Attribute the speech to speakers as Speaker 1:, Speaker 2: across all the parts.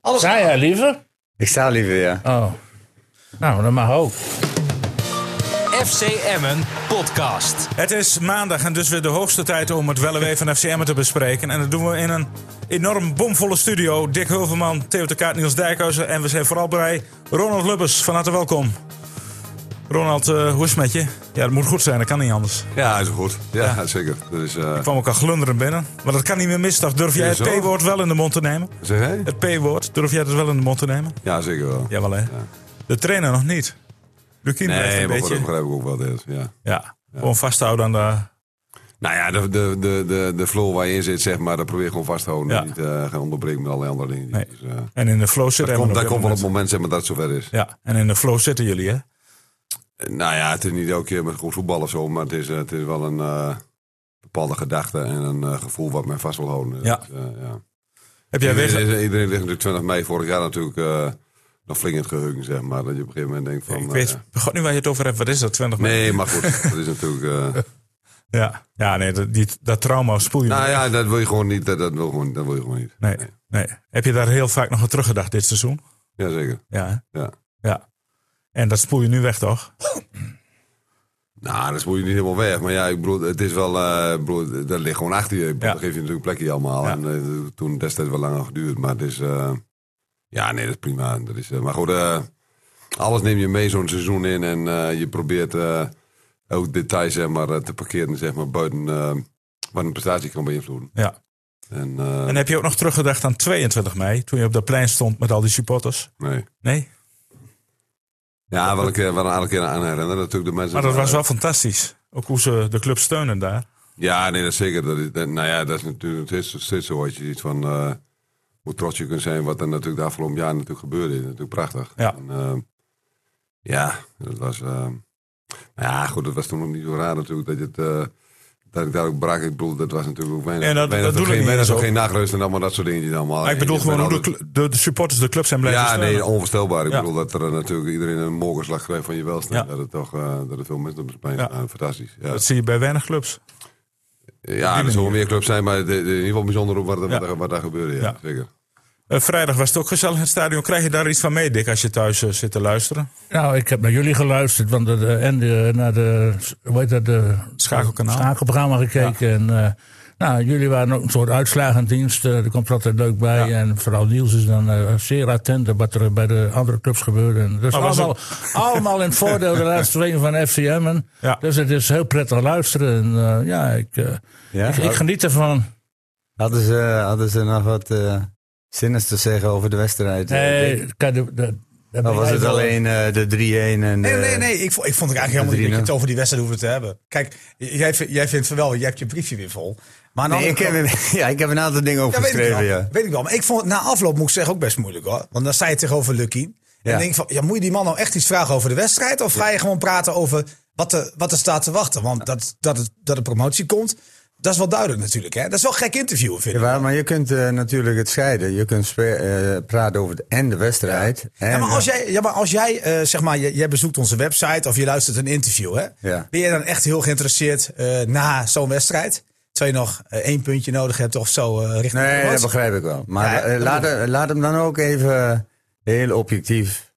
Speaker 1: alles.
Speaker 2: Zij jij liever?
Speaker 3: Ik sta liever, ja.
Speaker 2: Oh. Nou, dat mag ook.
Speaker 1: FC Emmen podcast.
Speaker 4: Het is maandag en dus weer de hoogste tijd om het wel en wee van FCM te bespreken. En dat doen we in een enorm bomvolle studio. Dick Hulverman, Theo de Kaart, Niels Dijkhuizen en we zijn vooral bij Ronald Lubbers. Van harte welkom. Ronald, eh, hoe is het met je? Ja, dat moet goed zijn, dat kan niet anders. Ik
Speaker 5: Ja, is goed. Ja, zeker. Dat is, eh,
Speaker 4: kwam ook al glunderen binnen, maar dat kan niet meer mis. toch? Durf jij het
Speaker 5: Ja, zo.
Speaker 4: P-woord wel in de mond te nemen?
Speaker 5: zeg jij?
Speaker 4: Het P-woord, durf jij het wel in de mond te nemen?
Speaker 5: Ja, zeker wel.
Speaker 4: Jawel hè. De trainer nog niet. Lukien blijft
Speaker 5: nee,
Speaker 4: een
Speaker 5: maar goed,
Speaker 4: beetje.
Speaker 5: dat begrijp ik ook wel. Dit, ja.
Speaker 4: Ja, gewoon vasthouden aan de...
Speaker 5: Nou ja, de, de, de, de, de flow waar je in zit, zeg maar, dat probeer je gewoon vast te houden.
Speaker 4: Ja.
Speaker 5: en Niet eh, gaan onderbreken met allerlei andere dingen.
Speaker 4: Nee.
Speaker 5: Dus, eh,
Speaker 4: En in de flow zitten
Speaker 5: dat komt, dat
Speaker 4: Emmen
Speaker 5: komt
Speaker 4: op dit
Speaker 5: wel op het
Speaker 4: moment.
Speaker 5: moment zeg maar, dat het zover is.
Speaker 4: Ja, en in de flow zitten jullie, hè?
Speaker 5: Eh, Nou ja, het is niet elke keer met goed voetbal of zo, maar het is, eh, het is wel een eh, bepaalde gedachte en een eh, gevoel wat men vast wil houden.
Speaker 4: Ja.
Speaker 5: Dus, eh, ja.
Speaker 4: Heb jij
Speaker 5: iedereen,
Speaker 4: weer...
Speaker 5: iedereen ligt natuurlijk 20 mei vorig jaar natuurlijk eh, nog flink in het geheugen, zeg maar. Dat je op een gegeven moment denkt van...
Speaker 4: Ik
Speaker 5: eh,
Speaker 4: weet God, nu waar je het over hebt. Wat is dat, 20 minuten?
Speaker 5: nee, maar goed, dat is natuurlijk... eh,
Speaker 4: Ja, ja nee, dat, die, dat trauma spoel je
Speaker 5: Nou
Speaker 4: niet.
Speaker 5: ja, dat wil je gewoon niet. Dat, dat, wil, gewoon, dat wil je gewoon niet.
Speaker 4: nee, nee. Heb je daar heel vaak nog aan teruggedacht dit seizoen?
Speaker 5: Jazeker.
Speaker 4: Ja,
Speaker 5: Ja.
Speaker 4: hè? ja. En dat spoel je nu weg, toch?
Speaker 5: Nou, dat moet je niet helemaal weg. Maar ja, ik bedoel, het is wel. eh, ik bedoel, dat ligt gewoon achter je. Ik bedoel,
Speaker 4: Ja.
Speaker 5: Dat geef je natuurlijk plekje allemaal.
Speaker 4: Ja.
Speaker 5: En eh, toen destijds wel langer geduurd. Maar het is. eh, ja, nee, dat is prima. Dat is, eh, maar goed, eh, alles neem je mee zo'n seizoen in. En eh, je probeert eh, ook details zeg maar, eh, te parkeren zeg maar, buiten eh, wat een prestatie kan beïnvloeden.
Speaker 4: Ja.
Speaker 5: En, eh,
Speaker 4: En heb je ook nog teruggedacht aan 22 mei, toen je op dat plein stond met al die supporters?
Speaker 5: nee.
Speaker 4: Nee?
Speaker 5: Ja, wel een, keer, wel een aantal keer aan herinneren natuurlijk de mensen.
Speaker 4: Maar dat
Speaker 5: Maar,
Speaker 4: was wel fantastisch. Ook hoe ze de club steunen daar.
Speaker 5: Ja, nee, dat is zeker. Dat is, dat- nou ja, dat is natuurlijk steeds, steeds zo als je ziet van eh, hoe trots je kunt zijn wat er natuurlijk de afgelopen jaren natuurlijk gebeurde. Dat is natuurlijk prachtig.
Speaker 4: Ja.
Speaker 5: En, eh, ja, dat was. eh, nou ja, goed, dat was toen ook niet zo raar natuurlijk dat je het. eh, dat ik daar ook brak, ik bedoel, dat was natuurlijk ook weinig.
Speaker 4: En dat-
Speaker 5: weinig
Speaker 4: dat doe
Speaker 5: geen,
Speaker 4: ik niet
Speaker 5: weinig
Speaker 4: eens
Speaker 5: ook
Speaker 4: ook.
Speaker 5: geen nachtrust en allemaal dat soort dingen allemaal.
Speaker 4: Maar ik bedoel
Speaker 5: Je bent
Speaker 4: gewoon hoe de,
Speaker 5: altijd-
Speaker 4: cl- de, de supporters de club zijn blijven
Speaker 5: Ja,
Speaker 4: steunen.
Speaker 5: nee, onvelstelbaar. Ik
Speaker 4: Ja.
Speaker 5: bedoel dat er eh, natuurlijk iedereen een mokerslag krijgt van je welstand.
Speaker 4: Ja.
Speaker 5: Dat het toch, eh, dat er veel mensen op het plein
Speaker 4: Ja.
Speaker 5: staan. Fantastisch. Ja.
Speaker 4: Dat zie je bij weinig clubs.
Speaker 5: Ja, er zullen meer clubs zijn, maar het is in ieder geval bijzonder op wat, wat,
Speaker 4: Ja.
Speaker 5: daar, wat daar gebeurde. Ja,
Speaker 4: Ja.
Speaker 5: Zeker.
Speaker 4: Eh, vrijdag was het ook gezellig in het stadion. Krijg je daar iets van mee, Dick, als je thuis eh, zit te luisteren?
Speaker 2: Nou, ik heb naar jullie geluisterd. Want de, de- en de, naar de, hoe heet dat, de
Speaker 4: Schakelkanaal.
Speaker 2: schakelprogramma gekeken. En, eh, nou, jullie waren ook een soort uitslagendienst. eh, daar komt altijd leuk bij. En vooral Niels is dan eh, zeer attent op wat er bij de andere clubs gebeurde. En dat is
Speaker 4: Maar Oh, was
Speaker 2: allemaal, allemaal in het voordeel de laatste weken van FCM. En,
Speaker 4: Ja.
Speaker 2: Dus het is heel prettig luisteren. En, eh, ja, ik, eh,
Speaker 3: ja?
Speaker 2: ik, ik geniet ervan.
Speaker 3: Hadden, ze, hadden ze nog wat eh zinnigs te zeggen over de wedstrijd? eh, Dick?
Speaker 2: Nee, kijk, de- de- daar ben
Speaker 3: Of was
Speaker 2: jij
Speaker 3: het
Speaker 2: wel-
Speaker 3: alleen eh, de 3-1 en eh,
Speaker 6: Nee,
Speaker 3: de-
Speaker 6: nee, nee. Ik, vo- ik vond het eigenlijk helemaal niet dat je het
Speaker 3: Adrina.
Speaker 6: over die wedstrijd hoefde te hebben. Kijk, jij, vind- jij vindt van wel, jij hebt je briefje weer vol. Maar aan de
Speaker 3: Nee, ik,
Speaker 6: andere kant-
Speaker 3: heb, ja, ik heb een aantal dingen
Speaker 6: ja, weet ik, wel,
Speaker 3: opgeschreven, ja.
Speaker 6: weet ik wel. Maar ik vond het na afloop, moet ik zeggen, ook best moeilijk hoor. Want dan sta je tegenover Lucky. En
Speaker 3: Ja.
Speaker 6: dan denk ik van, ja, moet je die man nou echt iets vragen over de wedstrijd? Of ga je gewoon praten over wat er, wat er staat te wachten? Want dat, dat, het, dat er promotie komt, dat is wel duidelijk natuurlijk. Hè? Dat is wel gek interviewen, vind ik.
Speaker 3: Jawel, maar je kunt eh, natuurlijk het scheiden. Je kunt spe- eh, praten over de, en de wedstrijd. En,
Speaker 6: Ja, maar als
Speaker 3: eh,
Speaker 6: jij, ja, maar als jij eh, zeg maar, jij, jij bezoekt onze website of je luistert een interview, hè?
Speaker 3: Ja.
Speaker 6: ben je dan echt heel geïnteresseerd eh, na zo'n wedstrijd? Terwijl je nog eh, één puntje nodig hebt of zo eh, richting de
Speaker 3: Nee, dat
Speaker 6: promotie?
Speaker 3: begrijp ik wel. Maar
Speaker 6: Ja,
Speaker 3: eh,
Speaker 6: dat
Speaker 3: laat, hem- laat hem dan ook even heel objectief.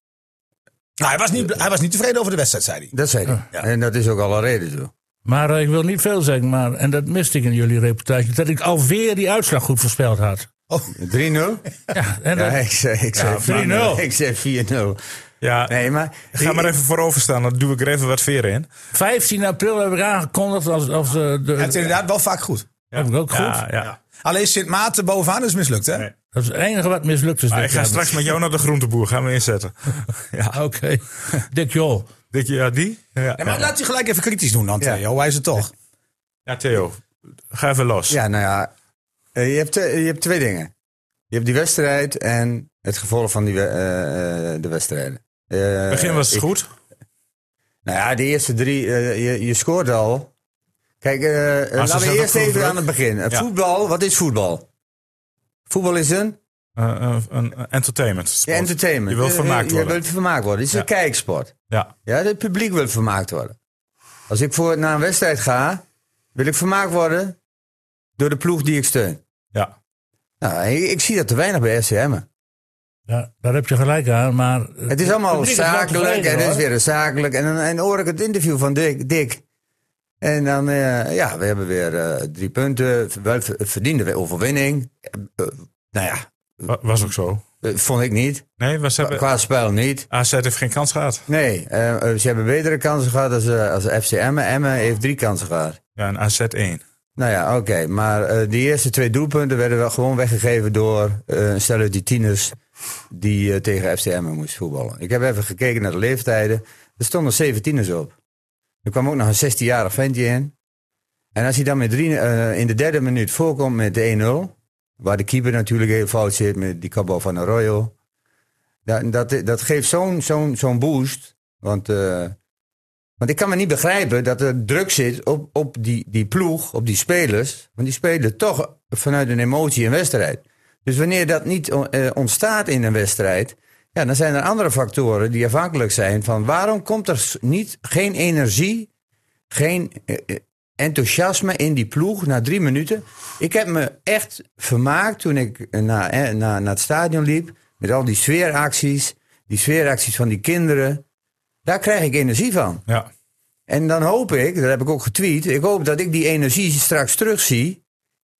Speaker 6: nou, hij, was niet, hij was niet tevreden over de wedstrijd, zei hij.
Speaker 3: Dat zei hij.
Speaker 6: Ja.
Speaker 3: En dat is ook al een reden zo.
Speaker 2: Maar eh, ik wil niet veel zeggen, maar, en dat miste ik in jullie reportage, dat ik alweer die uitslag goed voorspeld had.
Speaker 3: 3-0?
Speaker 2: Ja, en eh,
Speaker 3: Ja,
Speaker 2: dat-
Speaker 3: ik zei, ik zei
Speaker 2: 3-0.
Speaker 3: 4-0. Ik zei 4-0.
Speaker 4: Ja,
Speaker 3: Nee, maar...
Speaker 4: ga maar even voorover staan. Dan doe ik er even wat veren in.
Speaker 2: 15 april heb ik aangekondigd als, als eh, de,
Speaker 6: Hij heeft het inderdaad wel vaak goed.
Speaker 2: heb ik ook goed.
Speaker 4: Ja, ja.
Speaker 6: Alleen Sint Maarten bovenaan is mislukt, hè?
Speaker 4: Nee.
Speaker 2: Dat is het enige wat mislukt is.
Speaker 4: Maar ik
Speaker 2: dit
Speaker 4: ga
Speaker 2: jaar.
Speaker 4: straks met jou naar de groenteboer. Gaan we inzetten. ja.
Speaker 2: Oké. Dick Jol.
Speaker 4: Dick, ja, die? Ja,
Speaker 6: Ja, maar laat je gelijk even kritisch doen dan,
Speaker 3: Ja.
Speaker 6: Theo. Hij is het toch.
Speaker 4: ja, Theo. Ga even los.
Speaker 3: Ja, nou ja. eh, Je hebt, eh, je hebt twee dingen. Je hebt die wedstrijd en het gevolg van die, we- eh, eh, de wedstrijden. Eh,
Speaker 4: Begin was het
Speaker 3: ik-
Speaker 4: goed.
Speaker 3: Nou ja, de eerste drie, eh, je, je scoort al. Kijk, eh, eh,
Speaker 4: ze
Speaker 3: laten we
Speaker 4: zetten
Speaker 3: eerst
Speaker 4: ook
Speaker 3: even
Speaker 4: druk.
Speaker 3: aan het begin. Eh,
Speaker 4: Ja.
Speaker 3: Voetbal, wat is voetbal? Voetbal is een
Speaker 4: Eh, eh, een een entertainment.
Speaker 3: ja,
Speaker 4: sport.
Speaker 3: entertainment.
Speaker 4: Je wilt
Speaker 3: Eh,
Speaker 4: vermaakt
Speaker 3: Je
Speaker 4: worden.
Speaker 3: wilt vermaakt worden. Het is
Speaker 4: Ja.
Speaker 3: een kijksport.
Speaker 4: Ja.
Speaker 3: Ja, het publiek wil vermaakt worden. Als ik voor, naar een wedstrijd ga, wil ik vermaakt worden door de ploeg die ik steun.
Speaker 4: ja.
Speaker 3: Nou, ik, ik zie dat te weinig bij SCM.
Speaker 2: Ja, daar heb je gelijk aan, maar... eh,
Speaker 3: Het is allemaal
Speaker 2: publiek wel
Speaker 3: zakelijk
Speaker 2: tevreden,
Speaker 3: en het is
Speaker 2: hoor.
Speaker 3: weer een zakelijk. En dan en hoor ik het interview van Dick. Dick. En dan, eh, ja, we hebben weer eh, drie punten. Wel ver- verdiende we overwinning. Eh, eh, nou ja,
Speaker 4: Wa- Was ook zo.
Speaker 3: eh, vond ik niet.
Speaker 4: Nee, was
Speaker 3: Qua- Qua spel niet.
Speaker 4: AZ heeft geen kans gehad.
Speaker 3: Nee, eh, eh, ze hebben betere kansen gehad als, eh, als FC Emmen. Emmen heeft drie kansen gehad.
Speaker 4: Ja, een AZ 1.
Speaker 3: Nou ja, oké. Maar eh, die eerste twee doelpunten werden wel gewoon weggegeven door eh, een stel uit die tieners die eh, tegen FCM moest voetballen. Ik heb even gekeken naar de leeftijden. Er stonden zeven tieners op. Er kwam ook nog een 16-jarig ventje in. En als hij dan met drie, eh, in de derde minuut voorkomt met de 1-0, waar de keeper natuurlijk heel fout zit met die kabel van Arroyo. Dat, dat, dat geeft zo'n zo'n zo'n boost. Want eh, want ik kan me niet begrijpen dat er druk zit op, op die, die ploeg, op die spelers. Want die spelen toch vanuit een emotie een wedstrijd. Dus wanneer dat niet on- eh, ontstaat in een wedstrijd, ja, dan zijn er andere factoren die afhankelijk zijn van waarom komt er s- niet, geen energie, geen eh, eh, enthousiasme in die ploeg na drie minuten. Ik heb me echt vermaakt toen ik eh, naar eh, naar- naar het stadion liep met al die sfeeracties, die sfeeracties van die kinderen. Daar krijg ik energie van.
Speaker 4: Ja.
Speaker 3: En dan hoop ik, dat heb ik ook getweet, ik hoop dat ik die energie straks terugzie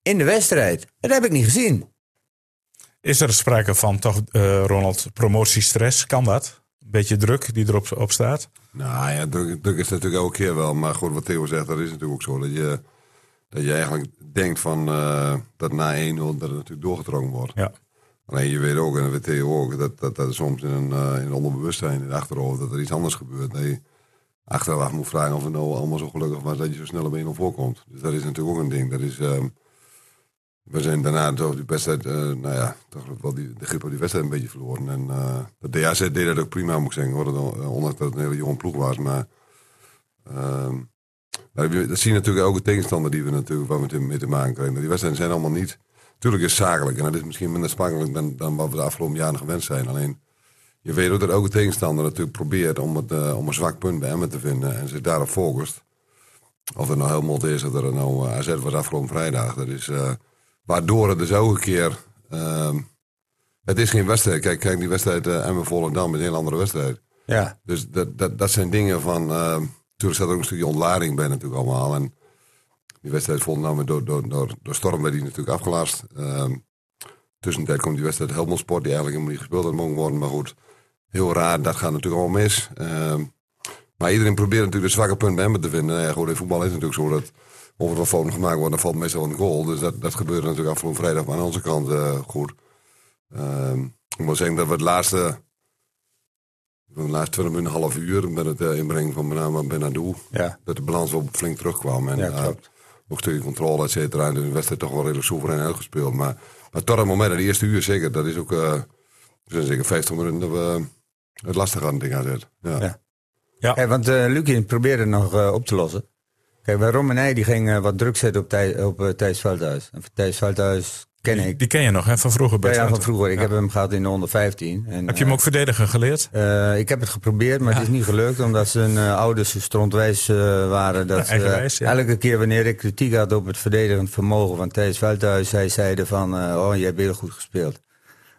Speaker 3: in de wedstrijd. Dat heb ik niet gezien.
Speaker 4: Is er sprake van toch, eh, Ronald, promotiestress? Kan dat? Beetje druk die erop op staat.
Speaker 5: Nou ja, druk, druk is natuurlijk elke keer wel. Maar goed, wat Theo zegt, dat is natuurlijk ook zo. Dat je, dat je eigenlijk denkt van eh, dat na 1-0 dat het natuurlijk doorgetrokken wordt.
Speaker 4: Ja.
Speaker 5: Alleen je weet ook, en dat weet Theo ook, dat dat, dat er soms in een, eh, in een onderbewustzijn, in het achterhoofd, dat er iets anders gebeurt. Dat je achteraf moet vragen of het nou allemaal zo gelukkig was dat je zo snel op 1-0 voorkomt. Dus dat is natuurlijk ook een ding. Dat is, ehm, we zijn daarna toch die wedstrijd, eh, nou ja, toch wel die, de grip op die wedstrijd een beetje verloren. En eh, de DAZ deed dat ook prima, moet ik zeggen. Hoor. Dat, eh, ondanks dat het een hele jonge ploeg was. Maar ehm, daar heb je- dat zie je natuurlijk elke tegenstander die we natuurlijk waar we te- mee te maken krijgen. Die wedstrijden zijn allemaal niet. Tuurlijk is het zakelijk en dat is misschien minder spannend dan, dan wat we de afgelopen jaren gewend zijn. Alleen je weet ook dat elke tegenstander natuurlijk probeert om, het, eh, om een zwak punt bij Emmen te vinden en zich daarop focust. Of het nou helemaal is dat er nou eh, AZ was afgelopen vrijdag. Dat is, eh, waardoor het dus elke keer. ehm, het is geen wedstrijd. Kijk, kijk die wedstrijd eh Emmen Volendam is een heel andere wedstrijd.
Speaker 3: Ja.
Speaker 5: Dus dat, dat, dat zijn dingen van. ehm natuurlijk zat er ook een stukje ontlading bij natuurlijk allemaal. En die wedstrijd Volendam werd door, door, door, door Storm werd die natuurlijk afgelast. Ehm tussentijd komt die wedstrijd Helmond Sport, die eigenlijk helemaal niet gespeeld had mogen worden. Maar goed, heel raar, dat gaat natuurlijk allemaal mis. Ehm, maar iedereen probeert natuurlijk het zwakke punt bij Emmen te vinden. Nou Ja, goed, in voetbal is het natuurlijk zo dat of er wat fouten gemaakt worden, dan valt meestal wel een goal. Dus dat, dat gebeurde natuurlijk afgelopen vrijdag maar aan onze kant eh, goed. Ehm, ik moet zeggen dat we het laatste... De laatste 20 minuten, een half uur, met het eh, inbrengen van met name Benadou,
Speaker 3: Ja.
Speaker 5: dat de balans wel flink terugkwam. En,
Speaker 3: Ja,
Speaker 5: eh,
Speaker 3: klopt.
Speaker 5: ook een stukje controle, et cetera. En dus de wedstrijd toch wel redelijk soeverein uitgespeeld. Maar, maar tot het moment, dat eerste uur zeker, dat is ook... eh, we zijn zeker 50 minuten dat we het lastig aan het ding aanzet. Ja.
Speaker 3: Ja.
Speaker 5: Ja.
Speaker 3: Kijk, want eh Lukien probeerde het nog eh, op te lossen. Kijk, bij Rom en hij, die ging eh, wat druk zetten op, Thij- op eh, Thijs Veldhuis. En Thijs Veldhuis ken ik.
Speaker 4: Die ken je nog, hè? Van vroeger bij
Speaker 3: Ja, ja, van
Speaker 4: Twente.
Speaker 3: vroeger. Ik
Speaker 4: Ja.
Speaker 3: heb hem gehad in de 115. En,
Speaker 4: Heb je hem ook verdedigen geleerd?
Speaker 3: eh, eh, ik heb het geprobeerd, maar het is niet gelukt. Omdat zijn eh, ouders zo strontwijs eh, waren. Dat
Speaker 4: Ja,
Speaker 3: ze,
Speaker 4: eigenwijs,
Speaker 3: eh,
Speaker 4: ja.
Speaker 3: Elke keer wanneer ik kritiek had op het verdedigend vermogen van Thijs Veldhuis. Zij zeiden van, eh, oh, jij hebt heel goed gespeeld.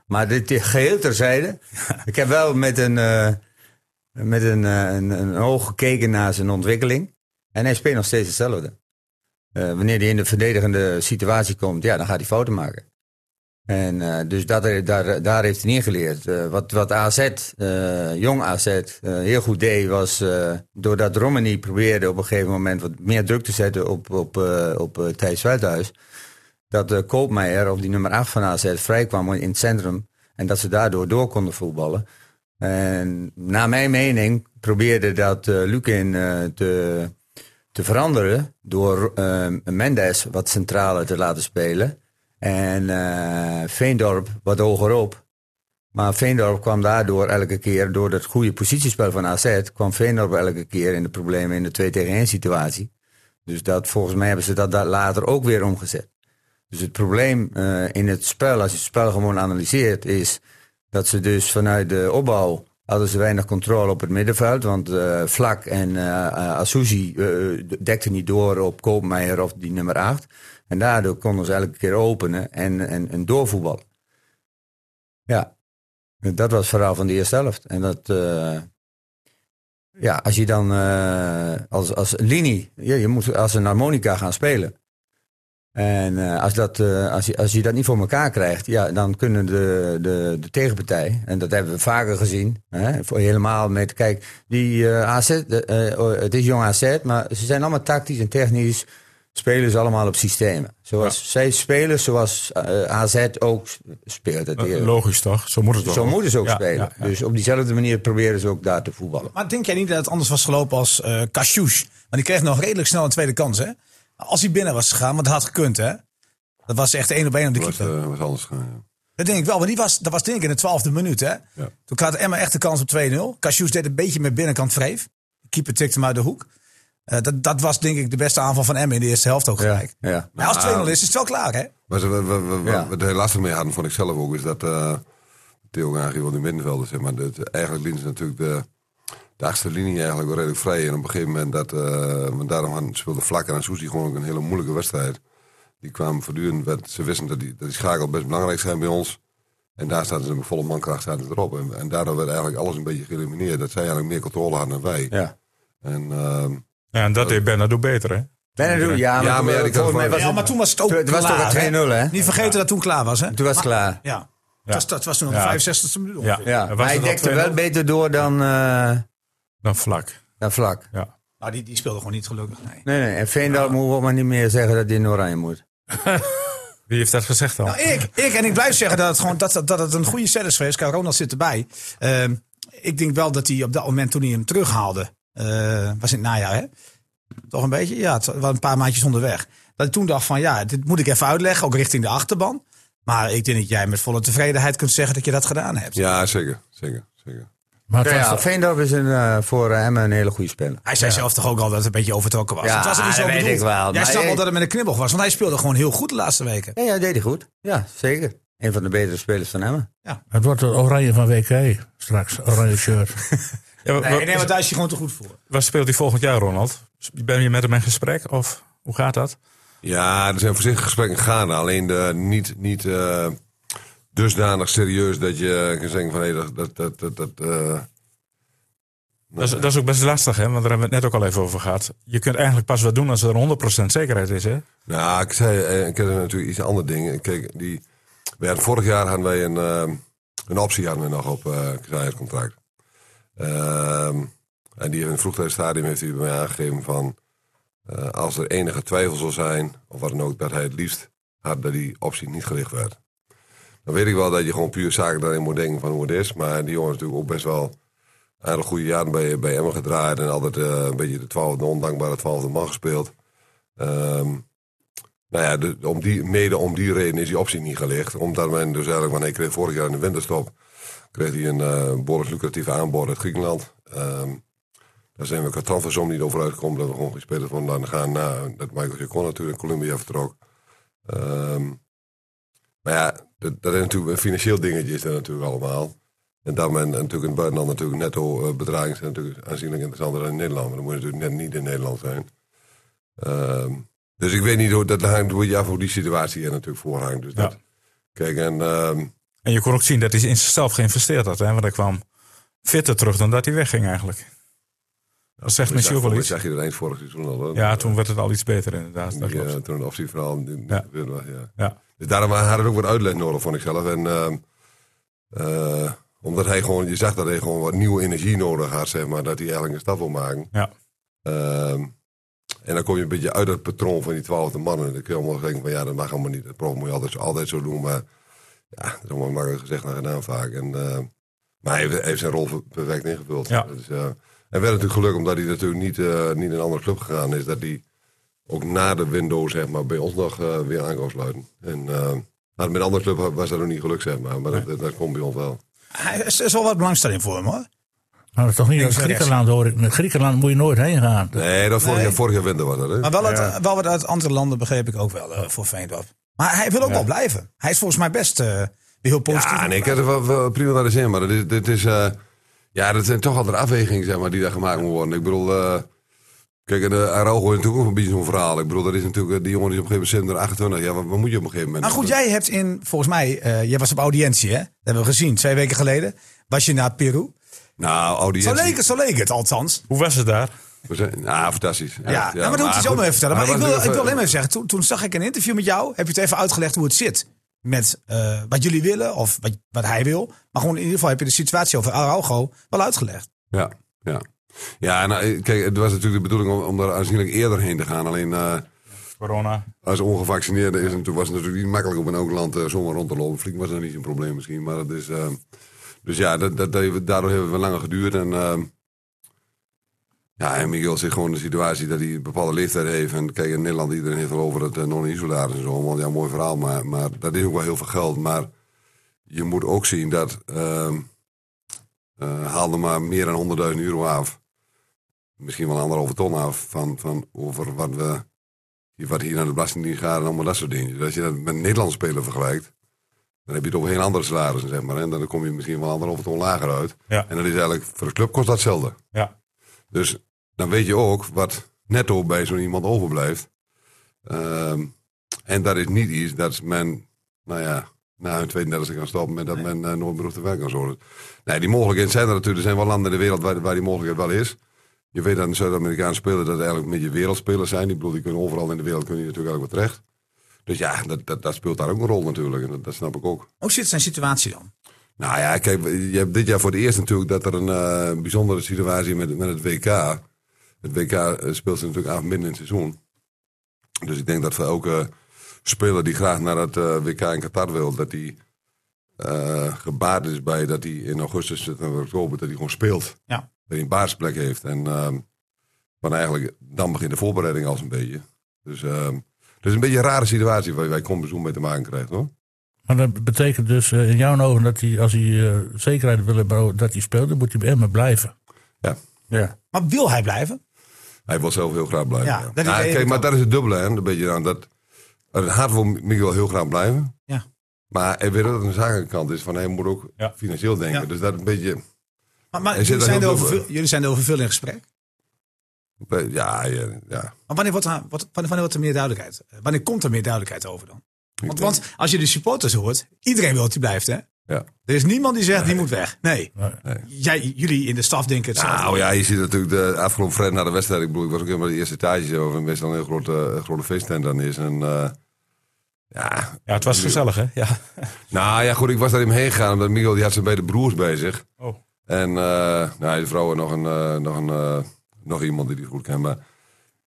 Speaker 3: Maar dit is geheel terzijde. Ik heb wel met een, eh, met een, eh, een, een oog gekeken naar zijn ontwikkeling. En hij speelt nog steeds hetzelfde. Eh, wanneer hij in de verdedigende situatie komt, ja, dan gaat hij fouten maken. En eh, dus dat, daar, daar heeft hij niet geleerd. Eh, wat, wat AZ, eh, jong AZ, eh, heel goed deed, was eh, doordat Romani probeerde op een gegeven moment wat meer druk te zetten op, op, eh, op eh, Thijs Veldhuis. Dat eh Koopmeijer, of die nummer 8 van AZ, vrij kwam in het centrum. En dat ze daardoor door konden voetballen. En naar mijn mening probeerde dat eh Lukin eh, te, te veranderen door eh, Mendes wat centraler te laten spelen. En eh Veendorp wat hogerop. Maar Veendorp kwam daardoor elke keer, door dat goede positiespel van AZ, kwam Veendorp elke keer in de problemen in de 2 tegen 1 situatie. Dus dat, volgens mij hebben ze dat, daar later ook weer omgezet. Dus het probleem eh, in het spel, als je het spel gewoon analyseert, is dat ze dus vanuit de opbouw hadden ze weinig controle op het middenveld. Want eh, Vlak en eh eh, Asuzi eh, dekten niet door op Koopmeijer of die nummer 8. En daardoor konden ze elke keer openen en, en, en doorvoetballen. Ja, Dat was het verhaal van de eerste helft. En dat, eh, ja, als je dan eh, als, als linie, je, je moet als een harmonica gaan spelen. En eh, als, dat, eh, als, je, als je dat niet voor elkaar krijgt, ja, dan kunnen de, de, de tegenpartij, en dat hebben we vaker gezien, hè, voor helemaal met, kijk, die eh, AZ, de, eh, oh, het is jong AZ, maar ze zijn allemaal tactisch en technisch, spelen ze allemaal op systemen. Zoals zij spelen, zoals eh, AZ ook speelt. Het eerder.
Speaker 4: Logisch toch? Zo moet het toch?
Speaker 3: Dus Zo moeten ze ook
Speaker 4: Ja,
Speaker 3: spelen.
Speaker 4: ja, ja.
Speaker 3: Dus op diezelfde manier proberen ze ook daar te voetballen.
Speaker 6: Maar denk jij niet dat het anders was gelopen als eh Kashouch? Want die kreeg nog redelijk snel een tweede kans, hè? Als hij binnen was gegaan, want dat had gekund, hè? Dat was echt één op één op de
Speaker 5: Dat was,
Speaker 6: keeper.
Speaker 5: eh, was anders gegaan. ja.
Speaker 6: Dat denk ik wel, maar die was, dat was denk ik in de twaalfde minuut, hè? Toen had Emma echt de kans op 2-0. Kashouch deed een beetje met binnenkant wreef. De keeper tikte hem uit de hoek. Eh, dat, dat was denk ik de beste aanval van Emma in de eerste helft ook gelijk.
Speaker 3: Ja.
Speaker 6: Nou, als het 2-0 is, is het wel klaar, hè?
Speaker 5: Maar ze- we- we- we-
Speaker 3: Ja.
Speaker 5: wat we er lastig mee hadden, vond ik zelf ook, is dat eh Theo Gaagje wel de middenvelder, zeg maar. Dat, eigenlijk liet ze natuurlijk de, de achtste linie eigenlijk wel redelijk vrij. En op een gegeven moment, dat, eh, want daarom hadden- speelde Vlakker en Soesie gewoon ook een hele moeilijke wedstrijd. Die kwamen voortdurend, werd- ze wisten dat die, dat die schakel best belangrijk zijn bij ons. En daar zaten ze met volle mankracht zaten ze erop. En, en daardoor werd eigenlijk alles een beetje geëlimineerd. Dat zij eigenlijk meer controle hadden dan wij.
Speaker 3: Ja.
Speaker 5: En, ehm,
Speaker 4: Ja, en dat deed Bernardo beter, hè?
Speaker 3: Benadou, ja,
Speaker 5: Ja,
Speaker 3: maar,
Speaker 5: maar ja, die kan
Speaker 3: volgens mij
Speaker 5: voor-
Speaker 3: was
Speaker 6: Ja,
Speaker 3: het,
Speaker 6: maar toen was het ook
Speaker 3: het was
Speaker 6: klaar,
Speaker 3: toch een 2-0, hè?
Speaker 6: Niet vergeten dat toen klaar was, hè?
Speaker 3: Toen was het klaar.
Speaker 6: Ja. Het was, dat was toen op de
Speaker 4: Ja.
Speaker 6: 65e minuut ongeveer.
Speaker 4: Ja.
Speaker 3: Ja.
Speaker 4: Was
Speaker 3: Maar hij
Speaker 4: het al
Speaker 3: dekte wel
Speaker 4: 2-0?
Speaker 3: beter door dan, eh,
Speaker 4: Dan vlak.
Speaker 3: dan Vlak.
Speaker 4: Ja.
Speaker 6: Nou, die, die speelde gewoon niet gelukkig. Nee.
Speaker 3: Nee, nee. En Veendal moeten we ook maar niet meer zeggen dat hij in oranje moet.
Speaker 4: Wie heeft dat gezegd dan?
Speaker 6: Nou, ik, ik en ik blijf zeggen dat het, gewoon, dat, dat het een goede set is geweest. Kijk, Ronald zit erbij. Ehm, ik denk wel dat hij op dat moment toen hij hem terughaalde, eh, was in het najaar, hè? Toch een beetje? Ja, het was een paar maandjes onderweg. Dat ik toen dacht van, ja, dit moet ik even uitleggen, ook richting de achterban. Maar ik denk dat jij met volle tevredenheid kunt zeggen dat je dat gedaan hebt.
Speaker 5: ja, zeker. Zeker. zeker.
Speaker 2: Maar
Speaker 3: Ja,
Speaker 2: het was
Speaker 3: ja, Veendorp is een, eh, voor hem een hele goede speler.
Speaker 6: Hij zei zelf toch ook al dat het een beetje overtrokken was.
Speaker 3: Ja,
Speaker 6: het was ook niet zo
Speaker 3: dat weet
Speaker 6: bedoeld.
Speaker 3: ik wel,
Speaker 6: Jij
Speaker 3: maar
Speaker 6: snap wel
Speaker 3: ik-
Speaker 6: dat het met een knibbel was, want hij speelde gewoon heel goed de laatste weken.
Speaker 3: Ja, ja, deed hij goed. Ja, zeker. Een van de betere spelers van hem.
Speaker 2: Het wordt het oranje van WK straks, oranje shirt.
Speaker 4: Ja, wa-
Speaker 6: Nee, nee,
Speaker 4: wa-
Speaker 6: want daar is hij gewoon te goed voor.
Speaker 4: Waar speelt hij volgend jaar, Ronald? Ben je met hem in gesprek? Of hoe gaat dat?
Speaker 5: Ja, er zijn voorzichtige gesprekken gaande. Alleen de, niet, niet eh, dusdanig serieus dat je kan zeggen van... Hey, dat, dat, dat, dat, dat, eh,
Speaker 4: Dat is, dat is ook best lastig, hè? want daar hebben we het net ook al even over gehad. Je kunt eigenlijk pas wat doen als er 100% zekerheid is. Hè?
Speaker 5: Nou, ik zei, eh, ik heb natuurlijk iets ander ding. Kijk, die, we hadden, vorig jaar hadden wij een, ehm, een optie hadden we nog op eh Kazaaier's contract. Ehm, en die in een vroegtijdig stadium heeft hij bij mij aangegeven van... eh, als er enige twijfel zou zijn, of wat dan ook, dat hij het liefst had dat die optie niet gelicht werd. Dan weet ik wel dat je gewoon puur zaken daarin moet denken van hoe het is. Maar die jongen is natuurlijk ook best wel aardig goede jaren bij, bij Emmen gedraaid. En altijd eh, een beetje de twaalfde, ondankbare twaalfde man gespeeld. Ehm nou ja, de- om die, mede om die reden is die optie niet gelegd. Omdat men dus eigenlijk, want hij kreeg vorig jaar in de winterstop... kreeg hij een eh behoorlijk lucratief aanbod uit Griekenland. Ehm, daar zijn we qua transfersom niet over uitgekomen... dat we gewoon geen speler van laten gaan. Na dat Michael Jacon natuurlijk in Colombia vertrok. Ehm, maar ja, dat, dat is natuurlijk een financieel dingetje is dat natuurlijk allemaal. En daar men natuurlijk in het buitenland natuurlijk netto eh, bedragen... zijn natuurlijk aanzienlijk interessanter dan in Nederland. Maar dan moet je natuurlijk net niet in Nederland zijn. Ehm, dus ik weet niet hoe dat hangt hoe je af hoe die situatie er natuurlijk voor hangt. Dus dat,
Speaker 4: Ja.
Speaker 5: Kijk, en ehm,
Speaker 4: En je kon ook zien dat hij in zichzelf geïnvesteerd had. Hè? Want hij kwam fitter terug dan dat hij wegging eigenlijk. Dat zegt misschien ook wel
Speaker 5: dat
Speaker 4: iets.
Speaker 5: zag je er eind vorig seizoen al. hè?
Speaker 4: Ja, toen werd het al iets beter inderdaad.
Speaker 5: Die,
Speaker 4: Dat
Speaker 5: eh,
Speaker 4: klopt.
Speaker 5: toen een optieverhaal. die-
Speaker 4: Ja.
Speaker 5: die- ja.
Speaker 4: Ja.
Speaker 5: Dus daarom had het ook wat uitleg nodig, vond ik zelf. En, ehm, eh, omdat hij gewoon, je zag dat hij gewoon wat nieuwe energie nodig had, zeg maar. Dat hij eigenlijk een stap wil maken.
Speaker 4: Ja.
Speaker 5: Ehm, en dan kom je een beetje uit het patroon van die twaalfde mannen. Dan kun je allemaal denken van ja, dat mag allemaal niet. Dat prof moet je altijd, zo- altijd zo doen. Maar ja, dat is allemaal makkelijk gezegd en gedaan vaak. En, ehm, maar hij heeft, hij heeft zijn rol per- perfect ingevuld.
Speaker 4: Ja.
Speaker 5: Dus, eh, en werd natuurlijk geluk omdat hij natuurlijk niet, eh, niet naar een andere club gegaan is. Dat hij ook na de window zeg maar, bij ons nog eh, weer aan kan sluiten. En, eh, maar met een andere club was dat nog niet gelukt zeg maar. Maar dat, dat, dat komt bij ons wel.
Speaker 6: Hij, er is wel wat belangstelling voor hem, hoor.
Speaker 2: Maar dat is toch niet
Speaker 6: Links
Speaker 2: als
Speaker 6: en rechts.
Speaker 2: Griekenland hoor ik. Naar Griekenland moet je nooit heen gaan.
Speaker 5: Nee, dat vorig,
Speaker 6: Nee.
Speaker 5: Jaar, vorig jaar winter was dat. Hè?
Speaker 6: Maar wel, uit, wel wat uit andere landen begreep ik ook wel eh, voor Veendorp. Maar hij wil ook wel blijven. Hij is volgens mij best eh, weer heel positief.
Speaker 5: Ja, nee, ik heb er wel, wel prima naar de zin, maar dit is, dit is eh, ja, dat zijn toch altijd afwegingen zeg maar, die daar gemaakt moeten worden. Ik bedoel, eh, Kijk, en uh, Araujo is natuurlijk ook een beetje zo'n verhaal. Ik bedoel, er is natuurlijk, eh, die jongen is op een gegeven moment 28. Ja, wat, wat moet je op een gegeven moment?
Speaker 6: Maar goed, jij hebt in, volgens mij, eh, jij was op audiëntie, hè? Dat hebben we gezien, twee weken geleden. Was je naar Peru?
Speaker 5: Nou,
Speaker 6: Zo
Speaker 5: audiëntie.
Speaker 6: leek het, zo leek het althans.
Speaker 4: Hoe was het daar?
Speaker 5: We zijn- Nou, fantastisch.
Speaker 6: Ja, nou, maar dat moet je zo
Speaker 5: goed.
Speaker 6: maar even vertellen.
Speaker 5: Hij
Speaker 6: Maar ik
Speaker 5: was
Speaker 6: wil, ik
Speaker 5: natuurlijk,
Speaker 6: wil
Speaker 5: eh,
Speaker 6: alleen maar even zeggen, toen, toen zag ik een interview met jou. Heb je het even uitgelegd hoe het zit met eh, wat jullie willen of wat, wat hij wil. Maar gewoon in ieder geval heb je de situatie over Araujo wel uitgelegd.
Speaker 5: Ja, ja. Ja, nou, eh, kijk, het was natuurlijk de bedoeling om, om er aanzienlijk eerder heen te gaan. Alleen eh,
Speaker 4: Corona.
Speaker 5: als ongevaccineerde is, en toen was het natuurlijk niet makkelijk om in elk land eh, zomaar rond te lopen. Vliegen was nog niet zo'n probleem misschien, maar dat is... eh, dus ja, dat, dat, dat heeft- daardoor heeft het wel langer geduurd. En, eh, ja, en Miguel zit gewoon in de situatie dat hij een bepaalde leeftijd heeft. En kijk, in Nederland, iedereen heeft het over het eh, non-isolaris en zo. Allemaal, ja, mooi verhaal, maar, maar dat is ook wel heel veel geld. Maar je moet ook zien dat... ehm eh haal er maar meer dan 100.000 euro af. Misschien wel anderhalve ton af van, van over wat, we, hier- wat hier naar de Belastingdienst gaat en allemaal dat soort dingen. Dus als je dat met Nederlandse spelen vergelijkt, dan heb je het over heel andere salarissen, zeg maar. En dan kom je misschien wel anderhalve ton lager uit.
Speaker 4: Ja.
Speaker 5: En dat is eigenlijk, voor de club kost dat hetzelfde.
Speaker 4: Ja.
Speaker 5: Dus dan weet je ook wat netto bij zo'n iemand overblijft. Ehm, en dat is niet iets dat men, nou ja, na hun 32 kan stoppen met dat men eh, nooit meer hoeft te werken en zo. Dus, nee, die mogelijkheden zijn er natuurlijk. Er zijn wel landen in de wereld waar, waar die mogelijkheid wel is. Je weet dat een Zuid-Amerikaanse speler dat eigenlijk een beetje wereldspelers zijn. Die, bedoel, die kunnen overal in de wereld kunnen die natuurlijk ook wat terecht. Dus ja, dat, dat, dat speelt daar ook een rol natuurlijk. En dat, dat snap ik ook.
Speaker 6: Hoe zit zijn situatie dan?
Speaker 5: Nou ja, kijk, je hebt dit jaar voor het eerst natuurlijk dat er een eh, bijzondere situatie met, met het WK. Het WK speelt zich natuurlijk af midden in het seizoen. Dus ik denk dat voor elke speler die graag naar het eh, WK in Qatar wil, dat hij eh, gebaat is bij dat hij in augustus, september, oktober, dat hij gewoon speelt.
Speaker 6: Ja.
Speaker 5: Dat hij een basisplek heeft. En ehm, van eigenlijk, dan begint de voorbereiding al een beetje. Dus ehm het is een beetje een rare situatie waar wij Kombezoen mee te maken krijgen, hoor.
Speaker 2: Maar dat betekent dus eh, in jouw ogen dat hij, als hij eh, zekerheid wil hebben dat hij speelt, dan moet hij bij Emmen blijven.
Speaker 5: Ja.
Speaker 2: Ja.
Speaker 6: Maar wil hij blijven?
Speaker 5: Hij wil zelf heel graag blijven.
Speaker 6: Ja,
Speaker 5: ja.
Speaker 6: dat is
Speaker 5: Nou,
Speaker 6: de
Speaker 5: kijk,
Speaker 6: ene
Speaker 5: maar
Speaker 6: kant.
Speaker 5: dat is het dubbele. Hè? Een beetje aan dat, uit het hart wil Miguel heel graag blijven.
Speaker 6: Ja.
Speaker 5: Maar hij weet dat het een zakenkant is. Van hij moet ook
Speaker 4: Ja.
Speaker 5: financieel denken.
Speaker 6: Ja.
Speaker 5: Dus dat een beetje...
Speaker 6: Maar, maar
Speaker 5: Hij zit
Speaker 6: jullie,
Speaker 5: daar
Speaker 6: zijn
Speaker 5: heel
Speaker 6: erover,
Speaker 5: dubbel.
Speaker 6: veel- jullie zijn erover veel in gesprek.
Speaker 5: Ja, eh, ja, ja.
Speaker 6: Maar wanneer wordt, er, wat, wanneer wordt er meer duidelijkheid? Eh, Wanneer komt er meer duidelijkheid over dan? Want, want als je de supporters hoort, iedereen wil dat hij blijft, hè?
Speaker 5: ja.
Speaker 6: Er is niemand die zegt, die moet weg. Nee.
Speaker 5: Nee.
Speaker 6: Jij, jullie in de staf denken het
Speaker 5: Nou ja, je ziet natuurlijk de afgelopen vrijdag na de wedstrijd. Ik bedoel, ik was ook helemaal de eerste etage. Waar meestal een heel grote, een grote feesttent aan is. En eh, ja,
Speaker 4: Ja, het was gezellig, hè? Ja.
Speaker 5: Nou ja, goed, ik was daar even heen gegaan. Omdat Miguel die had zijn beide broers bezig.
Speaker 4: Oh.
Speaker 5: En eh nou, de vrouw en nog, een, eh, nog, een, eh, nog iemand die die goed kent. Maar,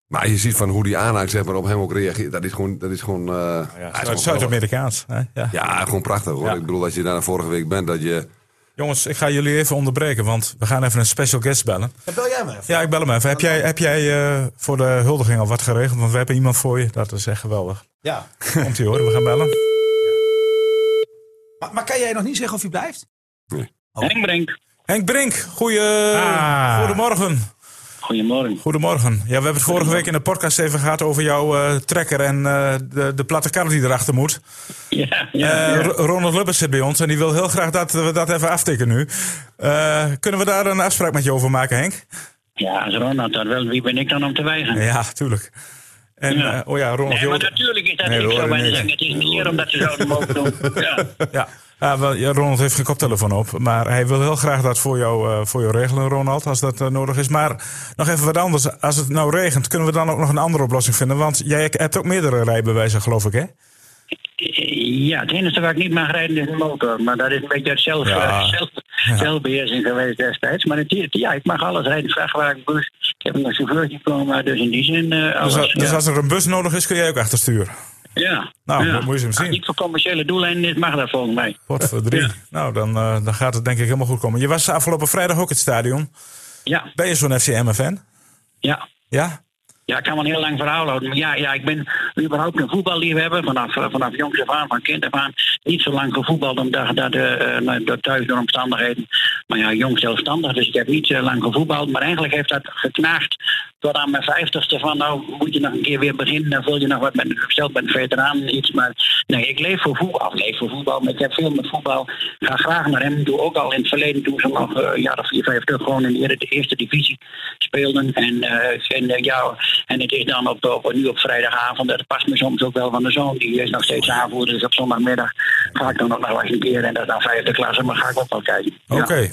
Speaker 5: maar je ziet van hoe die aanhaakt zeg maar, op hem ook reageert. Dat is gewoon... Dat is gewoon eh, hij is gewoon
Speaker 4: Zuid-
Speaker 5: geweldig.
Speaker 4: Zuid-Amerikaans. hè? Ja.
Speaker 5: Ja, gewoon prachtig hoor.
Speaker 4: Ja.
Speaker 5: Ik bedoel, als je daar nou vorige week bent, dat je...
Speaker 4: Jongens, ik ga jullie even onderbreken, want we gaan even een special guest bellen.
Speaker 6: bel jij maar even.
Speaker 4: Ja, ik bel hem even. Heb jij, heb jij eh, voor de huldiging al wat geregeld? Want we hebben iemand voor je. Dat is echt geweldig.
Speaker 6: Ja.
Speaker 4: Komt ie hoor, we gaan bellen.
Speaker 6: Maar, maar kan jij nog niet zeggen of hij blijft?
Speaker 4: Oh.
Speaker 7: Hengbrink,
Speaker 4: Henk Brink, goeie,
Speaker 2: Ah.
Speaker 4: goedemorgen.
Speaker 7: goedemorgen.
Speaker 4: Goedemorgen. Ja, we hebben het vorige week in de podcast even gehad over jouw eh, trekker en eh, de, de platte kar die erachter moet.
Speaker 7: Ja,
Speaker 4: Eh,
Speaker 7: ja, ja.
Speaker 4: R- Ronald Lubbers zit bij ons en die wil heel graag dat we dat even aftikken nu. Eh, kunnen we daar een afspraak met je over maken, Henk?
Speaker 7: ja, als Ronald dat wil, wie ben ik dan om te weigeren?
Speaker 4: Ja, tuurlijk. En,
Speaker 7: Ja.
Speaker 4: eh, oh ja, Ronald.
Speaker 7: Nee, maar
Speaker 4: Jol-
Speaker 7: natuurlijk is dat
Speaker 5: Nee,
Speaker 7: niet
Speaker 5: hoor,
Speaker 7: zo. Wij
Speaker 5: nee.
Speaker 7: zeggen, het is niet hier omdat ze zouden mogen doen. Ja.
Speaker 4: Ja. Ja, wel, ja, Ronald heeft geen koptelefoon op. Maar hij wil heel graag dat voor jou, eh, voor jou regelen, Ronald, als dat eh, nodig is. Maar nog even wat anders. Als het nou regent, kunnen we dan ook nog een andere oplossing vinden? Want jij hebt ook meerdere rijbewijzen, geloof ik, hè?
Speaker 7: ja, het enige waar ik niet mag rijden is een motor. Maar dat is een beetje uit zelf,
Speaker 4: Ja.
Speaker 7: eh, zelf, zelfbeheersing geweest destijds. Maar het, ja, ik mag alles rijden. Vrachtwagen, bus. Ik heb een chauffeursdiploma, dus in die zin eh, alles.
Speaker 4: Dus, als- dus
Speaker 7: ja.
Speaker 4: als er een bus nodig is, kun jij ook achtersturen.
Speaker 7: Ja.
Speaker 4: Nou,
Speaker 7: ja.
Speaker 4: moet- moet je eens hem
Speaker 7: Als
Speaker 4: zien.
Speaker 7: niet voor commerciële doeleinden is, mag dat volgens mij.
Speaker 4: Wat voor drie. Nou, dan, eh, dan gaat het denk ik helemaal goed komen. Je was afgelopen vrijdag ook in het stadion.
Speaker 7: Ja,
Speaker 4: Ben je zo'n FCM-fan?
Speaker 7: ja.
Speaker 4: Ja?
Speaker 7: Ja, ik kan wel een heel lang verhaal houden. Maar ja, ja, ik ben überhaupt een voetballiefhebber. Vanaf, eh, vanaf jongs af aan, van kind af aan. Niet zo lang gevoetbald omdat dat, eh, eh, nou, door thuis door omstandigheden. Maar ja, jong zelfstandig. Dus ik heb niet eh, lang gevoetbald. Maar eigenlijk heeft dat geknaagd tot aan mijn vijftigste van nou moet je nog een keer weer beginnen. Dan vul je nog wat met gesteld met veteraan iets. Maar nee, ik leef voor voetbal. Ik leef voor voetbal. Maar ik heb veel met voetbal. Ik ga graag naar hem. Doe ook al in het verleden toen ze nog eh, een jaar of vier, vijf terug gewoon in de eerste- de eerste divisie speelden. En, eh, en, eh, ja, en het is dan op, op, nu op vrijdagavond. Dat past me soms ook wel van de zoon. Die is nog steeds aanvoerder. Dus op zondagmiddag ga ik dan nog wel eens een keer. En dat is dan vijfde klasse. Maar ga ik ook wel kijken. Ja.
Speaker 4: Oké.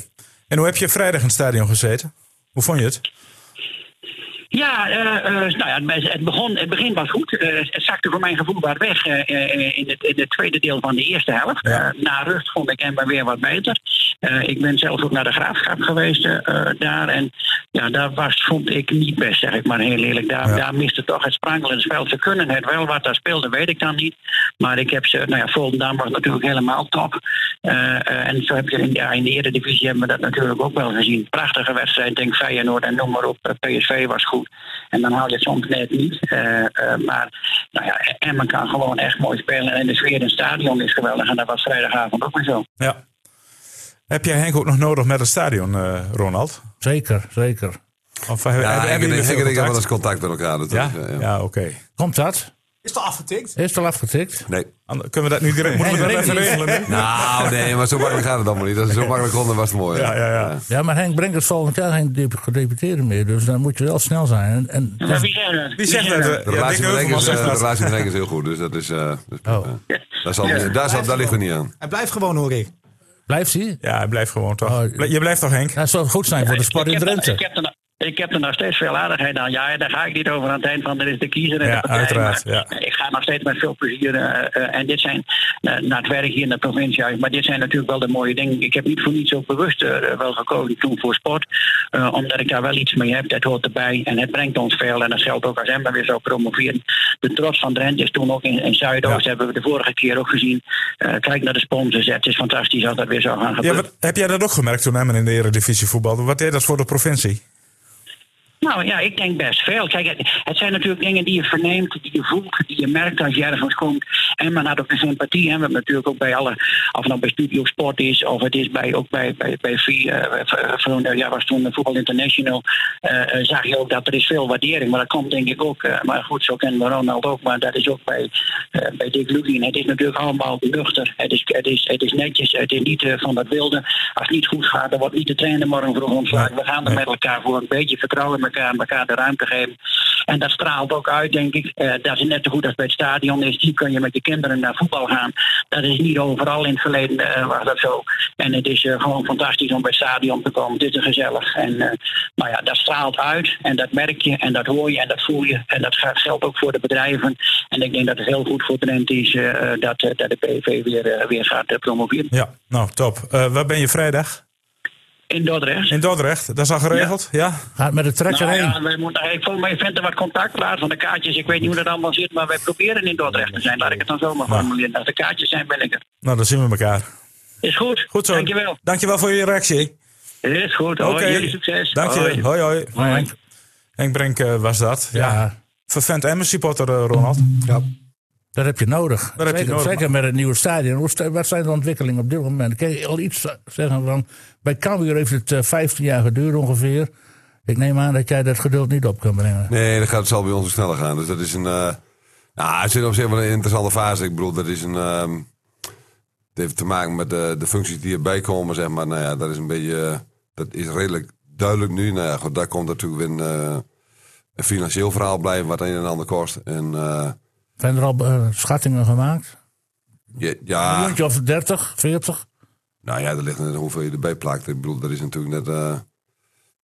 Speaker 4: En hoe heb je vrijdag in het stadion gezeten? Hoe vond je het?
Speaker 7: Ja, eh, eh, nou ja, het be- het, begon, het begin was goed. Eh, het zakte voor mijn gevoel wat weg eh, eh, in, het, in het tweede deel van de eerste helft. Eh, na rust vond ik Emma weer wat beter. Eh, ik ben zelf ook naar de graafschap geweest eh, eh, daar. En ja, daar was, vond ik niet best, zeg ik maar heel eerlijk. Daar, daar miste toch het sprankelend spel. Ze kunnen het wel, wat daar speelde weet ik dan niet. Maar ik heb ze, nou ja, Volendam was natuurlijk helemaal top. Eh, eh, en zo heb je in, ja, in de Eredivisie hebben we dat natuurlijk ook wel gezien. Prachtige wedstrijd, denk Feyenoord en noem maar op. Eh, PSV was goed. En dan haal je het soms net niet. Eh, eh, maar nou ja, Emmen kan gewoon echt mooi spelen. En de sfeer in het stadion is geweldig. En dat was vrijdagavond ook weer zo.
Speaker 4: Ja. Heb jij Henk ook nog nodig met het stadion, eh, Ronald?
Speaker 2: Zeker, zeker.
Speaker 4: Of hebben,
Speaker 5: Ja,
Speaker 4: hebben
Speaker 5: Henk en
Speaker 4: jullie
Speaker 5: ik-
Speaker 4: veel
Speaker 5: Henk en ik hebben wel eens
Speaker 4: contact?
Speaker 5: contact met elkaar. Dat
Speaker 4: Ja,
Speaker 5: is, eh,
Speaker 4: ja.
Speaker 5: ja.
Speaker 4: oké.
Speaker 2: Komt dat?
Speaker 6: Is dat afgetikt?
Speaker 2: Is het al afgetikt?
Speaker 5: Nee.
Speaker 4: Ander- Kunnen we dat nu direct moeten we dat
Speaker 2: Henk
Speaker 4: even
Speaker 2: weet
Speaker 4: regelen? nu?
Speaker 5: Nou, nee, maar zo makkelijk gaat het allemaal niet. Als het zo makkelijk kon, dan was het mooi. Eh,
Speaker 4: Ja, ja, ja.
Speaker 2: Ja, maar Henk Brenkers volgend jaar geen dep- gedeputeerde meer. Dus dan moet je wel snel zijn. En, en
Speaker 7: Maar wie zijn dat?
Speaker 4: Wie zegt dat? eh,
Speaker 5: De
Speaker 4: Ja, Dick
Speaker 5: relatie met Henk
Speaker 4: Heuvelman
Speaker 5: is, eh,
Speaker 4: zegt
Speaker 5: de
Speaker 4: dat.
Speaker 5: relatie met Henk is heel goed, dus dat is... eh, dat is prima.
Speaker 2: Oh.
Speaker 5: Daar, zal, daar, zal, daar liggen we niet aan.
Speaker 6: Hij blijft gewoon, hoor ik.
Speaker 2: blijft hij?
Speaker 4: Ja, hij blijft gewoon toch.
Speaker 2: Oh,
Speaker 4: Bl- je blijft toch, Henk?
Speaker 2: Dat zou goed zijn voor de sport in
Speaker 7: ik, heb er, ik,
Speaker 2: Drenthe.
Speaker 7: heb er, nog- ik heb er nog steeds veel aardigheid aan. Ja, daar ga ik niet over aan het eind van. Er is de kiezer en
Speaker 4: Ja,
Speaker 7: de partij.
Speaker 4: uiteraard,
Speaker 7: maar
Speaker 4: ja.
Speaker 7: Ik ga nog steeds met veel plezier. eh, eh, en dit zijn, eh, naar het werk hier in het provinciehuis. Maar dit zijn natuurlijk wel de mooie dingen. Ik heb niet voor niets ook bewust eh, wel gekozen toen voor sport. eh, omdat ik daar wel iets mee heb. Dat hoort erbij. En het brengt ons veel. En dat geldt ook als Emma weer zou promoveren. De trots van Drenthe is toen ook in, in Zuidoost. Hebben we de vorige keer ook gezien. Eh, kijk naar de sponsors. Het is fantastisch als dat weer zou gaan gebeuren.
Speaker 4: Ja, wat- heb jij dat ook gemerkt toen Emmen in de Eredivisie voetbalde? Wat deed dat voor de provincie?
Speaker 7: Nou ja, ik denk best veel. Kijk, het, het zijn natuurlijk dingen die je verneemt, die je voelt, die je merkt als je ergens komt. En men had ook de sympathie. En we hebben natuurlijk ook bij alle, of het nou bij Studio Sport is, of het is bij, ook bij, bij, bij VIA, eh, v- van, eh, ja, was toen de Voetbal International, eh, eh, zag je ook dat er is veel waardering. Maar dat komt denk ik ook, eh, maar goed, zo kennen we Ronald ook, maar dat is ook bij, eh, bij Dick Lugin. Het is natuurlijk allemaal nuchter. Het is, het is, het is netjes, het is niet eh, van dat wilde. Als het niet goed gaat, dan wordt niet de trainer morgen vroeg ontslagen. We gaan er met elkaar voor een beetje vertrouwen in elkaar, elkaar de ruimte geven. En dat straalt ook uit, denk ik. Eh, dat is net zo goed als bij het stadion is. Hier kun je met je kinderen naar voetbal gaan. Dat is niet overal in het verleden eh, was dat zo. En het is eh, gewoon fantastisch om bij het stadion te komen. Het is er gezellig. En eh, nou ja, dat straalt uit. En dat merk je en dat hoor je en dat voel je. En dat gaat- geldt ook voor de bedrijven. En ik denk dat het heel goed voor Drenthe is eh, eh, dat, eh, dat de PV weer, eh, weer gaat eh, promoveren.
Speaker 4: Ja, nou, top. Eh, waar ben je vrijdag?
Speaker 7: In Dordrecht.
Speaker 4: In Dordrecht. Dat is al geregeld? Ja?
Speaker 2: Gaat Ah, met de trekker
Speaker 7: Nou
Speaker 2: heen.
Speaker 7: ja, wij moeten, ik volgens mij vindt er wat contact plaats van de kaartjes. Ik weet niet hoe dat allemaal zit, maar wij proberen in Dordrecht te zijn. Laat ik het dan zomaar formuleren. Als de kaartjes zijn, ben ik er.
Speaker 4: Nou, dan zien we elkaar.
Speaker 7: Is goed.
Speaker 4: Goed zo.
Speaker 7: Dankjewel.
Speaker 4: Dankjewel voor je reactie.
Speaker 7: Is goed. Hoi, jullie succes.
Speaker 4: Dank je. Hoi,
Speaker 7: Hoi.
Speaker 4: hoi.
Speaker 2: Maar Henk,
Speaker 4: Henk Brink eh, was dat. Ja.
Speaker 2: ja,
Speaker 4: Vervent Emmen supporter, eh, Ronald.
Speaker 2: dat heb je nodig.
Speaker 4: heb je
Speaker 2: zeker,
Speaker 4: nodig,
Speaker 2: zeker met het nieuwe stadion. Hoe sta- Wat zijn de ontwikkelingen op dit moment? Kun je al iets zeggen van... Bij Cambuur heeft het eh, 15 jaar geduurd ongeveer. Ik neem aan dat jij dat geduld niet op kan brengen.
Speaker 5: Nee, dat gaat, het zal bij ons ook sneller gaan. Dus dat is een. eh nou, het zit op zich wel een interessante fase. Ik bedoel, dat is een. ehm, het heeft te maken met de, de functies die erbij komen, zeg maar. Nou ja, dat is een beetje. eh, dat is redelijk duidelijk nu. Nou ja, goed, daar komt natuurlijk weer een, eh, een financieel verhaal bij, wat een en ander kost. En eh,
Speaker 2: Zijn er al eh, schattingen gemaakt?
Speaker 5: ja,
Speaker 2: Een
Speaker 4: Ah.
Speaker 5: ja,
Speaker 2: miljoentje of 30, 40?
Speaker 5: nou ja, dat ligt net aan hoeveel je erbij plakt. Ik bedoel, dat is natuurlijk net. eh,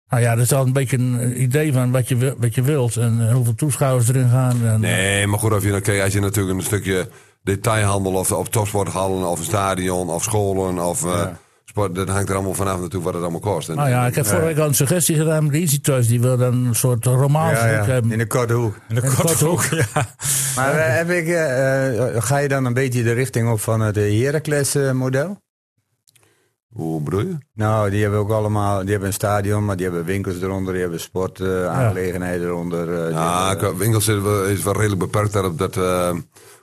Speaker 2: Nou ja, dat is al een beetje een eh, idee van wat je, wi- wat je wilt. En eh, hoeveel toeschouwers erin gaan. En,
Speaker 5: Nee, maar goed, of je, dan kijkt, als je natuurlijk een stukje detailhandel of, of topsporthallen of een stadion of scholen of eh, sport, dat hangt er allemaal vanaf natuurlijk wat het allemaal kost. En,
Speaker 2: Nou ja, ik heb vorige week al een suggestie gedaan met de Easy Toys. Die wil dan een soort romaans
Speaker 3: Ja, ja,
Speaker 2: hebben.
Speaker 3: in de korte hoek.
Speaker 4: In de
Speaker 2: En
Speaker 4: korte
Speaker 2: Korthoek.
Speaker 4: hoek. Ja.
Speaker 3: Maar eh, heb ik, eh, eh, ga je dan een beetje de richting op van het eh, Heracles-model?
Speaker 5: Hoe bedoel je?
Speaker 3: Nou, die hebben ook allemaal, die hebben een stadion, maar die hebben winkels eronder, die hebben sportaangelegenheden eronder. eh, die
Speaker 5: Ja,
Speaker 3: hebben-
Speaker 5: qua Ah, winkels is wel, is wel redelijk beperkt daarop dat, eh,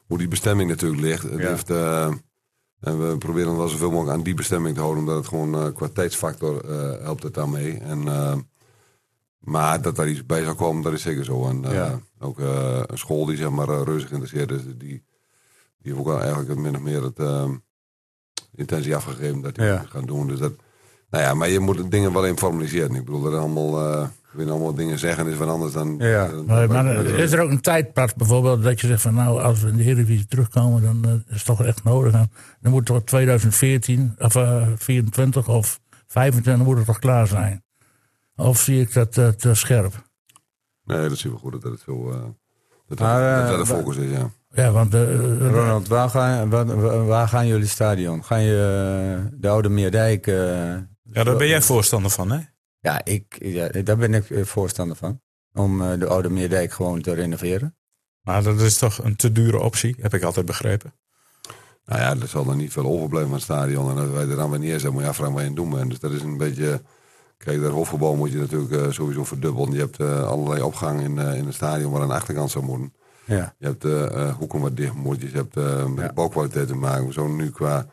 Speaker 5: hoe die bestemming natuurlijk ligt. Het
Speaker 3: Ja.
Speaker 5: heeft, eh, en we proberen wel zoveel mogelijk aan die bestemming te houden, omdat het gewoon eh, qua tijdsfactor eh, helpt het daarmee. En, eh, Maar dat daar iets bij zou komen, dat is zeker zo. En eh,
Speaker 3: Ja.
Speaker 5: ook eh, een school die zeg maar eh, reuze geïnteresseerd is, die, die heeft ook wel eigenlijk min of meer het eh, intentie afgegeven dat die
Speaker 3: Ja.
Speaker 5: dat gaan doen. Dus dat, nou ja, maar je moet de dingen wel in formaliseren. Ik bedoel, dat allemaal, eh ik weet allemaal dingen zeggen is wat anders dan...
Speaker 3: Ja.
Speaker 5: dan-
Speaker 2: Maar, Eh, maar
Speaker 5: dan-
Speaker 2: is er ook een tijdpad bijvoorbeeld dat je zegt van nou, als we in de Eredivisie terugkomen, dan eh, is het toch echt nodig. En dan moet toch 2014 of eh 24 of 25 moet het toch klaar zijn. Of zie ik dat eh, te scherp?
Speaker 5: Nee, dat zien we goed dat het zo... eh, dat,
Speaker 3: Maar, eh,
Speaker 5: dat, dat de
Speaker 3: wa-
Speaker 5: focus is, ja.
Speaker 2: Ja, want eh, eh,
Speaker 3: Ronald, waar gaan, waar, waar gaan jullie stadion? Gaan je eh, de Oude Meerdijk... eh,
Speaker 4: Ja, daar ben jij voorstander van, hè?
Speaker 3: Ja, ik, ja, daar ben ik eh, voorstander van. Om eh, de Oude Meerdijk gewoon te renoveren.
Speaker 4: Maar dat is toch een te dure optie, heb ik altijd begrepen.
Speaker 5: Nou ja, er zal er niet veel overblijven van het stadion. En als wij er dan weer neer zijn, moet je afvragen waar je aan doen bent. Dus dat is een beetje... Kijk, dat hoofdgebouw moet je natuurlijk eh, sowieso verdubbelen. Je hebt eh, allerlei opgangen in, eh, in het stadion waar aan de achterkant zou moeten.
Speaker 3: Ja.
Speaker 5: Je hebt eh, eh, hoeken wat dicht moet. Je hebt eh met
Speaker 3: Ja.
Speaker 5: de bouwkwaliteit te maken. We zouden nu qua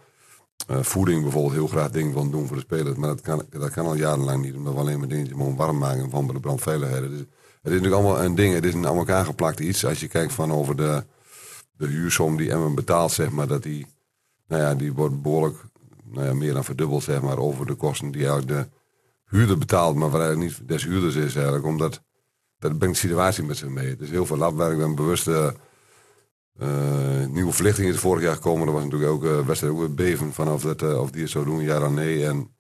Speaker 5: eh, voeding bijvoorbeeld heel graag dingen van doen voor de spelers. Maar dat kan, dat kan al jarenlang niet. Omdat we alleen maar dingetjes mogen warm maken van de brandveiligheid. Dus het is natuurlijk allemaal een ding. Het is een aan elkaar geplakt iets. Als je kijkt van over de, de huursom die Emmen betaalt, zeg maar, dat die, nou ja, die wordt behoorlijk nou ja, meer dan verdubbeld, zeg maar, over de kosten die eigenlijk de huurder betaalt, maar waar eigenlijk niet des huurders is eigenlijk, omdat dat brengt de situatie met zich mee. Het is heel veel labwerk en bewuste eh, nieuwe verlichting is vorig jaar gekomen. Er was natuurlijk ook eh wedstrijd ook weer beven vanaf dat, eh, of die het zou doen, ja dan nee. En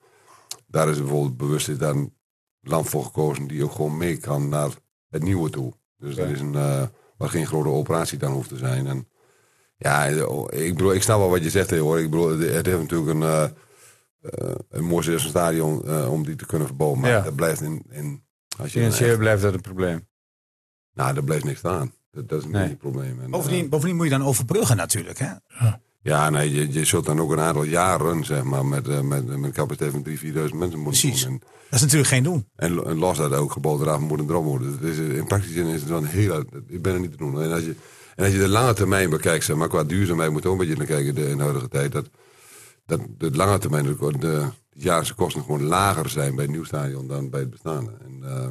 Speaker 5: daar is bijvoorbeeld bewust is daar een land voor gekozen die ook gewoon mee kan naar het nieuwe toe. Dus dat is een, eh, waar geen grote operatie dan hoeft te zijn. En ja, eh, oh, ik bedoel, ik snap wel wat je zegt hè, hoor. Ik bedoel, het het heeft natuurlijk een, eh eh, een mooi eerste stadion eh, om die te kunnen verbouwen. Maar
Speaker 3: Ja.
Speaker 5: dat blijft in, in als je dan
Speaker 3: Financieel
Speaker 5: echt-
Speaker 3: blijft dat een probleem.
Speaker 5: nou, daar blijft niks aan. Dat, dat is een
Speaker 3: Nee.
Speaker 5: beetje het probleem. En, eh,
Speaker 6: Bovendien, bovendien moet je dan overbruggen natuurlijk. Hè?
Speaker 5: Ja, nee, je, je zult dan ook een aantal jaren, zeg maar, met, eh, met, met een capaciteit van 3.000, 4.000 mensen moeten
Speaker 6: Precies.
Speaker 5: doen.
Speaker 6: Dat is natuurlijk geen doen.
Speaker 5: En, en, lo- en los dat ook gebouwd eraf moet een droom worden. Dus het is, in praktische zin is het wel een hele... Ik ben er niet te doen. En als je, en als je de lange termijn bekijkt, zeg maar, qua duurzaamheid moet je ook een beetje naar kijken de, in de huidige tijd. Dat, dat de lange termijn, de, de, jaarlijkse kosten gewoon lager zijn bij het nieuw stadion dan bij het bestaande. En, eh,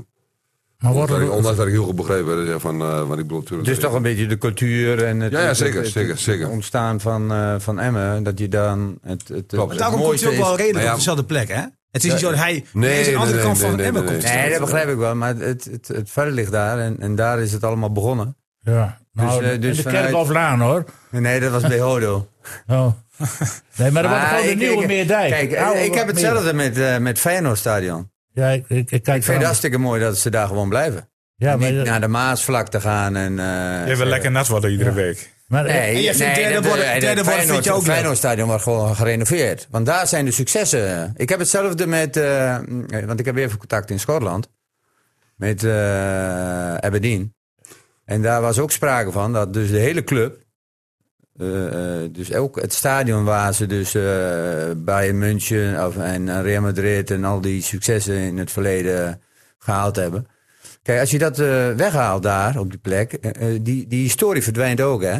Speaker 2: maar wordt
Speaker 5: ondanks,
Speaker 2: er,
Speaker 5: ondanks dat ik heel goed begrepen heb, dat je van, eh want ik bedoel...
Speaker 3: Het is toch een beetje de cultuur en het,
Speaker 5: Ja, ja,
Speaker 3: het-
Speaker 5: zeker,
Speaker 3: het- het-
Speaker 5: zeker, zeker.
Speaker 3: het ontstaan van, eh, van Emmen. Dat je dan het, het,
Speaker 5: Klopt.
Speaker 3: het
Speaker 6: Daarom komt
Speaker 3: mooiste
Speaker 6: hij ook wel
Speaker 3: is-
Speaker 6: redelijk
Speaker 5: Nou ja,
Speaker 6: op dezelfde plek. Hè? Het is niet zo dat hij
Speaker 5: Nee,
Speaker 6: ineens aan de andere
Speaker 5: nee,
Speaker 6: kant
Speaker 5: nee,
Speaker 6: van
Speaker 5: nee,
Speaker 6: Emmen
Speaker 5: nee,
Speaker 6: komt.
Speaker 5: nee.
Speaker 3: Nee, dat begrijp ik wel. Maar het, het, het verder ligt daar en, en daar is het allemaal begonnen.
Speaker 2: ja, nou,
Speaker 3: Dus, eh, dus
Speaker 2: in de
Speaker 3: vanuit-
Speaker 2: Kerkhoflaan hoor.
Speaker 3: Nee, dat was bij Hodo.
Speaker 2: Oh. Nee, maar er wordt
Speaker 3: Maar
Speaker 2: gewoon de
Speaker 3: ik-
Speaker 2: nieuwe
Speaker 3: ik-
Speaker 2: Meerdijk.
Speaker 3: Kijk,
Speaker 2: Oude
Speaker 3: ik heb
Speaker 2: Meer-
Speaker 3: hetzelfde met, eh met Feyenoord Stadion.
Speaker 2: Ja, ik, ik, ik kijk
Speaker 3: Ik vind het
Speaker 2: wel-
Speaker 3: hartstikke mooi dat ze daar gewoon blijven.
Speaker 2: ja, maar,
Speaker 3: Niet nou, naar de Maasvlakte gaan en... eh,
Speaker 4: Je wil lekker nat worden iedere week.
Speaker 2: maar-
Speaker 3: Nee,
Speaker 6: En je vindt
Speaker 3: nee,
Speaker 6: derde
Speaker 3: dat-
Speaker 6: worden-
Speaker 3: eh, dat
Speaker 6: derde worden vind
Speaker 3: Feyenoord-
Speaker 6: je ook leuk.
Speaker 3: Feyenoordstadion wordt gewoon gerenoveerd. Want daar zijn de successen. Ik heb hetzelfde met... eh, mm, eh, want ik heb even contact in Schotland. Met eh, Aberdeen. En daar was ook sprake van dat dus de hele club... eh, eh, dus ook het stadion waar ze dus eh Bayern München of, en Real Madrid en al die successen in het verleden gehaald hebben. Kijk, als je dat eh, weghaalt daar op die plek, eh, eh, die, die historie verdwijnt ook, hè?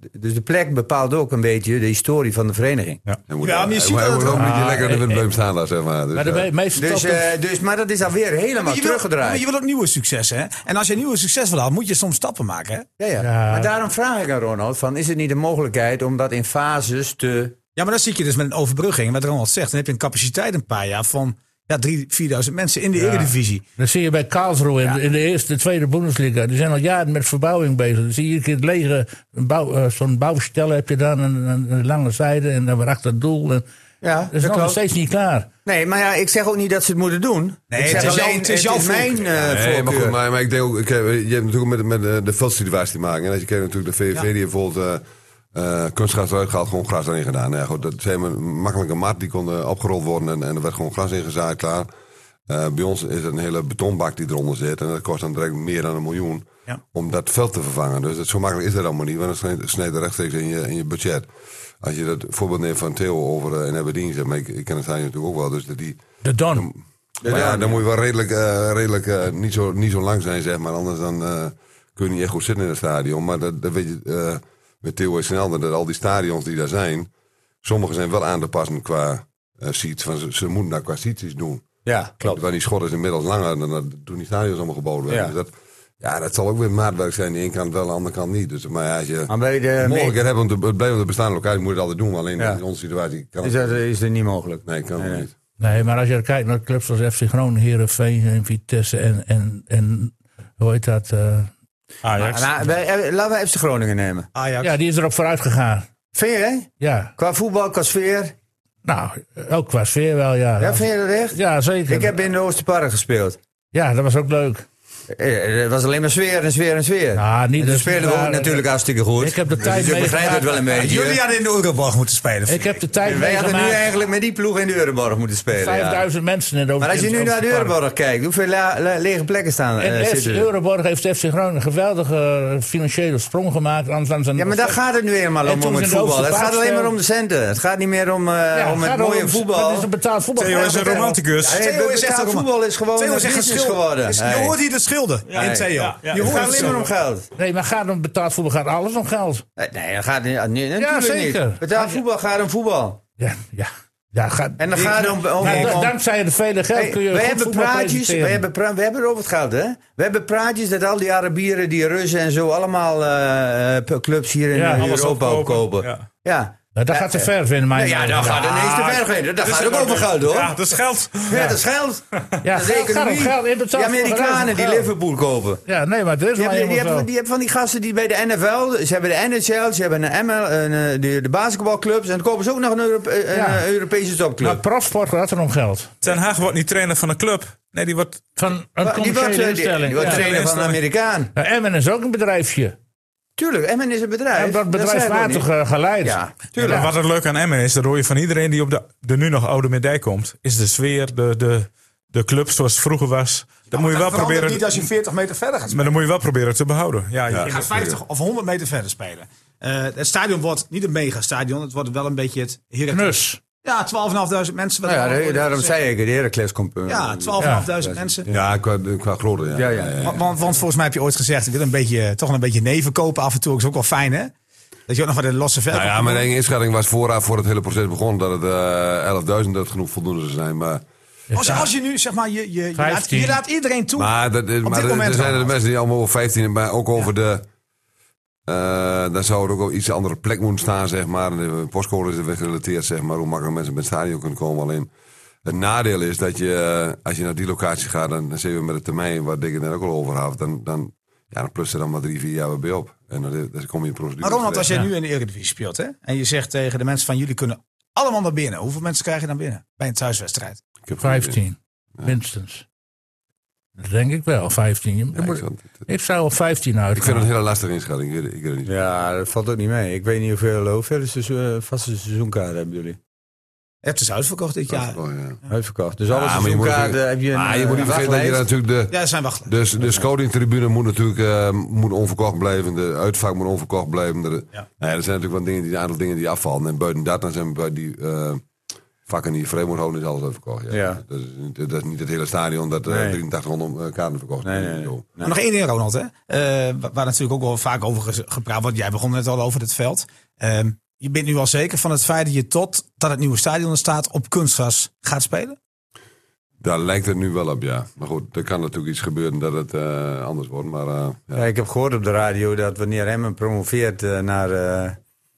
Speaker 3: D- Dus de plek bepaalt ook een beetje de historie van de vereniging.
Speaker 5: Hij moet,
Speaker 6: Ja, maar je
Speaker 5: hij
Speaker 6: ziet
Speaker 5: moet- hij
Speaker 6: dat
Speaker 5: moet
Speaker 6: het-
Speaker 5: ook een beetje
Speaker 2: Ah,
Speaker 5: lekker in
Speaker 2: eh,
Speaker 5: de windbleem staan daar, zeg maar. Dus,
Speaker 2: maar de
Speaker 5: eh,
Speaker 2: me- meeste
Speaker 3: Dus,
Speaker 2: toppen-
Speaker 3: eh, dus, maar dat is alweer helemaal
Speaker 6: je wil- maar
Speaker 3: teruggedraaid.
Speaker 6: je wil ook nieuwe successen. Hè? En als je nieuwe succes wil halen, moet je soms stappen maken. Hè?
Speaker 3: ja, ja.
Speaker 2: Ja.
Speaker 3: Maar daarom vraag ik aan Ronald: van, is er niet een mogelijkheid om dat in fases te.
Speaker 6: Ja, maar dan zit je dus met een overbrugging. Wat Ronald zegt, dan heb je een capaciteit een paar jaar van ja, 3.000, 4.000 mensen in de Eredivisie.
Speaker 2: Dat zie je bij Karlsruhe in, de- in de eerste, de tweede Bundesliga. Die zijn al jaren met verbouwing bezig. Dan zie je een keer het lege, een bouw, eh, zo'n bouwstel heb je dan, een, een- een lange zijde en dan weer achter het doel. En,
Speaker 3: Ja,
Speaker 2: dat is nog
Speaker 3: klopt.
Speaker 2: steeds niet klaar.
Speaker 3: Nee, maar ja, ik zeg ook niet dat ze het moeten doen.
Speaker 6: Nee,
Speaker 3: ik zeg
Speaker 6: het is jouw-
Speaker 3: alleen,
Speaker 6: het is jouw
Speaker 3: mijn
Speaker 6: voorkeur.
Speaker 3: eh,
Speaker 5: Nee, maar, goed,
Speaker 3: voorkeur.
Speaker 5: maar, maar ik denk ook, ik, heb- je hebt natuurlijk met, met eh, de veldsituatie te maken. En als je kijkt natuurlijk de VVV, die heeft bijvoorbeeld eh eh kunstgras eruit gehaald, gewoon gras erin gedaan. Nou ja, goed, dat zijn een makkelijke mat, die kon eh, opgerold worden en, en er werd gewoon gras ingezaaid, klaar. Eh, bij ons is het een hele betonbak die eronder zit en dat kost dan direct meer dan een miljoen
Speaker 6: Ja.
Speaker 5: om dat veld te vervangen. Dus dat, zo makkelijk is dat allemaal niet, want dat snijdt- snijdt rechtstreeks in je, in je budget. Als je dat voorbeeld neemt van Theo over eh, in Aberdeen, zeg maar, ik, ik ken het stadion natuurlijk ook wel, dus dat die...
Speaker 2: De Don.
Speaker 5: Maar ja, dan moet je wel redelijk, eh, redelijk eh, niet, zo, niet zo lang zijn, zeg maar. Anders dan, eh, kun je niet echt goed zitten in het stadion. Maar dat, dat weet je eh, met Theo en Snelder, dat al die stadions die daar zijn... Sommige zijn wel aan te passen qua eh, seats. Van ze, ze moeten daar qua seats iets doen.
Speaker 3: Ja, klopt.
Speaker 5: Want die schot is inmiddels langer dan dat toen die stadions allemaal gebouwd werden.
Speaker 3: Ja.
Speaker 5: Dus dat, ja, dat zal ook weer maatwerk zijn. De ene kant wel, de andere kant niet. Dus, maar ja, als je
Speaker 3: Maar bij de
Speaker 5: de mogelijkheid
Speaker 3: me-
Speaker 5: hebt om te het blijven te bestaan lokaal, moet je het altijd doen. Maar Alleen
Speaker 3: Ja.
Speaker 5: in onze situatie kan
Speaker 3: is,
Speaker 5: het
Speaker 3: dat, is dat niet mogelijk.
Speaker 5: Nee, kan het niet.
Speaker 2: Nee, maar als je kijkt naar clubs als FC Groningen, Herenveen en Vitesse en, en, en hoe heet dat? eh,
Speaker 4: Ajax.
Speaker 3: Nou, wij- eh, laten we FC Groningen nemen.
Speaker 6: Ajax.
Speaker 2: ja, die is erop vooruit gegaan.
Speaker 3: Vind je, hè?
Speaker 2: Ja,
Speaker 3: Qua voetbal, qua sfeer.
Speaker 2: nou, ook qua sfeer wel, ja.
Speaker 3: Ja, vind je dat echt?
Speaker 2: Ja, zeker.
Speaker 3: Ik heb in de Oosterpark gespeeld.
Speaker 2: Ja, dat was ook leuk.
Speaker 3: Eh, Het was alleen maar sfeer en sfeer en sfeer.
Speaker 2: Nou, niet
Speaker 3: en dan
Speaker 2: dat-
Speaker 3: spelen we
Speaker 2: maar-
Speaker 3: ook natuurlijk hartstikke goed.
Speaker 2: Ik heb de tijd
Speaker 3: dus je begrijpt het wel een
Speaker 2: meegemaakt.
Speaker 3: beetje.
Speaker 6: Jullie hadden in de Euroborg moeten spelen.
Speaker 2: Ik heb de tijd
Speaker 3: Wij hadden nu
Speaker 2: meegemaakt.
Speaker 3: eigenlijk met die ploeg in de Euroborg moeten spelen. ja.
Speaker 2: 5000 mensen in de
Speaker 3: Maar als je nu naar de
Speaker 2: Euroborg
Speaker 3: Euroborg kijkt, hoeveel la- la- lege plekken staan eh,
Speaker 2: En FC
Speaker 3: zitten er?
Speaker 2: Euroborg heeft FC Groningen een geweldige eh, financiële sprong gemaakt. Anders dan zijn
Speaker 3: Ja, maar daar gaat het nu eenmaal
Speaker 2: En
Speaker 3: om,
Speaker 2: toen
Speaker 3: om
Speaker 2: ze
Speaker 3: het
Speaker 2: in de
Speaker 3: voetbal. Het
Speaker 2: Oosterpark
Speaker 3: gaat alleen maar
Speaker 2: speelden.
Speaker 3: om de centen. Het gaat niet meer om, eh,
Speaker 2: Ja,
Speaker 3: om het
Speaker 2: gaat erom,
Speaker 3: mooie voetbal.
Speaker 2: Het is een betaald voetbal.
Speaker 4: Theo is een romanticus.
Speaker 3: Nee,
Speaker 6: Dus Theo is echt
Speaker 3: betaald
Speaker 6: een-
Speaker 3: voetbal is gewoon
Speaker 6: Theo
Speaker 3: een
Speaker 6: is echt een
Speaker 3: business
Speaker 6: schil-
Speaker 3: geworden.
Speaker 6: is- Je
Speaker 3: Hey.
Speaker 6: hoort hier de schilder in
Speaker 3: Nee.
Speaker 6: Theo.
Speaker 4: Ja, ja.
Speaker 6: Je
Speaker 3: Het
Speaker 6: hoort
Speaker 3: gaat
Speaker 6: het
Speaker 3: alleen maar om geld.
Speaker 2: Nee, maar gaat om betaald voetbal gaat alles om geld.
Speaker 3: Nee, Nee, dat gaat niet. nee, natuurlijk
Speaker 2: zeker.
Speaker 3: niet. Betaald voetbal gaat om voetbal.
Speaker 2: Ja, ja. ja gaat,
Speaker 3: En dan gaat het om... om,
Speaker 2: Maar da-
Speaker 3: om-
Speaker 2: dankzij het vele geld
Speaker 3: Hey,
Speaker 2: kun je
Speaker 3: we
Speaker 2: goed
Speaker 3: hebben
Speaker 2: voetbal
Speaker 3: praatjes, we
Speaker 2: presenteren.
Speaker 3: hebben, pra- we hebben het over het geld, hè? We hebben praatjes dat al die Arabieren, die Russen en zo allemaal eh, eh, clubs hier in
Speaker 2: Ja,
Speaker 3: eh,
Speaker 2: alles
Speaker 3: Europa
Speaker 4: opkopen.
Speaker 3: opkopen.
Speaker 4: Ja.
Speaker 3: Ja.
Speaker 2: Nou, dat
Speaker 3: Ja,
Speaker 2: gaat te
Speaker 3: eh,
Speaker 2: ver, vinden mij.
Speaker 3: Nou ja, dan gaat ineens te ver gaan. Dat
Speaker 4: Dus
Speaker 3: gaat
Speaker 4: het
Speaker 3: ook over
Speaker 4: wordt-
Speaker 3: geld, hoor.
Speaker 4: Ja,
Speaker 3: Ja,
Speaker 4: dat is geld.
Speaker 3: dat is geld.
Speaker 2: Ja,
Speaker 3: dat is
Speaker 2: geld,
Speaker 3: economie.
Speaker 2: geld, geld, in betaald
Speaker 3: die
Speaker 2: voor
Speaker 3: Amerikanen
Speaker 2: geld.
Speaker 3: die Liverpool kopen.
Speaker 2: Ja, nee, maar er is
Speaker 3: Die
Speaker 2: maar
Speaker 3: hebben, die,
Speaker 2: helemaal
Speaker 3: hebben,
Speaker 2: zo.
Speaker 3: die hebben van die gasten die bij de NFL, ze hebben de NHL, ze hebben een ML, een, eh, de, de basketbalclubs. En dan kopen ze ook nog een, Europe- een,
Speaker 2: Ja. Nou,
Speaker 3: eh, Europese topclub.
Speaker 2: Maar profsport gaat er om geld.
Speaker 4: Ten Haag wordt niet trainer van een club. Nee, die wordt...
Speaker 2: Van een
Speaker 3: Maar die wordt, eh,
Speaker 2: commerciële
Speaker 3: die- die
Speaker 2: instelling.
Speaker 3: wordt
Speaker 2: Ja.
Speaker 3: trainer van een Amerikaan.
Speaker 2: Nou, Emmen is ook een bedrijfje.
Speaker 3: Tuurlijk, Emmen is een bedrijf.
Speaker 2: En dat
Speaker 3: zijn
Speaker 2: bedrijf
Speaker 3: we ook
Speaker 2: water
Speaker 3: niet.
Speaker 2: ge- geleid.
Speaker 3: Ja,
Speaker 4: Tuurlijk. Wat het leuk aan Emmen is, dat hoor je van iedereen die op de, de nu nog oude medaille komt, is de sfeer, de, de, de club zoals het vroeger was. Dat moet je wel
Speaker 6: verandert
Speaker 4: proberen...
Speaker 6: niet als je 40 meter verder gaat spelen.
Speaker 4: Maar dan moet je wel proberen te behouden. Ja,
Speaker 6: Je gaat 50 of 100 meter verder spelen. Eh, het stadion wordt niet een megastadion. Het wordt wel een beetje het... Heracles-
Speaker 2: Knus.
Speaker 6: Ja, 12.500 mensen. wat
Speaker 3: Nou
Speaker 6: er
Speaker 3: ja,
Speaker 6: allemaal
Speaker 3: daarom
Speaker 6: wordt
Speaker 3: zei ik, het, de Heracles komt... eh,
Speaker 6: gezegd. Ja, 12.500 mensen.
Speaker 5: Ja, qua, qua grootte, ja.
Speaker 3: Ja, ja.
Speaker 6: Want, want, want volgens mij heb je ooit gezegd, ik wil een beetje, eh, toch een beetje neven kopen af en toe. is ook wel fijn, hè? Dat je ook nog wat in de losse verkoop
Speaker 5: Nou ja,
Speaker 6: kan
Speaker 5: mijn
Speaker 6: doen.
Speaker 5: eigen inschatting was vooraf voor het hele proces begon dat het eh 11.000 dat genoeg voldoende zou zijn. Maar,
Speaker 6: als, als je nu, zeg maar, je, je, je, laat,
Speaker 2: 15.
Speaker 6: je laat iedereen toe.
Speaker 5: maar, dat, is-
Speaker 6: Op
Speaker 5: maar
Speaker 6: dit
Speaker 5: er- er
Speaker 6: moment
Speaker 5: zijn er
Speaker 6: wel.
Speaker 5: de mensen die allemaal over 15 en maar ook over de. eh dan zou er ook wel iets andere plek moeten staan, zeg maar. De postcode is er weer gerelateerd, zeg maar, hoe makkelijk mensen bij het stadion kunnen komen. Alleen het nadeel is dat je, eh, als je naar die locatie gaat, dan, dan zitten we met de termijn, waar Dick het net ook al over had, dan, dan, ja, dan plus er dan maar drie, vier jaar weer bij op. En dan, dan kom je in procedure.
Speaker 6: maar Ronald,
Speaker 5: terecht.
Speaker 6: als jij nu in de Eredivisie speelt, hè? En je zegt tegen de mensen van, jullie kunnen allemaal naar binnen. Hoeveel mensen krijg je dan binnen bij een thuiswedstrijd?
Speaker 5: Ik heb geen idee.
Speaker 2: 15, minstens. Dat denk ik wel, 15. Je
Speaker 5: Ja,
Speaker 2: moet-
Speaker 5: ik zou-
Speaker 2: ik zou op 15 uit.
Speaker 5: Ik vind het een hele lastige inschatting. Ik weet, het- ik weet het niet.
Speaker 3: Ja, dat valt ook niet mee. Ik weet niet hoeveel, hoeveel seizoen, eh, vaste seizoenkaarten hebben jullie.
Speaker 6: Je hebt dus uitverkocht dit jaar.
Speaker 5: Oh, ja.
Speaker 3: Uitverkocht. Dus alle
Speaker 5: Ja, maar je moet
Speaker 3: seizoenkaarten
Speaker 5: natuurlijk-
Speaker 3: heb je een
Speaker 5: Maar je moet niet
Speaker 3: eh,
Speaker 5: vergeten dat je
Speaker 3: wachtlijst.
Speaker 5: natuurlijk de...
Speaker 6: Ja, er zijn wachtlijsten.
Speaker 5: Dus de scoutingtribune moet natuurlijk eh, moet onverkocht blijven. De uitvaart moet onverkocht blijven. De,
Speaker 6: Ja.
Speaker 5: Nou ja, er zijn natuurlijk wel dingen die, een aantal dingen die afvallen. En buiten dat, dan zijn we bij die eh, vakken die je vreemd moet houden, is alles uitverkocht. Ja.
Speaker 3: Ja.
Speaker 5: Dat, is, niet- dat is niet het hele stadion dat eh,
Speaker 3: Nee.
Speaker 5: 8300 kaarten verkocht
Speaker 3: Nee, nee,
Speaker 5: Zo.
Speaker 3: nee.
Speaker 6: Maar nog één ding, Ronald. Hè? Eh, wa- waar natuurlijk ook wel vaak over gez- gepraat wordt. Jij begon net al over het veld. Ehm, je bent nu al zeker van het feit dat je tot dat het nieuwe stadion er staat op kunstgras gaat spelen?
Speaker 5: Daar lijkt het nu wel op, ja. Maar goed, er kan natuurlijk iets gebeuren dat het eh, anders wordt. Maar eh, ja.
Speaker 3: Ja, ik heb gehoord op de radio dat wanneer Emmen promoveert eh, naar, eh,
Speaker 6: Ja,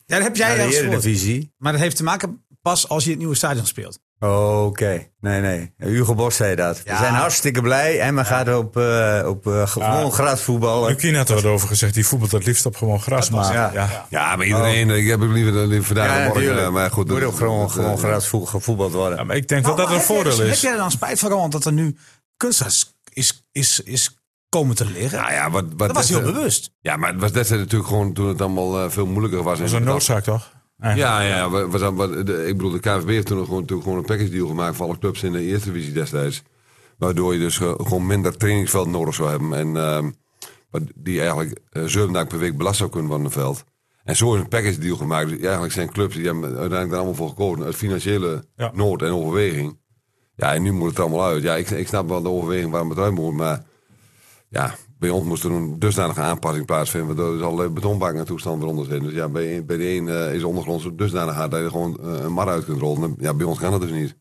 Speaker 6: dat heb jij
Speaker 3: naar de
Speaker 6: ergens gehoord.
Speaker 3: Eredivisie.
Speaker 6: Maar dat heeft te maken pas als je het nieuwe stadion speelt.
Speaker 3: Oké, nee, nee. Hugo Bos zei dat.
Speaker 6: Ja.
Speaker 3: We zijn hartstikke blij. Emmen gaat op, eh, op eh, gewoon grasvoetballen.
Speaker 4: Lukien had er wat over gezegd, die voetbalt het liefst op gewoon gras.
Speaker 6: was-
Speaker 4: Maar, ja.
Speaker 3: ja.
Speaker 5: ja, maar iedereen, ik heb ook liever, liever vandaag en morgen.
Speaker 3: natuurlijk.
Speaker 5: eh, maar goed,
Speaker 3: Oh. Moet
Speaker 5: dat-
Speaker 3: ook gewoon,
Speaker 5: dat, eh,
Speaker 3: gewoon grasvoetbal gevoetbald worden.
Speaker 4: Ja, maar ik denk
Speaker 6: Nou,
Speaker 4: wel dat
Speaker 6: maar
Speaker 4: het een
Speaker 6: heb jij-
Speaker 4: voordeel is.
Speaker 6: Heb jij er dan spijt van, Ronald, dat er nu kunstgras is, is, is komen te liggen?
Speaker 5: Nou ja, wat, wat
Speaker 6: dat was heel
Speaker 5: destijds-
Speaker 6: bewust.
Speaker 5: Ja, maar het was destijds natuurlijk gewoon toen het allemaal eh, veel moeilijker was.
Speaker 4: Dat is een noodzaak, toch? Eigenlijk.
Speaker 5: Ja, ja wat, wat, wat- de, ik bedoel, de KNVB heeft toen gewoon, toen gewoon een package deal gemaakt voor alle clubs in de eerste divisie destijds. Waardoor je dus eh, gewoon minder trainingsveld nodig zou hebben. En ehm, wat die eigenlijk eh, zeven dagen per week belast zou kunnen worden van het veld. En zo is een package deal gemaakt. Dus eigenlijk zijn clubs die hebben uiteindelijk daar allemaal voor gekozen. Uit financiële
Speaker 4: Ja.
Speaker 5: nood en overweging. Ja, en nu moet het allemaal uit. Ja, ik, ik snap wel de overweging waarom het uit moet. Maar ja, bij ons moest er een dusdanige aanpassing plaatsvinden. Waardoor er dus allerlei betonbakken en toestanden eronder zitten. Dus ja, bij, een- bij de Nou, een eh, is de ondergrond zo dusdanig hard dat je er gewoon eh, een mar uit kunt rollen. Ja, bij ons kan dat dus niet.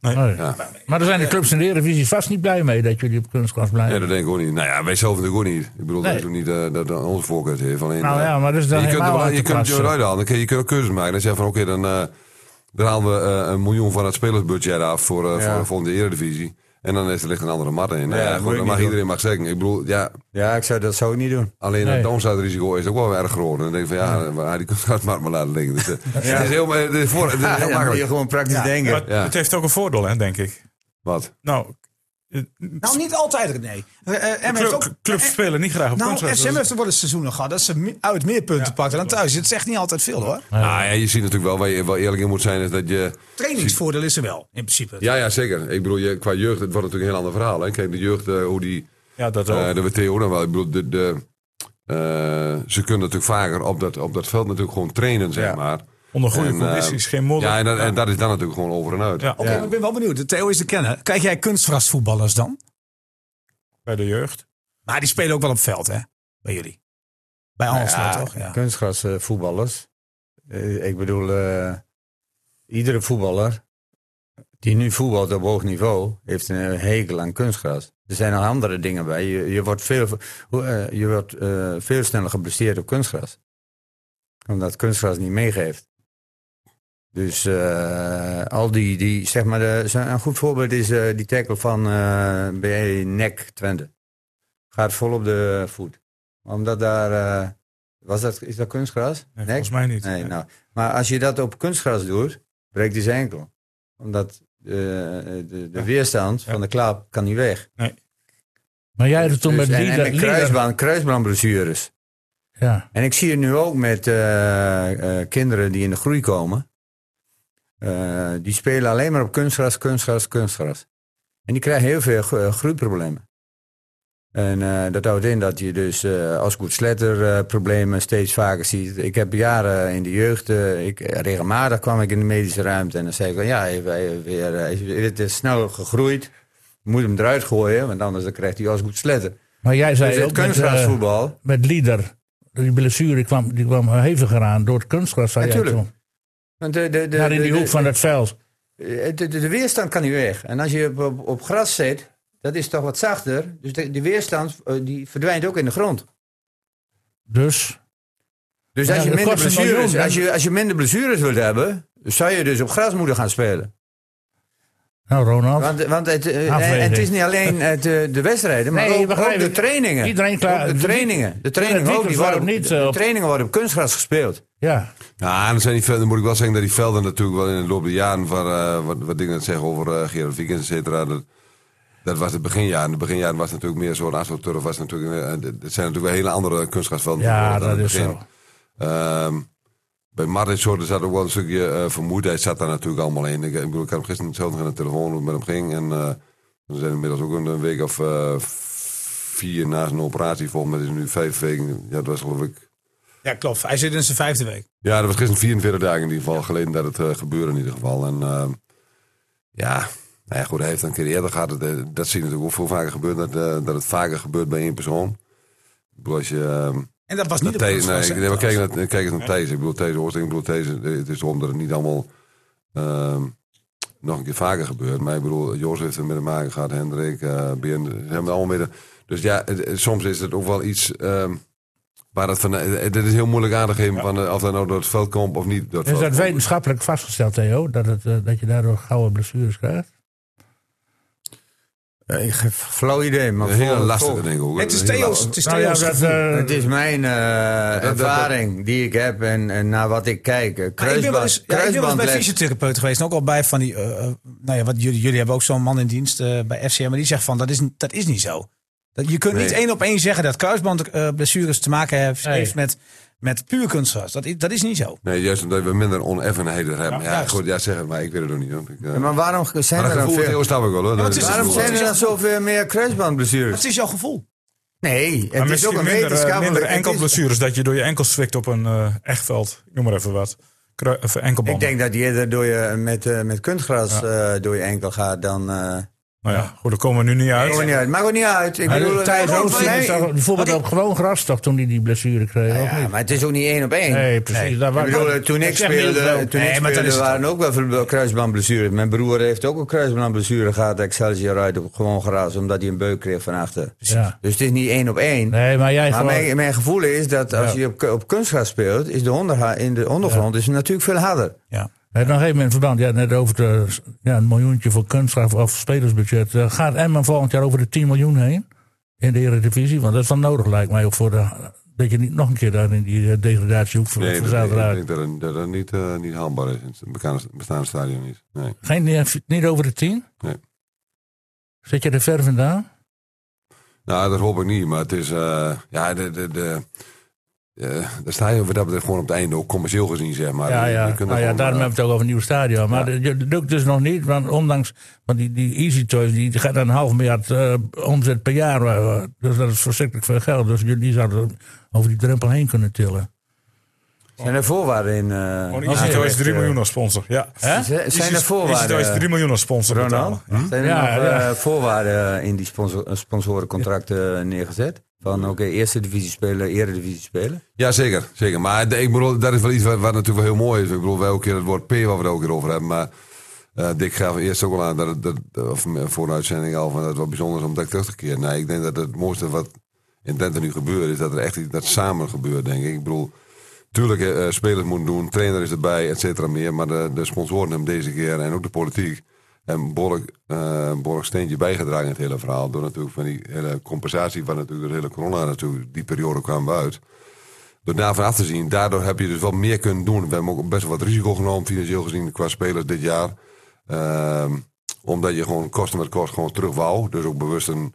Speaker 4: Nee.
Speaker 2: Nee.
Speaker 5: Ja.
Speaker 2: Maar daar zijn de clubs in de Eredivisie vast niet blij mee dat jullie op kunstgras blijven.
Speaker 5: Ja, dat denk ik ook niet. Nou ja, wij zelf natuurlijk ook niet. Ik bedoel,
Speaker 2: Nee.
Speaker 5: dat is ook niet eh, dat dat onze voorkeur heeft. Alleen,
Speaker 2: Nou
Speaker 5: eh,
Speaker 2: ja, maar dat is dan
Speaker 5: je kunt, er
Speaker 2: helemaal
Speaker 5: wel-
Speaker 2: uit
Speaker 5: je
Speaker 2: de
Speaker 5: kunt
Speaker 2: klas,
Speaker 5: er
Speaker 2: eh.
Speaker 5: uit halen. Dan kun je, kun je keuzes maken. Dan zeg je van, oké, dan, eh, dan halen we eh, een miljoen van het spelersbudget af voor, eh,
Speaker 3: Ja.
Speaker 5: voor de volgende Eredivisie. En dan is er ligt een andere mat in. Nou
Speaker 3: Ja,
Speaker 5: ja,
Speaker 3: dat
Speaker 5: goed,
Speaker 3: moet je
Speaker 5: dan
Speaker 3: niet
Speaker 5: mag
Speaker 3: doen.
Speaker 5: iedereen mag zeggen. Ik bedoel, ja,
Speaker 3: Ja, ik zou, dat zou ik niet doen.
Speaker 5: alleen
Speaker 2: Nee.
Speaker 5: het downsiderisico is ook wel erg groot. En dan denk je van, ja, maar die kunstgras maar maar laten liggen. Dus, eh, Het is heel, eh, het is voor, het is
Speaker 3: Ja,
Speaker 5: heel
Speaker 3: dan moet je
Speaker 5: makkelijk.
Speaker 3: gewoon praktisch denken.
Speaker 4: Maar
Speaker 5: Ja.
Speaker 4: het heeft ook een voordeel, hè, denk ik.
Speaker 5: Wat?
Speaker 4: Nou, eh,
Speaker 6: Nou, niet altijd, René. Eh, eh, Emmen heeft
Speaker 4: club,
Speaker 6: ook-
Speaker 4: clubs
Speaker 6: eh,
Speaker 4: spelen niet graag op dus-
Speaker 6: Nou,
Speaker 4: kunstgras.
Speaker 6: FCM heeft er wel eens seizoenen gehad dat ze me- uit meer punten pakten dan thuis. Het zegt niet altijd veel hoor.
Speaker 5: Nou ja, je ziet natuurlijk wel, waar je wel eerlijk in moet zijn, is dat je...
Speaker 6: Trainingsvoordeel is er wel, in principe.
Speaker 5: Ja, ja, zeker. Ik bedoel, je, qua jeugd, het wordt natuurlijk een heel ander verhaal. Hè? Kijk, de jeugd, eh, hoe die...
Speaker 4: Ja, dat ook.
Speaker 5: eh dat we Theo dan wel. Ik bedoel, de, de, eh, ze kunnen natuurlijk vaker op dat, op dat veld natuurlijk gewoon trainen, zeg
Speaker 3: Ja.
Speaker 5: maar.
Speaker 4: Onder goede
Speaker 5: En, eh,
Speaker 4: condities, geen modder.
Speaker 5: Ja, en dat, en dat is dan natuurlijk gewoon over en uit.
Speaker 4: Ja,
Speaker 6: Oké, maar ik ben wel benieuwd. Theo is te kennen. Kijk jij kunstgrasvoetballers dan?
Speaker 4: bij de jeugd.
Speaker 6: Maar die spelen ook wel op veld, hè? Bij jullie. Bij
Speaker 3: Nou
Speaker 6: Almelo toch? Ja.
Speaker 3: kunstgrasvoetballers. Eh, ik bedoel, eh, iedere voetballer die nu voetbalt op hoog niveau, heeft een hekel aan kunstgras. Er zijn nog andere dingen bij. Je, je wordt, veel, hoe, eh, je wordt eh, veel sneller geblesseerd op kunstgras. Omdat kunstgras niet meegeeft. Dus eh, al die, die, zeg maar, de, zo- een goed voorbeeld is eh, die tackle van eh, bij NEC Twente. Gaat vol op de voet. Omdat daar, eh, was dat, is dat kunstgras?
Speaker 4: Nee,
Speaker 3: NEC?
Speaker 4: volgens mij niet.
Speaker 3: Nee, nou. Maar als je dat op kunstgras doet, breekt hij zijn enkel. Omdat eh, de, de, weerstand van de klaap kan niet weg.
Speaker 2: Maar jij had het toen
Speaker 3: Dus-
Speaker 2: met
Speaker 3: en, en
Speaker 2: Lieder.
Speaker 3: met
Speaker 2: Lieder-
Speaker 3: kruisbaan, kruisbaanblessures.
Speaker 2: Ja.
Speaker 3: En ik zie het nu ook met eh, eh, kinderen die in de groei komen. Eh, die spelen alleen maar op kunstgras, kunstgras, kunstgras. En die krijgen heel veel gro- eh, groeiproblemen. En eh, dat houdt in dat je dus eh als goed sletter eh, problemen steeds vaker ziet. Ik heb jaren in de jeugd, eh, ik, regelmatig kwam ik in de medische ruimte en dan zei ik van ja, hij, hij- weer, eh, hij is weer- het is snel gegroeid. Je moet hem eruit gooien, want anders dan krijgt hij als goed sletter.
Speaker 2: Maar jij zei
Speaker 3: Dus het
Speaker 2: ook met, eh,
Speaker 3: kunstgrasvoetbal.
Speaker 2: met Lieder. Die blessure kwam, die kwam heviger aan door het kunstgras. Zei jij
Speaker 3: Natuurlijk.
Speaker 2: toen.
Speaker 3: Want de, de, de,
Speaker 2: Daar in die
Speaker 3: de- eh,
Speaker 2: hoek van het veld.
Speaker 3: de, de, de weerstand kan niet weg. En als je op, op, op gras zit, dat is toch wat zachter. Dus de, die weerstand eh, die verdwijnt ook in de grond.
Speaker 2: Dus
Speaker 3: Dus
Speaker 2: Ja,
Speaker 3: als, je
Speaker 2: dat
Speaker 3: minder
Speaker 2: kost een miljoen,
Speaker 3: blessures,
Speaker 2: hè?
Speaker 3: als, je, als je minder blessures wilt hebben, zou je dus op gras moeten gaan spelen.
Speaker 2: Nou, Ronald.
Speaker 3: Want, want het, eh,
Speaker 2: Afweging.
Speaker 3: en het is niet alleen het, eh, de wedstrijden, maar
Speaker 2: Nee,
Speaker 3: ook,
Speaker 2: begrijp
Speaker 3: ook de
Speaker 2: ik.
Speaker 3: trainingen.
Speaker 2: Iedereen klaar-
Speaker 3: Ook De trainingen. De trainingen,
Speaker 2: weekend
Speaker 3: ook, die worden, op-
Speaker 2: waarom niet,
Speaker 3: de
Speaker 2: eh, op-
Speaker 3: trainingen worden op kunstgras gespeeld.
Speaker 2: ja.
Speaker 5: Ja, en dan, zijn die, velden- dan moet ik wel zeggen dat die velden natuurlijk wel in de loop der jaren van, eh, wat, wat dingen zeggen over eh Gerard Wiekens, et cetera. Dat, dat was het beginjaar. In het beginjaar was het natuurlijk meer zo'n astroturf. Was natuurlijk, eh, het- het zijn natuurlijk wel hele andere kunstgrasvelden.
Speaker 2: ja,
Speaker 5: tegenwoordig
Speaker 2: dat
Speaker 5: dan in
Speaker 2: is
Speaker 5: het begin.
Speaker 2: zo.
Speaker 5: Ehm, bij Martin Soort zat ook wel een stukje eh, vermoeidheid zat daar natuurlijk allemaal in. Ik, ik bedoel, ik had hem gisteren zelf nog aan de telefoon hoe het met hem ging. En eh, we zijn inmiddels ook een, een week of eh, vier na zijn operatie. Volgens mij is het nu vijf weken. Ja, dat was geloof ik...
Speaker 6: ja, klopt. Hij zit in zijn vijfde week.
Speaker 5: Ja, dat was gisteren 44 dagen in ieder geval geleden dat het eh, gebeurde in ieder geval. En ehm, ja, nou ja, goed, hij heeft een keer eerder gehad. Dat, eh, dat zie je natuurlijk ook veel vaker gebeuren. Dat, eh, dat het vaker gebeurt bij één persoon. Ik bedoel, als je... ehm,
Speaker 6: En dat was niet
Speaker 5: dat
Speaker 6: de
Speaker 5: Thijs, nee,
Speaker 6: kunstgras,
Speaker 5: ik,
Speaker 6: hè,
Speaker 5: nee, maar kijk,
Speaker 6: trouwens.
Speaker 5: naar- kijk eens naar Thijs. Ik bedoel, Thijs Oosting, ik bedoel, Thijs, eh, het is erom dat het niet allemaal ehm, nog een keer vaker gebeurt. Maar ik bedoel, Joost heeft er mee te maken gehad, Hendrik, eh Björn, ze hebben er allemaal mee te- Dus ja, het- het- soms is het ook wel iets ehm, waar het van... eh, Het is heel moeilijk aan te geven van eh, of dat nou door het veld komt of niet door het
Speaker 2: Is
Speaker 5: veld
Speaker 2: dat
Speaker 5: komt.
Speaker 2: wetenschappelijk vastgesteld, Theo? Dat, het, eh, dat je daardoor gouden blessures krijgt?
Speaker 3: Eh, ik heb flauw idee, maar
Speaker 5: Een hele
Speaker 3: vol-
Speaker 5: lastige
Speaker 3: vol-
Speaker 5: ding ook.
Speaker 6: Het is
Speaker 5: Een hele-
Speaker 6: Theo's. Het is
Speaker 2: Nou ja,
Speaker 6: Theo's.
Speaker 2: dat,
Speaker 6: gevoel.
Speaker 2: eh,
Speaker 3: Het is mijn eh,
Speaker 5: dat-
Speaker 3: ervaring die ik heb en, en naar wat ik kijk. Eh,
Speaker 6: Maar ik ben wel
Speaker 3: Kruisband,
Speaker 6: eens, ja, ik ben wel eens bij
Speaker 3: kruisbandles.
Speaker 6: fysiotherapeut geweest. En ook al bij van die. eh, eh, nou ja, wat jullie, jullie hebben ook zo'n man in dienst eh, bij FCM. Maar die zegt van dat is, niet- dat is niet zo. Dat, je kunt niet
Speaker 3: Nee.
Speaker 6: één op één zeggen dat kruisbandblessures te maken heeft,
Speaker 2: Nee.
Speaker 6: heeft met, met puur kunstgras. Dat, is- dat is niet zo.
Speaker 5: Nee, juist omdat we minder oneffenheden hebben. Ja,
Speaker 6: juist.
Speaker 5: goed, ja, zeg het maar. Ik weet het ook niet. Hoor. Ik, eh,
Speaker 3: Ja, maar waarom ge- zijn
Speaker 5: maar dat
Speaker 3: er dan
Speaker 5: gevoel
Speaker 3: veel?
Speaker 5: heel snap ik wel. Hoor.
Speaker 6: het is
Speaker 5: Dat-
Speaker 3: Waarom
Speaker 6: gevoel.
Speaker 3: zijn er dan zoveel meer kruisbandblessures?
Speaker 6: Dat is jouw gevoel.
Speaker 3: Nee,
Speaker 4: Maar
Speaker 3: het is ook een
Speaker 4: minder, eh,
Speaker 3: wetenschappelijk...
Speaker 4: minder
Speaker 3: het is-
Speaker 4: enkelblessures dat je door je enkel zwikt op een eh echtveld. Noem maar even wat. Kru- of enkelbanden.
Speaker 3: Ik denk dat je eerder door je, met, eh, met kunstgras eh, door je enkel gaat dan... eh,
Speaker 4: Nou ja, goed, daar komen we nu niet uit.
Speaker 3: Maakt ook niet uit. Maakt ook niet uit. Ik
Speaker 2: Maar
Speaker 3: bedoel,
Speaker 2: de- Thijs
Speaker 3: eh,
Speaker 2: Oosting
Speaker 3: nee.
Speaker 2: is toch bijvoorbeeld op gewoon gras toch toen hij die blessure kreeg? of
Speaker 3: Ja,
Speaker 2: niet?
Speaker 3: maar het is ook niet één op één.
Speaker 2: Nee, precies. Daar
Speaker 3: Ik
Speaker 2: was-
Speaker 3: bedoel, eh, toen ik
Speaker 2: dat is echt niet
Speaker 3: speelde,
Speaker 2: zo.
Speaker 3: toen ik
Speaker 6: Nee, maar dat
Speaker 3: speelde
Speaker 6: is het
Speaker 3: waren ook wel veel kruisbandblessures. Mijn broer heeft ook een kruisbandblessure gehad. Excelsior uit op gewoon gras, omdat hij een beuk kreeg van achter.
Speaker 2: Ja.
Speaker 3: Dus het is niet één op één.
Speaker 2: Nee, maar jij
Speaker 3: Maar
Speaker 2: gewoon...
Speaker 3: mijn, mijn gevoel is dat als
Speaker 2: Ja.
Speaker 3: je op, ku- op kunstgras speelt, is de onderha- in de ondergrond is het natuurlijk veel harder.
Speaker 6: Ja.
Speaker 2: En dan geef in verband, ja, net over de, ja, een miljoentje voor kunstgraf of spelersbudget. Eh, gaat Emmen volgend jaar over de 10 miljoen heen in de Eredivisie? Want dat is dan nodig, lijkt mij, ook voor de, dat je niet nog een keer daar in die eh, degradatie hoeft voor,
Speaker 5: Nee,
Speaker 2: voor
Speaker 5: dat,
Speaker 2: zaterdag.
Speaker 5: ik denk dat het, dat het niet, eh, niet haalbaar is. in Het bekende- bestaande stadion niet. Nee.
Speaker 2: Geen, niet- niet over de 10?
Speaker 5: Nee.
Speaker 2: Zit je er ver vandaan?
Speaker 5: Nou, dat hoop ik niet. Maar het is... eh, ja, de, de, de, eh, daar sta je wat dat betreft gewoon op het einde. Ook commercieel gezien, zeg maar.
Speaker 2: ja,
Speaker 5: Je- je
Speaker 2: ja.
Speaker 5: kunt er
Speaker 2: Nou ja
Speaker 5: gewoon,
Speaker 2: daarom
Speaker 5: eh,
Speaker 2: hebben we het ook over een nieuw stadion. Maar dat- dat lukt dus nog niet, want ondanks want die, die Easy Toys die gaat naar een half miljard eh, omzet per jaar. eh, dus dat is verschrikkelijk veel geld. Dus jullie zouden over die drempel heen kunnen tillen.
Speaker 3: Zijn er voorwaarden in? eh,
Speaker 4: Gewoon
Speaker 3: aangelegd,
Speaker 4: Easy Toys 3
Speaker 3: eh,
Speaker 4: miljoen als sponsor. Ja.
Speaker 3: z- Zijn er
Speaker 4: Easy Toys
Speaker 3: voorwaarden?
Speaker 4: 3 miljoen als sponsor
Speaker 3: Ronald,
Speaker 4: betalen.
Speaker 3: zijn er
Speaker 2: Ja,
Speaker 3: nog
Speaker 2: ja.
Speaker 3: eh, voorwaarden in die sponsor, sponsorencontracten neergezet? Van oké, eerste divisie spelen, eredivisie spelen.
Speaker 5: Ja, zeker. zeker. Maar de- ik bedoel, dat is wel iets wat, wat natuurlijk wel heel mooi is. Ik bedoel, elke keer het woord P waar we het ook keer over hebben. Maar eh Dick gaf eerst ook al aan, dat, het- dat, of eh, voor de uitzending al, van dat het wel bijzonder is om dat terug te keren. Nee, ik denk dat het mooiste wat in Twente nu gebeurt, is dat er echt iets dat samen gebeurt, denk ik. Ik bedoel, tuurlijk, eh, eh, spelers moeten doen, trainer is erbij, et cetera meer. Maar de, de sponsoren hebben deze keer, en ook de politiek, een behoorlijk, eh, een behoorlijk steentje bijgedragen in het hele verhaal. Door natuurlijk van die hele compensatie, van natuurlijk de hele corona natuurlijk, die periode kwamen we uit door daarvan af te zien, daardoor heb je dus wel meer kunnen doen. We hebben ook best wel wat risico genomen, financieel gezien, qua spelers dit jaar. Ehm, omdat je gewoon kosten met kost gewoon terug wou. Dus ook bewust een.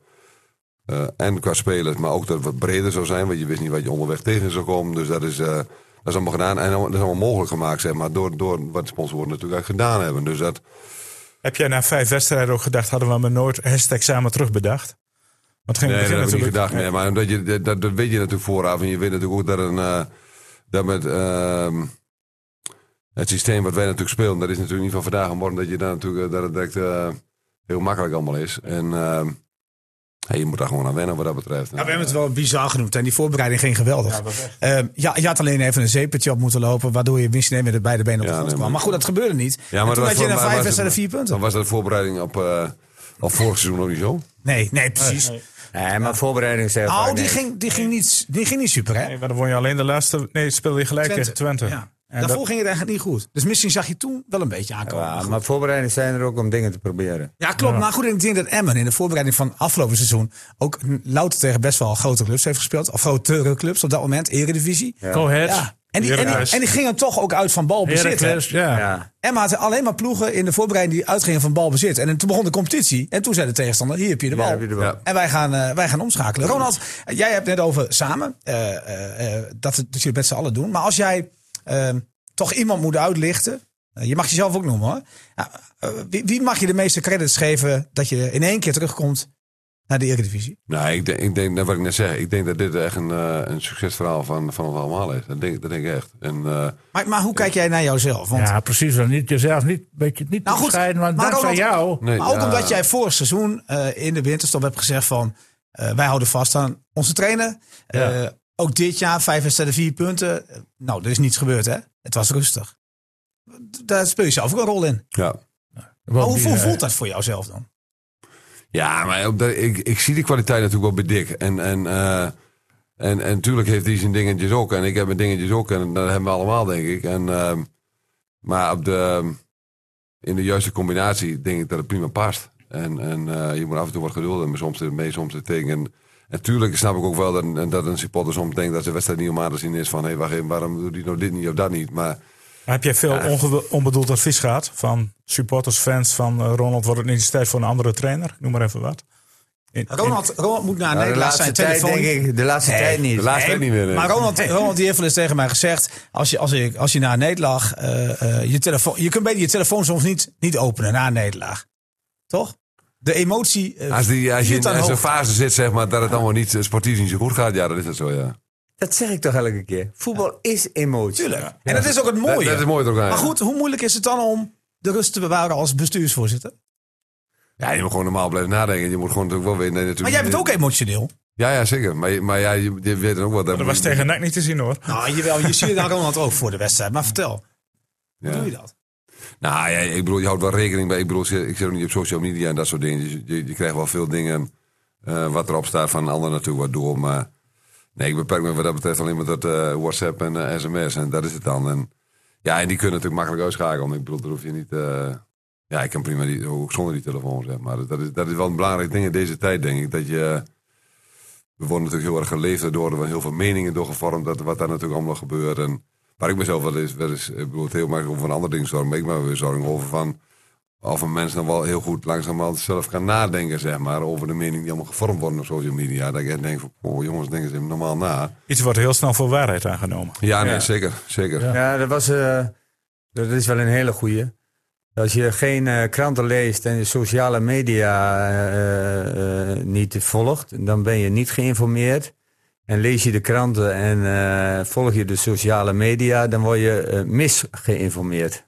Speaker 5: eh, en qua spelers, maar ook dat het wat breder zou zijn. Want je wist niet wat je onderweg tegen zou komen. Dus dat is, eh, dat is allemaal gedaan. En dat is allemaal mogelijk gemaakt, zeg maar. Door, door wat de sponsoren natuurlijk eigenlijk gedaan hebben. Dus dat,
Speaker 4: Heb jij na vijf wedstrijden ook gedacht, hadden we maar nooit hashtag samen terugbedacht? Want het ging in
Speaker 5: Nee,
Speaker 4: het
Speaker 5: dat heb ik
Speaker 4: begin
Speaker 5: niet
Speaker 4: natuurlijk-
Speaker 5: gedacht. Nee, maar omdat je, dat, dat- dat weet je natuurlijk vooraf. En je weet natuurlijk ook dat, een, eh, dat met ehm, het systeem wat wij natuurlijk spelen, dat is natuurlijk niet van vandaag en morgen dat je daar natuurlijk eh, dat het direct eh, heel makkelijk allemaal is. En ehm, ja, je moet daar gewoon aan wennen wat dat betreft.
Speaker 6: Ja, we hebben het wel bizar genoemd en die voorbereiding ging geweldig. Ja, ja, je had alleen even een zeepertje op moeten lopen, waardoor je misschien even met beide benen op de
Speaker 5: Ja,
Speaker 6: grond
Speaker 5: nee,
Speaker 6: kwam.
Speaker 5: maar-
Speaker 6: Maar goed, dat gebeurde niet. En toen had
Speaker 5: dat
Speaker 6: je
Speaker 5: was-
Speaker 6: na
Speaker 5: maar was
Speaker 6: vijf
Speaker 5: het-
Speaker 6: wedstrijden vier punten.
Speaker 5: Dan was dat de voorbereiding op, eh, op vorig seizoen ook niet zo.
Speaker 6: Nee, nee, precies.
Speaker 3: Nee, maar voorbereiding zeggen.
Speaker 6: Oh,
Speaker 3: vaak
Speaker 6: die
Speaker 3: nee.
Speaker 6: ging, die, ging niet, die ging niet super, hè?
Speaker 4: Nee, maar dan won je alleen de laatste. Nee, speelde je gelijk tegen Twente.
Speaker 6: Ja.
Speaker 4: En
Speaker 6: Daarvoor
Speaker 4: dat-
Speaker 6: ging het eigenlijk niet goed. Dus misschien zag je toen wel een beetje aankomen.
Speaker 3: Ja, maar voorbereidingen zijn er ook om dingen te proberen.
Speaker 6: Ja, klopt. Maar goed, ik denk dat Emmen in de voorbereiding van afgelopen seizoen ook louter tegen best wel grote clubs heeft gespeeld. Of grotere clubs op dat moment, Eredivisie. Ja.
Speaker 2: Go ahead.
Speaker 6: En, die, en, die,
Speaker 4: Heracles.
Speaker 6: en die gingen toch ook uit van balbezit. hè?
Speaker 2: Heracles, ja.
Speaker 3: Ja.
Speaker 6: Emma had alleen maar ploegen in de voorbereiding die uitgingen van balbezit. En toen begon de competitie. En toen zei de tegenstander, hier heb je de bal.
Speaker 3: heb je de bal. Ja.
Speaker 6: En wij gaan, eh, wij gaan omschakelen. Ronald, jij hebt net over samen. eh, eh, eh, dat, het- dat jullie het met z'n allen doen. Maar als jij eh, toch iemand moet uitlichten. eh, je mag jezelf ook noemen hoor. Ja, eh, wie, wie mag je de meeste credits geven dat je in één keer terugkomt naar de Eredivisie?
Speaker 5: Nou, ik denk, ik denk net wat ik net zeg. Ik denk dat dit echt een, eh, een succesverhaal van, van ons allemaal is. Dat denk, dat denk ik echt. En, eh,
Speaker 6: Maar, maar hoe kijk jij naar jouzelf? Want
Speaker 2: Ja, precies. Dan niet jezelf niet, beetje niet
Speaker 6: Nou
Speaker 2: te
Speaker 6: goed,
Speaker 2: scheiden, want
Speaker 6: maar
Speaker 2: dankzij
Speaker 6: Ronald-
Speaker 2: jou.
Speaker 5: nee,
Speaker 6: maar ook
Speaker 5: ja.
Speaker 6: omdat jij vorig seizoen eh, in de winterstop hebt gezegd van... eh, wij houden vast aan onze trainer. Eh, ook dit jaar, vijf wedstrijden, vier punten. Eh, Nou, er is niets gebeurd, hè? Het was rustig. Daar speel je zelf ook een rol in.
Speaker 5: Ja.
Speaker 6: Maar
Speaker 2: want
Speaker 6: hoe,
Speaker 2: die,
Speaker 6: hoe
Speaker 2: eh,
Speaker 6: voelt dat voor jouzelf dan?
Speaker 5: Ja, maar op dat- ik, ik zie de kwaliteit natuurlijk wel bij Dick. En, en, eh, en, en natuurlijk heeft hij zijn dingetjes ook. En ik heb mijn dingetjes ook. En dat hebben we allemaal, denk ik. En, ehm, maar op de, in de juiste combinatie denk ik dat het prima past. En, en eh, je moet af en toe wat geduld hebben. Soms er mee, soms er tegen. En natuurlijk snap ik ook wel dat, dat een supporter soms denkt dat de wedstrijd niet om aan te zien is. Van, hé, wacht even, waarom doet hij nou dit niet of dat niet? Maar
Speaker 4: Heb jij veel onge- onbedoeld advies gehad van supporters, fans van eh, Ronald? Wordt het niet eens tijd voor een andere trainer? Noem maar even wat. In- in-
Speaker 6: Ronald, Ronald moet naar
Speaker 3: Maar de
Speaker 6: Nederland
Speaker 3: laatste
Speaker 6: zijn
Speaker 3: tijd
Speaker 6: telefoon.
Speaker 3: denk ik, de laatste tijd niet.
Speaker 5: de laatste
Speaker 6: Nee,
Speaker 5: tijd niet meer. nee.
Speaker 6: Maar Ronald, Ronald die heeft wel eens tegen mij gezegd: als je, als ik, als je na een nederlaag eh, eh, je telefoon, je kunt beter je telefoon soms niet, niet openen na een nederlaag, toch? De emotie. eh,
Speaker 5: Als, die, als je
Speaker 6: viert
Speaker 5: in
Speaker 6: dan
Speaker 5: in zo'n
Speaker 6: hoog.
Speaker 5: fase zit, zeg maar, dat het allemaal niet eh, sportief niet zo goed gaat, ja, dan is dat zo, ja.
Speaker 3: Dat zeg ik toch elke keer. Voetbal is emotie.
Speaker 6: Tuurlijk. En dat is ook het
Speaker 5: Dat,
Speaker 6: mooie.
Speaker 5: dat is mooi toch,
Speaker 6: Maar goed, hoe moeilijk is het dan om de rust te bewaren als bestuursvoorzitter?
Speaker 5: Ja, je moet gewoon normaal blijven nadenken. Je moet gewoon natuurlijk wel weten. Nee,
Speaker 6: Maar
Speaker 5: natuurlijk
Speaker 6: jij bent ook emotioneel.
Speaker 5: Ja, ja, zeker. Maar, je- maar ja, je, je weet ook wat.
Speaker 4: Dat was tegen NAC niet te zien hoor.
Speaker 6: Nou, jawel, je ziet het aan Ronald ook voor de wedstrijd. Maar vertel,
Speaker 5: Ja.
Speaker 6: hoe doe je dat?
Speaker 5: Nou ja, ik bedoel, je houdt wel rekening bij. Ik bedoel, ik zit ook niet op social media en dat soort dingen. Dus Je, je, je krijgt wel veel dingen eh, wat erop staat van anderen natuurlijk wat door. Maar nee, ik beperk me wat dat betreft alleen maar tot eh, WhatsApp en eh, sms. En dat is het dan. En, ja, en die kunnen natuurlijk makkelijk uitschakelen. Ik bedoel, daar hoef je niet... eh, ja, ik kan prima die, ook zonder die telefoon, zeg maar. Dat is, dat is wel een belangrijk ding in deze tijd, denk ik. Dat je... We worden natuurlijk heel erg geleefd door. Er worden heel veel meningen door gevormd. Dat, wat daar natuurlijk allemaal gebeurt. En waar ik mezelf wel eens... Wel eens ik bedoel, het heel makkelijk over een ander ding zorgen. Maar ik maak me weer zorgen over van... Of een mens dan wel heel goed langzamerhand zelf kan nadenken, zeg maar. Over de mening die allemaal gevormd worden op social media. Dat ik echt denk van, oh jongens, denk eens even normaal na.
Speaker 4: Iets wordt heel snel voor waarheid aangenomen.
Speaker 5: Ja, nee,
Speaker 4: Ja.
Speaker 5: zeker, zeker.
Speaker 3: Ja, dat, was, eh, dat is wel een hele goeie. Als je geen eh, kranten leest en je sociale media eh, eh, niet volgt, dan ben je niet geïnformeerd. En lees je de kranten en eh, volg je de sociale media, dan word je eh, misgeïnformeerd.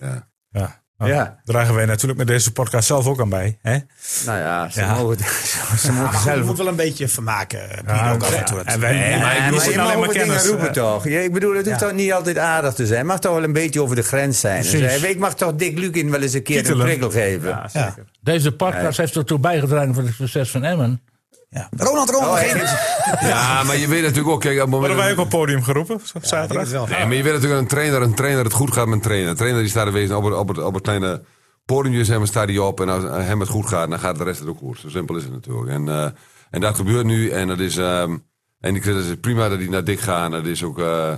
Speaker 5: Ja.
Speaker 4: Ja. Nou,
Speaker 3: Ja.
Speaker 4: Dragen wij natuurlijk met deze podcast zelf ook aan bij. Hè?
Speaker 3: Nou ja, ze
Speaker 4: Ja.
Speaker 3: mogen, ze,
Speaker 6: Ja,
Speaker 3: mogen
Speaker 6: maar goed, je
Speaker 3: zelf
Speaker 6: moet wel een beetje vermaken. bieden ook af en toe.
Speaker 4: en wij, maar ik
Speaker 3: Ja,
Speaker 4: doe
Speaker 3: maar
Speaker 4: het
Speaker 3: je mag
Speaker 4: alleen maar
Speaker 3: over dingen
Speaker 4: kennis.
Speaker 3: roepen toch? Ja, ik bedoel, het hoeft
Speaker 6: Ja.
Speaker 3: toch niet altijd aardig te zijn. Het mag toch wel een beetje over de grens zijn. En
Speaker 2: Precies.
Speaker 3: zeggen, ik mag toch Dick Lukin wel eens een keer
Speaker 4: Kietelen.
Speaker 3: een prikkel geven.
Speaker 6: Ja.
Speaker 2: Deze podcast heeft ertoe bijgedragen voor het succes van Emmen.
Speaker 6: Ja. Ronald, Ronald,
Speaker 3: Oh,
Speaker 6: geen-
Speaker 3: hij-
Speaker 5: Ja, maar je weet natuurlijk ook, kijk, op het moment
Speaker 4: Worden
Speaker 5: dat-
Speaker 4: wij ook op het podium geroepen op
Speaker 6: Ik denk
Speaker 4: zaterdag?
Speaker 6: het wel.
Speaker 5: Nee, maar je weet natuurlijk een trainer, een trainer het goed gaat met een trainer. Een trainer die staat er wezen op het, op het, op het kleine podiumje, zeg maar, staat hij op. En als hem het goed gaat, dan gaat de rest het ook goed. Zo simpel is het natuurlijk. En, eh, en dat gebeurt nu. En dat is, ehm, en ik vind het prima dat die naar dik gaan. Dat is ook, eh,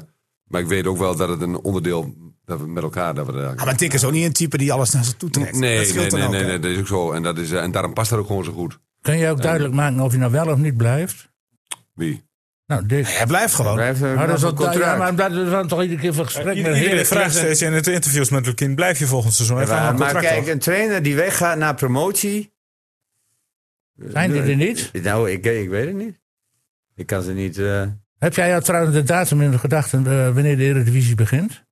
Speaker 5: maar ik weet ook wel dat het een onderdeel, dat we met elkaar, dat we daar...
Speaker 6: Ah, maar Dick is ook niet een type die alles naar zich toe trekt.
Speaker 5: Nee,
Speaker 6: dat
Speaker 5: nee, nee,
Speaker 6: scheelt dan
Speaker 5: nee,
Speaker 6: ook,
Speaker 5: nee,
Speaker 6: hè?
Speaker 5: dat is ook zo. En, dat is, eh, en daarom past dat ook gewoon zo goed.
Speaker 2: Kun je ook duidelijk maken of je nou wel of niet blijft?
Speaker 5: Wie?
Speaker 2: Nou, Dick.
Speaker 6: Hij blijft gewoon.
Speaker 3: Hij heeft, eh,
Speaker 2: Maar
Speaker 3: nog
Speaker 2: dat is
Speaker 3: een
Speaker 2: al-
Speaker 3: contract.
Speaker 2: ja, maar dat is dan toch iedere keer van gesprek met
Speaker 4: Iedereen
Speaker 2: Heerenveen.
Speaker 4: vraagt steeds in het interviews met Lukien, blijf je volgend seizoen? Hij
Speaker 3: Ja,
Speaker 4: vraagt
Speaker 3: maar
Speaker 4: een contract
Speaker 3: kijk,
Speaker 6: eh,
Speaker 4: af.
Speaker 3: een trainer die weggaat naar promotie.
Speaker 2: Zijn die er niet?
Speaker 3: Nou, ik, ik weet het niet. Ik kan ze niet. eh,
Speaker 2: Heb jij jou trouwens de datum in de gedachten eh, wanneer de Eredivisie begint?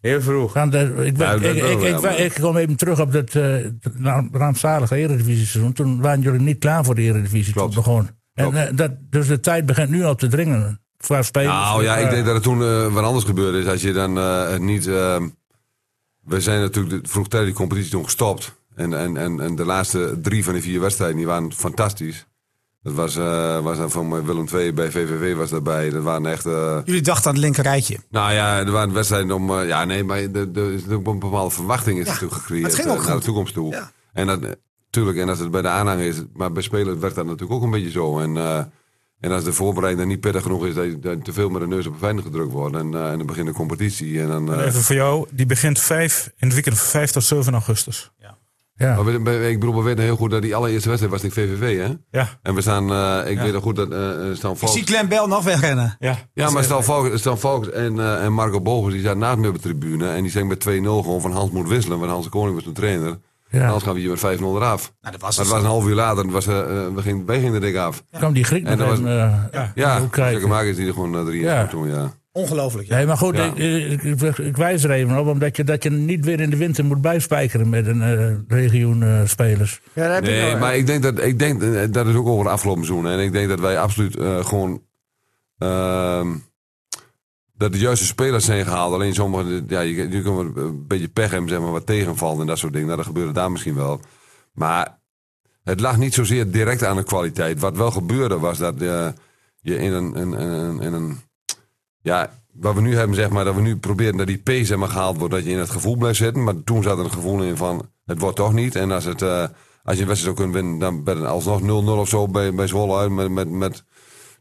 Speaker 3: heel vroeg.
Speaker 2: Gaan de, ik, ben-
Speaker 5: Ja, Nou,
Speaker 2: ik,
Speaker 5: dat
Speaker 2: ik,
Speaker 5: wel,
Speaker 2: ik,
Speaker 5: ja,
Speaker 2: ik-
Speaker 5: maar-
Speaker 2: ik kom even terug op dat eh, raam- rampzalige Eredivisie seizoen. Toen waren jullie niet klaar voor de Eredivisie.
Speaker 5: Klopt.
Speaker 2: Toen het begon. En,
Speaker 5: Klopt.
Speaker 2: eh, dat, dus de tijd begint nu al te dringen. Qua spelers.
Speaker 5: Nou ja, ik
Speaker 2: Eh,
Speaker 5: denk dat er toen eh, wat anders gebeurd is. Als je dan eh, het niet. eh, we zijn natuurlijk de- vroegtijdig die competitie toen gestopt. En, en, en, en de laatste drie van de vier wedstrijden die waren fantastisch. Dat was, eh, was dan van Willem II bij VVV was daarbij. Dat waren echt. eh,
Speaker 6: Jullie dachten aan het linker rijtje.
Speaker 5: nou ja, er waren wedstrijden om. eh, ja, nee, maar er er is natuurlijk een bepaalde verwachting is natuurlijk gecreëerd
Speaker 6: het ging ook
Speaker 5: eh, naar
Speaker 6: goed.
Speaker 5: de toekomst toe.
Speaker 6: Ja.
Speaker 5: En dat, eh, tuurlijk, en als het bij de aanhang is, maar bij spelers werd dat natuurlijk ook een beetje zo. En, eh, en als de voorbereiding dan niet pittig genoeg is, dat je dan te veel met de neus op de feiten gedrukt wordt. En, eh, en dan begint de competitie. En dan, eh,
Speaker 4: Even voor jou, die begint 5, in het weekend van 5 tot 7 augustus.
Speaker 2: ja.
Speaker 5: maar we- we- ik bedoel, we weten heel goed dat die allereerste wedstrijd was tegen VVV, hè?
Speaker 4: Ja,
Speaker 5: En we staan, eh, ik weet nog goed dat eh eh, Stan
Speaker 6: Ik
Speaker 5: Valk...
Speaker 6: zie Glenn Bell nog wegrennen.
Speaker 4: ja.
Speaker 5: Ja, maar Stan Valk, Stan Valk en, eh, en Marco Bogus, die zaten naast me op de tribune. En die zijn met 2-0 gewoon van Hans moet wisselen, want Hans de Koning was een trainer.
Speaker 2: Ja.
Speaker 5: Anders gaan we hier met 5-0 eraf.
Speaker 6: Nou, dat was
Speaker 5: Maar
Speaker 6: het.
Speaker 5: het was een half uur later, en was, eh, eh, we gingen, wij gingen er dik af.
Speaker 2: kwam die Griek
Speaker 5: En
Speaker 2: nog
Speaker 5: dat was-
Speaker 2: even eh,
Speaker 5: Ja,
Speaker 2: hoe krijg je-
Speaker 5: zeker maken is die er gewoon eh, drie
Speaker 2: Ja.
Speaker 5: jaar toen, ja.
Speaker 6: Ongelooflijk. Ja.
Speaker 2: Nee, maar goed,
Speaker 5: Ja.
Speaker 2: ik, ik, ik- ik wijs er even op, omdat je, dat je niet weer in de winter moet bijspijkeren met een eh legioen eh, spelers.
Speaker 3: Ja, dat heb ik
Speaker 5: Nee,
Speaker 3: nog.
Speaker 5: maar ik denk dat, ik denk, eh, dat is ook over de afgelopen seizoen. En ik denk dat wij absoluut eh, gewoon... ehm, dat de juiste spelers zijn gehaald. Alleen sommige, ja, je, je kunt wel een beetje pech hebben, zeg maar, wat tegenvalt en dat soort dingen. Nou, dat gebeurde daar misschien wel. Maar het lag niet zozeer direct aan de kwaliteit. Wat wel gebeurde was dat eh, je in een, in, in, in een... Ja, wat we nu hebben, zeg maar, dat we nu proberen dat die P zeg maar, gehaald wordt. Dat je in het gevoel blijft zitten. Maar toen zat er een gevoel in van, het wordt toch niet. En als, het, eh, als je een wedstrijd zou kunnen winnen, dan werd het alsnog 0-0 of zo bij, bij Zwolle uit. Met, met, met,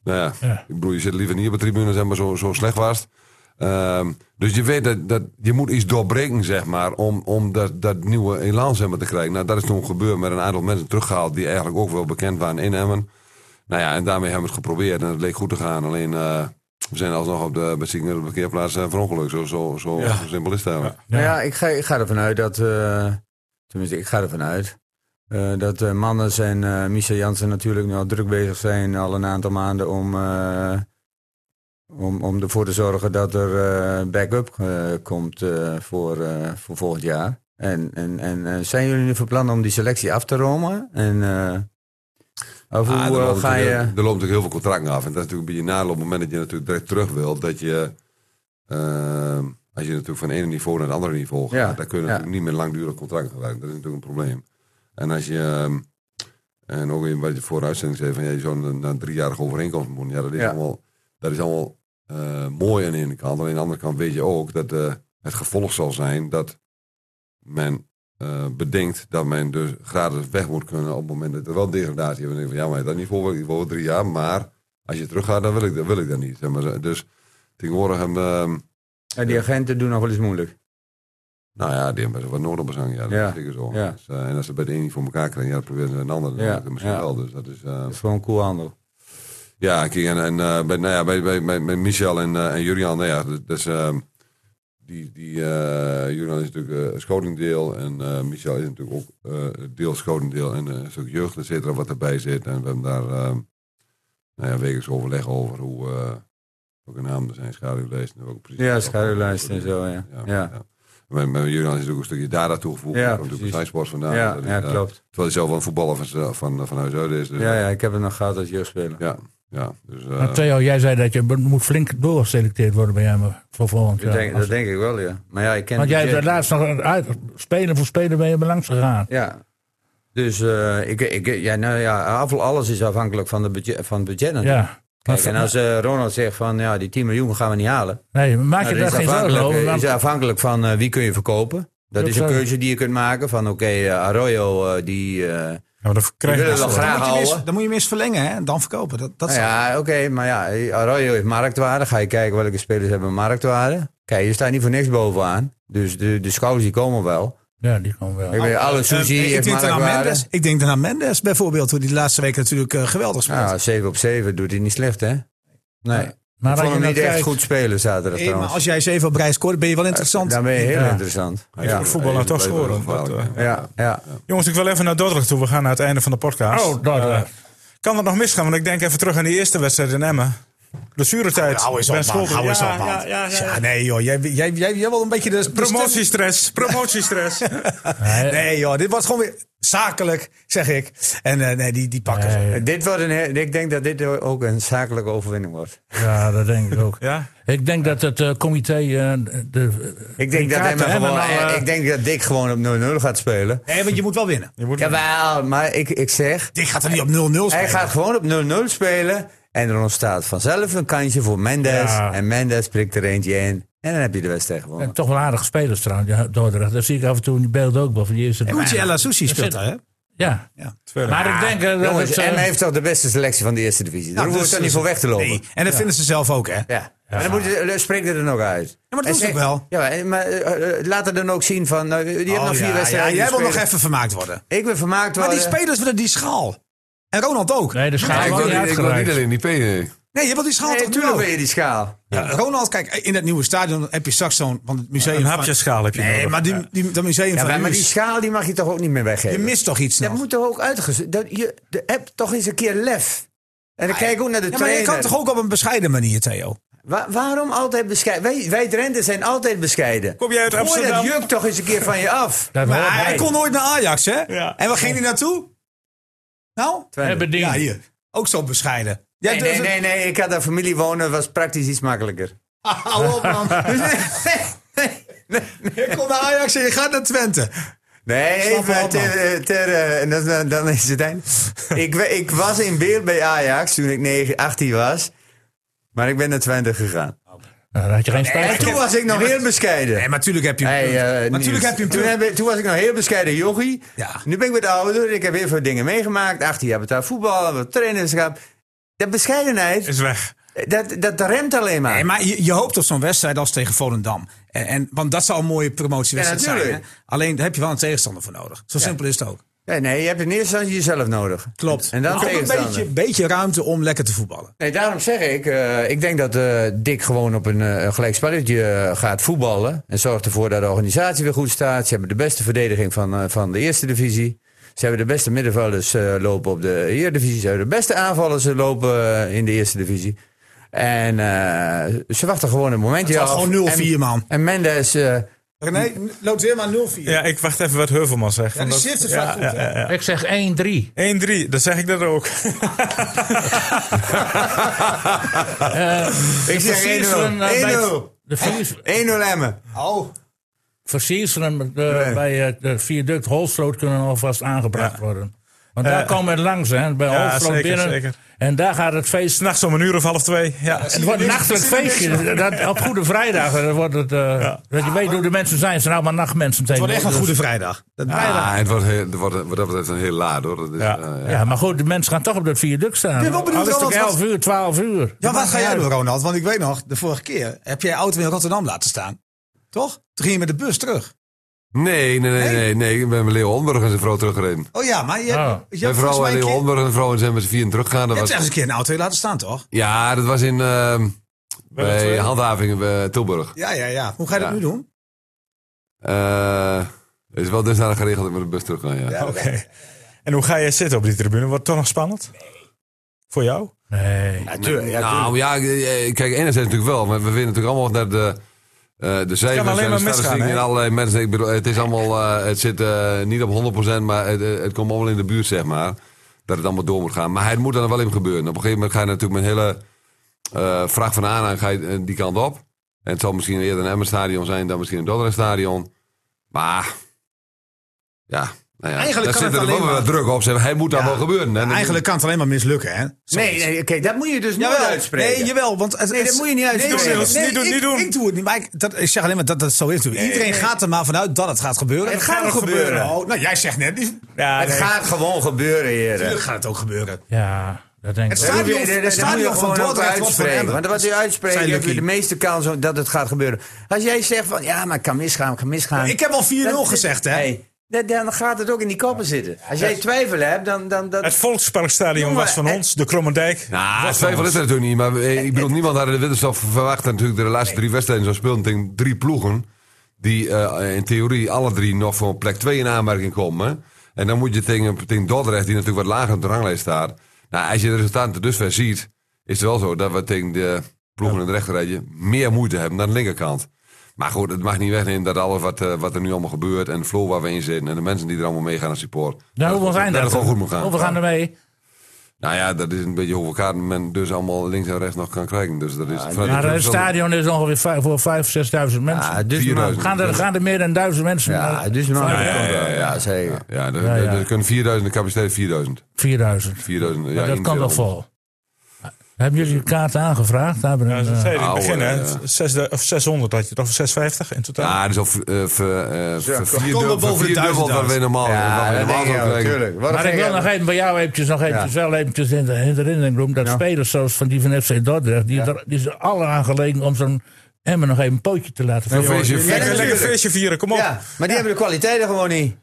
Speaker 5: nou ja,
Speaker 2: Ja.
Speaker 5: ik bedoel, je zit liever niet op de tribune, zeg maar, zo, zo slecht was het. Ehm, dus je weet dat, dat je moet iets doorbreken, zeg maar, om, om dat, dat nieuwe elan zeg maar, te krijgen. Nou, dat is toen gebeurd met een aantal mensen teruggehaald die eigenlijk ook wel bekend waren in Emmen. Nou ja, en daarmee hebben we het geprobeerd en het leek goed te gaan. Alleen, eh, we zijn alsnog op de beziekende parkeerplaats eh, verongelukt. Zo, zo, zo, zo simpel is het eigenlijk.
Speaker 3: Nou ja, ik ga, ik ga ervan uit dat. eh, tenminste, ik ga ervan uit. eh, dat eh, Manners en eh Michel Jansen natuurlijk nog druk bezig zijn al een aantal maanden om. eh, om, om ervoor te zorgen dat er eh, backup eh, komt eh, voor, eh, voor volgend jaar. En, en, en eh, zijn jullie nu van plan om die selectie af te romen? En, eh of
Speaker 5: Ah,
Speaker 3: hoe
Speaker 5: er,
Speaker 3: eh,
Speaker 5: loopt
Speaker 3: ga je...
Speaker 5: natuurlijk- er loopt natuurlijk heel veel contracten af. En dat is natuurlijk een beetje nadeel op het moment dat je natuurlijk direct terug wilt. Dat je, ehm, als je natuurlijk van het ene niveau naar het andere niveau gaat,
Speaker 3: Ja,
Speaker 5: dan kun je
Speaker 3: ja.
Speaker 5: natuurlijk niet meer langdurig contracten gebruiken. Dat is natuurlijk een probleem. En als je, ehm, en ook in wat je voor de uitzending zei, van ja, je zou een, een driejarige overeenkomst moeten. Ja, dat is
Speaker 3: Ja.
Speaker 5: allemaal, dat is allemaal eh, mooi aan de ene kant. Alleen aan de andere kant weet je ook dat eh, het gevolg zal zijn dat men eh, bedenkt dat men dus gratis weg moet kunnen op het moment dat er wel degradatie is. Dan denk ik van ja, maar dat niveau wil ik voor drie jaar, maar als je teruggaat, dan wil ik, dat- wil ik dat niet. Zeg maar. Dus tegenwoordig hebben ehm,
Speaker 3: Ja, eh, die agenten doen nog wel eens moeilijk.
Speaker 5: nou ja, die hebben best wel wat nodig op zang. Ja, dat
Speaker 3: Ja,
Speaker 5: is zeker zo.
Speaker 3: ja.
Speaker 5: Dus, eh, en als ze bij de een niet voor elkaar krijgen, ja, dan proberen ze een ander. Dan
Speaker 3: Ja,
Speaker 5: lukt het misschien
Speaker 3: ja.
Speaker 5: wel. Dus dat is, eh,
Speaker 3: Dat is gewoon cool handel.
Speaker 5: Ja, kijk, en, en eh, bij, nou ja, bij, bij, bij, bij Michel en, eh en Jurian, nou ja, dat, dat is, ehm, die, die, eh, Jurian is natuurlijk eh schotingdeel en eh, Michel is natuurlijk ook eh deel schotingdeel en eh, een stuk jeugd, et cetera, wat erbij zit. En we hebben daar ehm, nou ja, wekelijks overleg over hoe, eh welke namen er zijn, schaduwlijst en welke precies.
Speaker 3: Ja, schaduwlijst en zo, ja.
Speaker 5: Ja,
Speaker 3: Ja,
Speaker 5: Met, met Jurian is natuurlijk een stukje data toegevoegd,
Speaker 3: Ja,
Speaker 5: ja, natuurlijk
Speaker 3: precies.
Speaker 5: bij Sport vandaan.
Speaker 3: ja,
Speaker 5: Dat is,
Speaker 3: ja
Speaker 5: eh,
Speaker 3: klopt.
Speaker 5: Terwijl hij zelf wel een voetballer van, eh, van, van huis uit is. Dus,
Speaker 3: Ja,
Speaker 5: eh,
Speaker 3: ja, ik heb het nog gehad als jeugdspeler.
Speaker 5: ja, ja, dus, eh,
Speaker 2: Maar Theo, jij zei dat je be- moet flink doorgeselecteerd worden bij hem voor volgend
Speaker 3: Ik
Speaker 2: jaar.
Speaker 3: denk,
Speaker 2: Als-
Speaker 3: dat denk ik wel, ja. Maar ja, ik ken
Speaker 2: want
Speaker 3: die
Speaker 2: jij hebt
Speaker 3: Jack.
Speaker 2: laatst nog een uit, speler voor speler ben je langs gegaan.
Speaker 3: Ja. Dus eh, ik, ik, ja, nou ja, af- alles is afhankelijk van, de budget, van het budget natuurlijk.
Speaker 2: Ja.
Speaker 3: Kijk,
Speaker 2: Maar-
Speaker 3: en als eh, Ronald zegt van ja, die 10 miljoen gaan we niet halen.
Speaker 2: nee, maak je
Speaker 3: Nou,
Speaker 2: daar
Speaker 3: dat
Speaker 2: geen
Speaker 3: is
Speaker 2: zorgen
Speaker 3: afhankelijk,
Speaker 2: over.
Speaker 3: eh,
Speaker 2: want-
Speaker 3: is afhankelijk van eh, wie kun je verkopen. Dat
Speaker 2: Dat
Speaker 3: is een
Speaker 2: zou-
Speaker 3: keuze die je kunt maken van oké, eh, Arroyo eh, die... eh,
Speaker 4: maar dat
Speaker 3: die
Speaker 4: krijg je
Speaker 3: willen we
Speaker 4: nog
Speaker 3: wel
Speaker 4: steeds.
Speaker 6: Dan moet je hem
Speaker 3: graag houden.
Speaker 6: eerst- dan moet je hem eerst verlengen hè, en dan verkopen. Dat, dat
Speaker 3: Nou
Speaker 6: zou-
Speaker 3: ja, oké, maar ja, Arroyo heeft marktwaarde. Ga je kijken welke spelers hebben marktwaarde. Kijk, je staat niet voor niks bovenaan. Dus de, de scouts die komen wel.
Speaker 2: Ja, die gewoon wel.
Speaker 3: Ik weet, alle Suzy
Speaker 6: Ehm, ik,
Speaker 3: heeft
Speaker 6: denk dan aan
Speaker 3: marktwaarde.
Speaker 6: Mendes, ik denk dan aan Mendes bijvoorbeeld, hoe die de laatste week natuurlijk eh, geweldig speelt.
Speaker 3: Nou, 7 op 7 doet hij niet slecht, hè? Nee.
Speaker 2: Maar als
Speaker 3: Ik vond
Speaker 2: je
Speaker 3: hem
Speaker 2: nou
Speaker 3: niet echt
Speaker 2: kijkt-
Speaker 3: goed spelen zaterdag
Speaker 6: Hey, Eh, maar
Speaker 3: trouwens.
Speaker 6: als jij zeven op rij scoort, ben je wel interessant.
Speaker 3: Dan ben je heel
Speaker 2: Ja.
Speaker 3: interessant.
Speaker 5: Hij is
Speaker 3: Ja,
Speaker 5: voor
Speaker 4: voetballer
Speaker 5: hij is
Speaker 4: toch
Speaker 5: blijkbaar
Speaker 4: scoren,
Speaker 5: gevaarlijk,
Speaker 4: dat, eh,
Speaker 5: ja.
Speaker 3: ja, ja.
Speaker 4: Jongens, ik wil even naar Dordrecht toe. We gaan naar het einde van de podcast.
Speaker 2: Oh, Dordrecht.
Speaker 4: kan dat nog misgaan? Want ik denk even terug aan die eerste wedstrijd in Emmen. Blessuretijd.
Speaker 6: Hou eens
Speaker 4: Ben
Speaker 6: op, man.
Speaker 4: Scholten.
Speaker 6: Hou eens
Speaker 4: Ja,
Speaker 6: op, man.
Speaker 4: ja, ja, ja, ja.
Speaker 6: nee, joh. Jij, jij, jij, jij wil een beetje de... de stem-
Speaker 4: Promotiestress, promotiestress.
Speaker 2: Nee,
Speaker 6: Nee, joh. Dit wordt gewoon weer zakelijk, zeg ik. En eh, nee, die, die pakken ze.
Speaker 2: nee,
Speaker 3: Dit wordt een, he- ik denk dat dit ook een zakelijke overwinning wordt.
Speaker 2: ja, dat denk ik ook.
Speaker 4: ja?
Speaker 2: Ik denk dat het eh, comité. eh, de,
Speaker 3: Ik denk, dat,
Speaker 2: kaarten
Speaker 3: Emma
Speaker 2: hebben
Speaker 3: gewoon,
Speaker 2: nou, eh,
Speaker 3: ik denk dat Dick gewoon op 0-0 gaat spelen.
Speaker 6: Nee, want je moet wel winnen.
Speaker 3: Jawel, maar ik, ik zeg,
Speaker 6: Dick gaat er niet op 0-0 spelen.
Speaker 3: hij gaat gewoon op 0-0 spelen. En er ontstaat vanzelf een kansje voor Mendes.
Speaker 2: Ja.
Speaker 3: En Mendes prikt er eentje in. En dan heb je de wedstrijd gewonnen.
Speaker 2: en eh, toch wel aardige spelers trouwens, ja, Dordrecht. Dat zie ik af en toe in die beelden ook wel. Van die eerste
Speaker 6: Gucci
Speaker 2: ja.
Speaker 6: Ella Sushi speelt daar, hè?
Speaker 2: ja.
Speaker 6: Nou,
Speaker 2: Maar ik denk eh, dat
Speaker 3: Jongens,
Speaker 2: het, eh,
Speaker 3: en heeft toch de beste selectie van de eerste divisie. Daar
Speaker 6: Nou,
Speaker 3: hoeven we
Speaker 6: dus-
Speaker 3: toch niet voor weg te lopen.
Speaker 6: Nee, en dat vinden ze zelf ook, hè?
Speaker 3: Ja. Maar dan moet je, eh, spreekt het er nog uit. Ja,
Speaker 6: maar dat doen ze ook wel.
Speaker 3: Ja, en- maar eh, eh, laat het dan ook zien van, nou, die hebben nog
Speaker 6: Oh,
Speaker 3: vier
Speaker 6: ja,
Speaker 3: wedstrijden.
Speaker 6: ja, jij
Speaker 3: te
Speaker 6: wil nog
Speaker 3: spelen.
Speaker 6: even vermaakt worden.
Speaker 3: Ik ben vermaakt
Speaker 6: Maar die
Speaker 3: worden.
Speaker 6: spelers willen die schaal. En Ronald ook.
Speaker 2: Nee, de
Speaker 5: Ja,
Speaker 2: schaal
Speaker 5: ik
Speaker 2: wordt
Speaker 5: wil,
Speaker 2: niet
Speaker 5: niet- ik wil niet
Speaker 2: uitgereikt.
Speaker 5: alleen die P. nee.
Speaker 6: Nee, je wilt die schaal
Speaker 3: eh, Nee,
Speaker 6: toch
Speaker 3: tuurlijk
Speaker 6: nu
Speaker 3: wil je die schaal.
Speaker 6: Ja, Ronald, kijk, in dat nieuwe stadion heb je straks zo'n... Want het museum
Speaker 4: Een
Speaker 6: van-
Speaker 4: hapjeschaal heb je
Speaker 6: Nee,
Speaker 4: nodig.
Speaker 6: maar die, die, dat museum
Speaker 3: Ja,
Speaker 6: van
Speaker 3: maar, maar die
Speaker 6: Huus,
Speaker 3: schaal die mag je toch ook niet meer
Speaker 6: Je
Speaker 3: weggeven?
Speaker 6: mist toch iets
Speaker 3: dat
Speaker 6: nog?
Speaker 3: moet toch ook uitgezocht dat je De app toch eens een keer lef. En dan kijk ik ook naar de
Speaker 6: Ah, Ja, maar je
Speaker 3: trainer.
Speaker 6: kan toch ook op een bescheiden manier, Theo?
Speaker 3: Wa- waarom altijd bescheiden? Wij, wij Drenthe zijn altijd bescheiden.
Speaker 4: Kom jij uit
Speaker 3: Gooi
Speaker 4: Amsterdam?
Speaker 3: dat juk toch eens een keer van je af.
Speaker 2: Dat
Speaker 6: Maar
Speaker 2: hoort
Speaker 6: hij
Speaker 2: bij.
Speaker 6: kon nooit naar Ajax, hè?
Speaker 4: Ja.
Speaker 6: En waar ging hij naartoe? Nou?
Speaker 2: Hebben die-
Speaker 6: Ja, hier. Ook zo bescheiden. Jij
Speaker 3: Nee,
Speaker 6: durft
Speaker 3: nee,
Speaker 6: het-
Speaker 3: nee, nee, ik had daar familie wonen, was praktisch iets makkelijker.
Speaker 6: Ah, hou op, man.
Speaker 3: nee, nee,
Speaker 6: je komt naar Ajax en je gaat naar Twente.
Speaker 3: nee
Speaker 6: Snap wel,
Speaker 3: even
Speaker 6: man.
Speaker 3: ter, eh, ter, eh, en dan, dan, dan is het eind. ik, we- ik was in beeld bij Ajax toen ik 9, 18 was. Maar ik ben naar 20 gegaan.
Speaker 2: Nou, dan had je geen spijt.
Speaker 3: En
Speaker 2: van.
Speaker 3: toen was ik nog heel bescheiden.
Speaker 6: Nee, maar natuurlijk heb je hem.
Speaker 3: Hey, eh,
Speaker 6: maar
Speaker 3: Niels,
Speaker 6: natuurlijk heb je hem.
Speaker 3: toen,
Speaker 6: terug.
Speaker 3: heb ik- toen was ik nog heel bescheiden jochie.
Speaker 6: Ja.
Speaker 3: Nu ben ik wat ouder. Ik heb heel veel dingen meegemaakt. 18 jaar betaald voetbal, wat trainerschap. Dat bescheidenheid,
Speaker 4: Is weg.
Speaker 3: dat, dat remt alleen maar.
Speaker 6: Nee, maar je, je hoopt op zo'n wedstrijd als tegen Volendam. En, en, want dat zou een mooie promotiewedstrijd
Speaker 3: Ja,
Speaker 6: zijn. Hè?
Speaker 3: natuurlijk.
Speaker 6: Alleen daar heb je wel een tegenstander voor nodig. Zo simpel is het ook.
Speaker 3: Nee, nee, je hebt in eerste instantie jezelf nodig.
Speaker 6: Klopt.
Speaker 3: En dan
Speaker 6: Maar ook een
Speaker 3: tegenstander.
Speaker 6: beetje, beetje ruimte om lekker te voetballen.
Speaker 3: Nee, daarom zeg ik, eh, ik denk dat eh, Dick gewoon op een eh, een gelijk spelletje eh, gaat voetballen. En zorgt ervoor dat de organisatie weer goed staat. Ze hebben de beste verdediging van, eh, van de eerste divisie. Ze hebben de beste middenvelders eh, lopen op de Eredivisie. Ze hebben de beste aanvallers eh, lopen eh, in de eerste divisie. En eh, ze wachten gewoon een momentje
Speaker 6: Het was
Speaker 3: af.
Speaker 6: gewoon 0-4,
Speaker 3: En-
Speaker 6: man.
Speaker 3: En Mendes eh,
Speaker 6: René, loopt weer maar 0-4.
Speaker 4: Ja, ik wacht even wat Heuvelman zegt.
Speaker 6: Ja, die
Speaker 4: Want
Speaker 6: schrift is
Speaker 4: ja,
Speaker 6: vaak goed,
Speaker 4: ja,
Speaker 6: hè?
Speaker 4: ja, ja.
Speaker 2: Ik zeg 1-3.
Speaker 4: 1-3, dat zeg ik dat ook.
Speaker 3: Ik
Speaker 2: Eh, De
Speaker 3: zeg 1-0.
Speaker 2: versierselen, eh, bij het-
Speaker 3: 1-0.
Speaker 2: De versiers-
Speaker 3: 1-0 Emmen.
Speaker 6: Oh,
Speaker 2: versierselen eh, bij het eh, viaduct Holstroot kunnen alvast aangebracht worden. Want daar
Speaker 4: Eh,
Speaker 2: komen het langs, hè? Bij
Speaker 4: ja,
Speaker 2: Holstroot
Speaker 4: zeker,
Speaker 2: binnen.
Speaker 4: zeker.
Speaker 2: En daar gaat het feest.
Speaker 4: S'nachts om een uur of half twee. Ja,
Speaker 2: Het wordt een
Speaker 6: niks-
Speaker 2: nachtelijk
Speaker 6: zie je niks
Speaker 2: feestje. Dat, op Goede Vrijdag. eh, wordt het, eh, Dat je weet hoe de mensen zijn. Ze zijn allemaal nachtmensen
Speaker 6: het wordt
Speaker 2: tegenwoordig.
Speaker 6: echt een goede vrijdag. Dat vrijdag.
Speaker 5: Ah, het wordt, heel, het wordt wat dat betreft een heel laat hoor. Dat is,
Speaker 4: Ja.
Speaker 5: eh, ja.
Speaker 2: Ja, maar goed, de mensen gaan toch op dat viaduct staan.
Speaker 6: Ja, wat bedoelt
Speaker 2: Al is het ook
Speaker 6: Ronald?
Speaker 2: 11 uur, 12 uur.
Speaker 6: Ja, wat ga jij doen, Ronald? Want ik weet nog, de vorige keer heb jij auto in Rotterdam laten staan. Toch? Toen ging je met de bus terug.
Speaker 5: Nee, nee, nee, nee, nee. Ik ben bij Leo Omburg en zijn vrouw teruggereden.
Speaker 6: Oh ja, maar je,
Speaker 2: Ah.
Speaker 6: je
Speaker 5: Mijn
Speaker 6: hebt volgens
Speaker 5: vrouw
Speaker 6: mij een
Speaker 5: en Leo
Speaker 6: keer, je
Speaker 5: Omburg en zijn vrouw en zijn met z'n vieren teruggegaan. Dat
Speaker 6: hebt
Speaker 5: was,
Speaker 6: ergens een keer een auto laten staan, toch?
Speaker 5: ja, dat was in eh, bij handhavingen bij Tilburg.
Speaker 6: Ja, ja, ja. Hoe ga je dat
Speaker 5: Ja.
Speaker 6: nu doen?
Speaker 5: Eh, het is wel dusdanig geregeld dat ik met de bus terug kan, ja.
Speaker 6: oké.
Speaker 4: En hoe ga jij zitten op die tribune? Wordt het toch nog spannend? Voor jou?
Speaker 2: Nee.
Speaker 5: nou ja, eh, kijk, enerzijds natuurlijk wel. Maar we winnen natuurlijk allemaal naar de, eh de cijfers
Speaker 4: alleen
Speaker 5: en de
Speaker 4: maar misgaan,
Speaker 5: statistieken
Speaker 4: hè?
Speaker 5: en allerlei mensen. Ik bedoel, het is allemaal, eh, het zit eh, niet op 100%, maar het, eh, het komt allemaal in de buurt, zeg maar. Dat het allemaal door moet gaan. Maar het moet dan wel in gebeuren. Op een gegeven moment ga je natuurlijk met hele eh vraag van aan ga je eh, die kant op. En het zal misschien eerder een Emmerstadion zijn dan misschien een Dordrechtstadion. Maar, ja. Nou ja,
Speaker 6: Eigenlijk
Speaker 5: daar
Speaker 6: kan
Speaker 5: zit
Speaker 6: het
Speaker 5: er wel
Speaker 6: alleen
Speaker 5: wat
Speaker 6: maar-
Speaker 5: druk op. Zeg. maar, Hij moet daar
Speaker 6: Ja,
Speaker 5: wel gebeuren. hè.
Speaker 6: Eigenlijk kan het alleen maar mislukken, hè?
Speaker 3: Nee, nee oké, dat moet je dus niet uitspreken.
Speaker 6: Nee, jawel, want het,
Speaker 3: dat moet je niet uitspreken.
Speaker 6: Nee,
Speaker 3: Doe
Speaker 4: het, niet doen,
Speaker 6: ik,
Speaker 4: niet doen.
Speaker 6: Ik doe het niet, maar ik, dat, ik zeg alleen maar dat dat zo is. natuurlijk. Iedereen gaat er maar vanuit dat het gaat gebeuren.
Speaker 3: Het gaat ook gebeuren.
Speaker 6: Oh, nou, jij zegt net niet.
Speaker 4: Ja,
Speaker 3: Het
Speaker 4: nee.
Speaker 3: gaat gewoon gebeuren, heren.
Speaker 6: Natuurlijk gaat het ook gebeuren.
Speaker 2: Ja, dat denk ik.
Speaker 6: Het staat-
Speaker 2: ook.
Speaker 3: Dat moet je-
Speaker 6: Stadion-
Speaker 3: dat- dat
Speaker 6: stadion
Speaker 3: moet je
Speaker 6: van
Speaker 3: gewoon ook
Speaker 6: Dordrecht wordt van
Speaker 3: uitspreken.
Speaker 6: Emmen.
Speaker 3: Want wat je uitspreekt,
Speaker 6: Zijn
Speaker 3: heb je
Speaker 6: lucky.
Speaker 3: de meeste kans op dat het gaat gebeuren. Als jij zegt van, ja, maar het kan misgaan, het kan misgaan.
Speaker 6: Ik heb al 4-0
Speaker 3: Dat-
Speaker 6: gezegd, hè?
Speaker 3: Hey, dat- dan gaat het ook in die koppen zitten. Als jij twijfel hebt, dan... dan dat,
Speaker 4: Het Volksparkstadion
Speaker 3: Jongen,
Speaker 4: was van
Speaker 3: het-
Speaker 4: ons, de Krommendijk.
Speaker 5: Nou, twijfel is er natuurlijk niet. Maar eh, ik bedoel, niemand had in de winterstop verwacht dat natuurlijk de laatste drie wedstrijden zo speelden tegen drie ploegen. Die eh, in theorie alle drie nog voor plek 2 in aanmerking komen. hè. En dan moet je tegen, tegen Dordrecht, die natuurlijk wat lager op de ranglijst staat. Nou, als je de resultaten tot dusver ziet, is het wel zo dat we tegen de ploegen in het rechterrijtje meer moeite hebben dan de linkerkant. Maar goed, het mag niet wegnemen dat alles wat, eh, wat er nu allemaal gebeurt en de flow waar we in zitten en de mensen die er allemaal meegaan als support.
Speaker 2: Nou,
Speaker 5: dat,
Speaker 2: hoeveel
Speaker 5: het-
Speaker 2: zijn
Speaker 5: dat
Speaker 2: dat?
Speaker 5: het gewoon goed moet gaan.
Speaker 2: Hoeveel gaan er mee?
Speaker 5: Nou ja, dat is een beetje hoeveel kaarten men dus allemaal links en rechts nog kan krijgen. Dus dat is vanuit de
Speaker 2: Maar het
Speaker 5: professionele-
Speaker 2: stadion is ongeveer vijf- voor 5.000, 6.000 mensen.
Speaker 3: Ah, dus maar,
Speaker 5: 4000.
Speaker 2: gaan, er, gaan er meer dan 1000 mensen?
Speaker 3: ja,
Speaker 2: naar-
Speaker 3: dus maar.
Speaker 2: Ja,
Speaker 3: Ja,
Speaker 5: ja, ja,
Speaker 3: ja,
Speaker 5: ja.
Speaker 3: zeker.
Speaker 5: Ja, er,
Speaker 2: Ja,
Speaker 5: er-
Speaker 2: ja.
Speaker 5: er kunnen 4000, de capaciteit is 4000.
Speaker 2: 4000.
Speaker 5: 4000 ja,
Speaker 2: Maar dat kan toch
Speaker 5: 4100.
Speaker 2: vol? Hebben jullie kaarten aangevraagd? Daar hebben we
Speaker 4: Ja,
Speaker 2: een,
Speaker 4: dat
Speaker 2: eh,
Speaker 4: zei je in het
Speaker 5: oude,
Speaker 4: begin, hè?
Speaker 5: ja.
Speaker 4: Zesde- of 600 had je toch? Of 650 in totaal?
Speaker 5: Ja, dus of eh ver- eh, ver-
Speaker 6: komen
Speaker 5: vervierdubbeld-
Speaker 6: boven de
Speaker 5: vervierdubbeld
Speaker 6: 1000
Speaker 5: wat we normaal wat
Speaker 3: Ja,
Speaker 5: we
Speaker 3: dat
Speaker 5: normaal
Speaker 3: denk ik
Speaker 5: zouden
Speaker 3: ook,
Speaker 5: krijgen.
Speaker 3: natuurlijk. Wat
Speaker 2: Maar
Speaker 3: een
Speaker 2: ik wil
Speaker 3: gekke-
Speaker 2: nog even bij jou eventjes, nog eventjes, wel eventjes in de in de herinnering doen dat spelers zoals van die van FC Dordrecht, die, er, die zijn alle aangelegen om zo'n Emmen nog even een pootje te laten
Speaker 5: Een
Speaker 2: vieren.
Speaker 5: feestje-
Speaker 4: Lekker, lekker
Speaker 3: natuurlijk.
Speaker 4: feestje vieren, kom op.
Speaker 3: Ja, maar die hebben de kwaliteiten gewoon niet.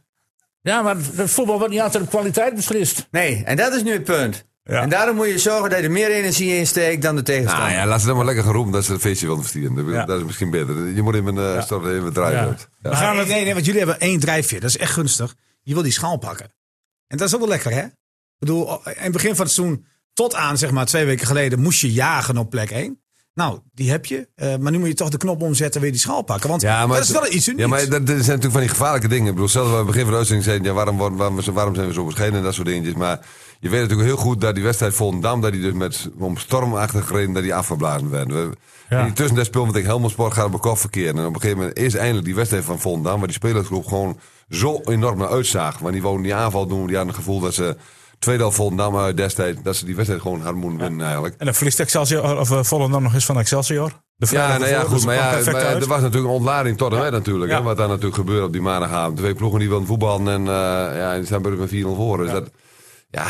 Speaker 2: Ja, maar het voetbal wordt niet altijd op kwaliteit beslist.
Speaker 3: Nee, en dat is nu het punt.
Speaker 4: Ja.
Speaker 3: En daarom moet je zorgen dat je er meer energie in steekt dan de tegenstander.
Speaker 5: Nou ja, laat ze dan maar lekker geroepen dat ze het feestje willen verstieren. Dat, dat is misschien beter. Je moet even, eh starten, even draaien.
Speaker 2: Ja.
Speaker 5: uit. Ja.
Speaker 4: We gaan
Speaker 6: nee,
Speaker 4: het...
Speaker 6: nee, nee, want jullie hebben één drijfveer. Dat is echt gunstig. Je wil die schaal pakken. En dat is ook wel lekker, hè? Ik bedoel, oh, in het begin van het seizoen tot aan, zeg maar, twee weken geleden... moest je jagen op plek één. Nou, die heb je. Eh, maar nu moet je toch de knop omzetten en weer die schaal pakken. Want
Speaker 5: Ja, maar
Speaker 6: dat is wel iets unieks.
Speaker 5: Ja, maar dat, dat zijn natuurlijk van die gevaarlijke dingen. Ik bedoel, zelfs waar we aan het begin van de uitzending zeiden... Ja, waarom, worden- waarom, waarom zijn we zo verschenen en dat soort dingetjes. Maar je weet natuurlijk heel goed dat die wedstrijd Volendam... dat die dus met om stormachtige reden dat die afgeblazen werd. We,
Speaker 2: Ja.
Speaker 5: In die tussentijd speelde met Helmond Sport gaat op een kop verkeerd. En op een gegeven moment is eindelijk die wedstrijd van Volendam... waar die spelersgroep gewoon zo enorm naar uitzaag. Want die wouden die aanval doen. Die hadden het gevoel dat ze... Tweede helft Volendam uit destijds... dat ze die wedstrijd gewoon hadden moeten winnen eigenlijk.
Speaker 4: En dan verliest Excelsior, of eh, Volendam nog eens van Excelsior. De
Speaker 5: Ja,
Speaker 4: vrijdag
Speaker 5: nou ja,
Speaker 4: ervoor,
Speaker 5: goed.
Speaker 4: dus
Speaker 5: Maar
Speaker 4: het
Speaker 5: ja,
Speaker 4: kwam perfect
Speaker 5: maar
Speaker 4: uit.
Speaker 5: er was natuurlijk een ontlading tot en met natuurlijk.
Speaker 4: Ja.
Speaker 5: Hè, wat daar natuurlijk gebeurde op die maandagavond. Twee ploegen die wilden voetballen en eh ja, en die staan bij met 4-0 voor. Dus dat, ja...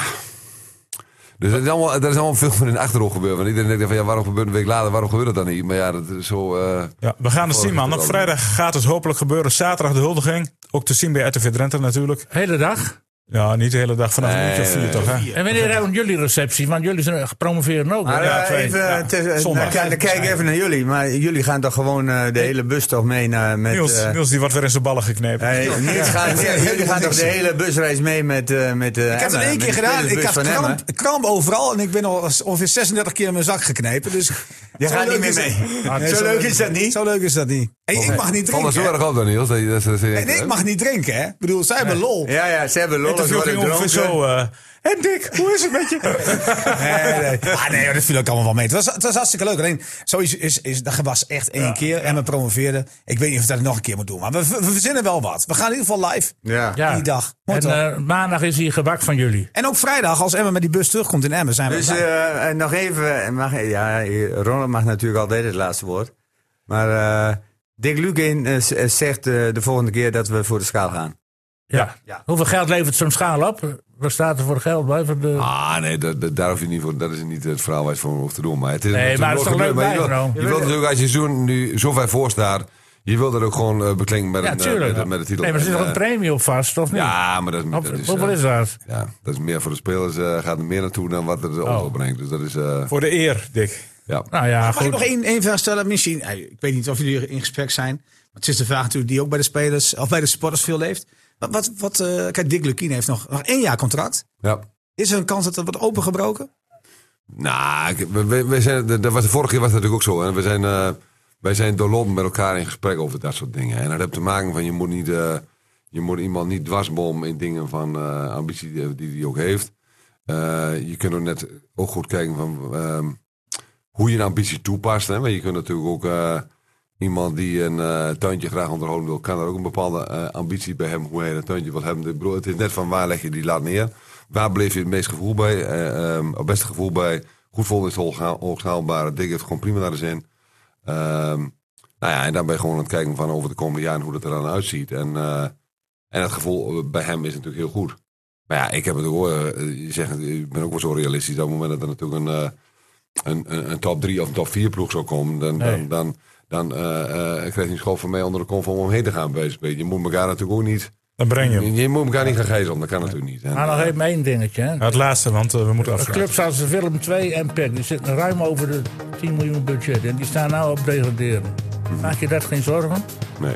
Speaker 5: Dus dat is allemaal, er is allemaal veel van in de achterhoofd gebeurd. Want iedereen denkt dan van, ja, waarom gebeurt het een week later? Waarom gebeurt het dan niet? Maar ja, dat is zo... eh,
Speaker 4: Ja, we gaan het zien, man.
Speaker 5: het
Speaker 4: Op
Speaker 5: wel.
Speaker 4: vrijdag gaat het hopelijk gebeuren. Zaterdag de huldiging. Ook te zien bij RTV Drenthe natuurlijk.
Speaker 2: Hele dag.
Speaker 4: Ja, niet de hele dag vanaf een uurtje of vier, toch? Hè?
Speaker 2: En wanneer hebben jullie receptie? Want jullie zijn gepromoveerd ook. hè?
Speaker 3: Maar
Speaker 4: Ja,
Speaker 3: eh,
Speaker 4: twee.
Speaker 3: even,
Speaker 4: Ja.
Speaker 3: te- eh,
Speaker 4: Zondag.
Speaker 3: nou, kijk- dan kijk ik even naar jullie. Maar jullie gaan toch gewoon eh, de hele bus toch mee naar... Met,
Speaker 4: Niels,
Speaker 3: eh,
Speaker 4: Niels, die wordt weer in zijn ballen geknepen.
Speaker 3: hey, Niels gaat- jullie gaan toch de hele busreis mee met... eh met
Speaker 6: Ik heb het één keer gedaan. Ik had kramp, kramp overal. En ik ben al eens- ongeveer 36 keer in mijn zak geknepen. Dus
Speaker 3: Je
Speaker 6: zo
Speaker 3: gaat
Speaker 6: leuk
Speaker 3: niet meer
Speaker 6: is het-
Speaker 3: mee.
Speaker 6: Nee,
Speaker 3: Zo leuk is dat niet.
Speaker 6: Zo leuk is dat niet. Hey, ik mag niet
Speaker 5: Val
Speaker 6: drinken.
Speaker 5: er zo
Speaker 6: hè?
Speaker 5: erg op dan, Niels. Dat je, dat ze- dat ze
Speaker 6: En
Speaker 5: denken,
Speaker 6: ik
Speaker 5: hè?
Speaker 6: mag niet drinken, hè? Ik bedoel, zij hebben lol.
Speaker 3: Ja, ja, ze hebben lol.
Speaker 4: En toen
Speaker 3: als
Speaker 4: viel
Speaker 3: worden
Speaker 4: ik ongeveer
Speaker 3: dronken.
Speaker 4: zo. eh en Dick, hoe is het met je?
Speaker 6: Nee, nee. Ah, nee, dat viel ook allemaal wel mee. Het was, het was hartstikke leuk. Alleen, zoiets is, is, dat was echt één keer. En we promoveerden. Ik weet niet of we dat nog een keer moet doen. Maar we, we verzinnen wel wat. We gaan in ieder geval live.
Speaker 3: Ja.
Speaker 2: Ja.
Speaker 6: Die dag. Mooi
Speaker 2: En
Speaker 6: toch?
Speaker 2: eh, maandag is hier gebak van jullie.
Speaker 6: En ook vrijdag, als Emma met die bus terugkomt in Emmen, zijn we
Speaker 3: Dus
Speaker 6: daar.
Speaker 3: eh, eh, nog even, mag, ja, Ronald mag natuurlijk altijd het laatste woord. Maar eh, Dick Lugin eh, z- eh, zegt eh, de volgende keer dat we voor de schaal gaan.
Speaker 2: Ja.
Speaker 3: Ja.
Speaker 2: Hoeveel geld levert zo'n schaal op? Waar staat er voor geld bij? Van de...
Speaker 5: Ah, nee, dat, dat, daar hoef je niet voor, dat is niet het verhaal waar je het voor hoeft te doen. Maar het is
Speaker 2: Nee, maar het is toch leuk
Speaker 5: maar je
Speaker 2: bij,
Speaker 5: wil-
Speaker 2: Ron?
Speaker 5: Je wilt natuurlijk, als je zo, nu zo ver voor staat, je wilt dat ook gewoon eh, beklinken met,
Speaker 2: ja,
Speaker 5: een, eh,
Speaker 2: tuurlijk.
Speaker 5: met, een- met de titel.
Speaker 2: Nee, maar er zit
Speaker 5: En,
Speaker 2: toch een
Speaker 5: eh,
Speaker 2: premie op vast, of niet?
Speaker 5: Ja, maar dat is...
Speaker 2: Of-
Speaker 5: dat is,
Speaker 2: hoeveel
Speaker 5: eh,
Speaker 2: is dat?
Speaker 5: Ja, dat is meer voor de spelers, eh, gaat er meer naartoe dan wat het
Speaker 2: Oh.
Speaker 5: opbrengt. Dus dat is, eh,
Speaker 4: Voor de eer, Dick.
Speaker 5: ja.
Speaker 2: Nou ja,
Speaker 6: Mag ik nog
Speaker 2: goed.
Speaker 6: één, één vraag stellen? Misschien, eh, ik weet niet of jullie in gesprek zijn. Maar het is de vraag natuurlijk die ook bij de spelers of bij de supporters veel leeft. Wat, wat, wat, eh, kijk, Dick Lukien heeft nog, nog één jaar contract.
Speaker 5: ja.
Speaker 6: Is er een kans dat dat wordt opengebroken?
Speaker 5: Nou, ik- we, we- we zijn, dat was, de vorige keer was dat natuurlijk ook zo. En we zijn, eh, wij zijn doorlopend met elkaar in gesprek over dat soort dingen. En dat heeft te maken van je moet, niet, eh, je moet iemand niet dwarsbomen in dingen van eh, ambitie die- die hij ook heeft. Eh, je kunt ook net ook goed kijken van ehm, hoe je een ambitie toepast. Hè? Want je kunt natuurlijk ook eh, iemand die een eh, tuintje graag onderhouden wil, kan er ook een bepaalde eh, ambitie bij hebben hoe hij een tuintje wil hebben. Ik bedoel, het is net van waar leg je die laat neer. Waar bleef je het meest gevoel bij? eh, ehm, het beste gevoel bij. Goed vol is het hoogschaalbare. Dik heeft gewoon prima naar de zin. Ehm, nou ja, en dan ben je gewoon aan het kijken van over de komende jaren hoe dat er dan uitziet. En, eh, en het gevoel eh, bij hem is natuurlijk heel goed. Maar ja, ik heb het ook, eh, je zegt, ik ben ook wel zo realistisch. Op het moment dat er natuurlijk een, eh, een, een, een top 3 of een top 4 ploeg zou komen, dan,
Speaker 2: Nee.
Speaker 5: dan, dan, dan eh, eh, krijg je een school van mij onder de kont om omheen te gaan. bij wijze van spreken. Je moet elkaar natuurlijk ook niet.
Speaker 4: Dan breng je hem.
Speaker 5: Je moet elkaar niet gaan gijzelen, dat kan natuurlijk niet. En,
Speaker 2: Maar nog
Speaker 5: eh,
Speaker 2: even één dingetje. Hè.
Speaker 4: Nou, het laatste, want eh, we moeten
Speaker 2: De
Speaker 4: afsluiten.
Speaker 2: clubs als Willem 2 en PEC, die zitten ruim over de 10 miljoen budget. En die staan nou op degraderen. Maak je dat geen zorgen?
Speaker 5: nee.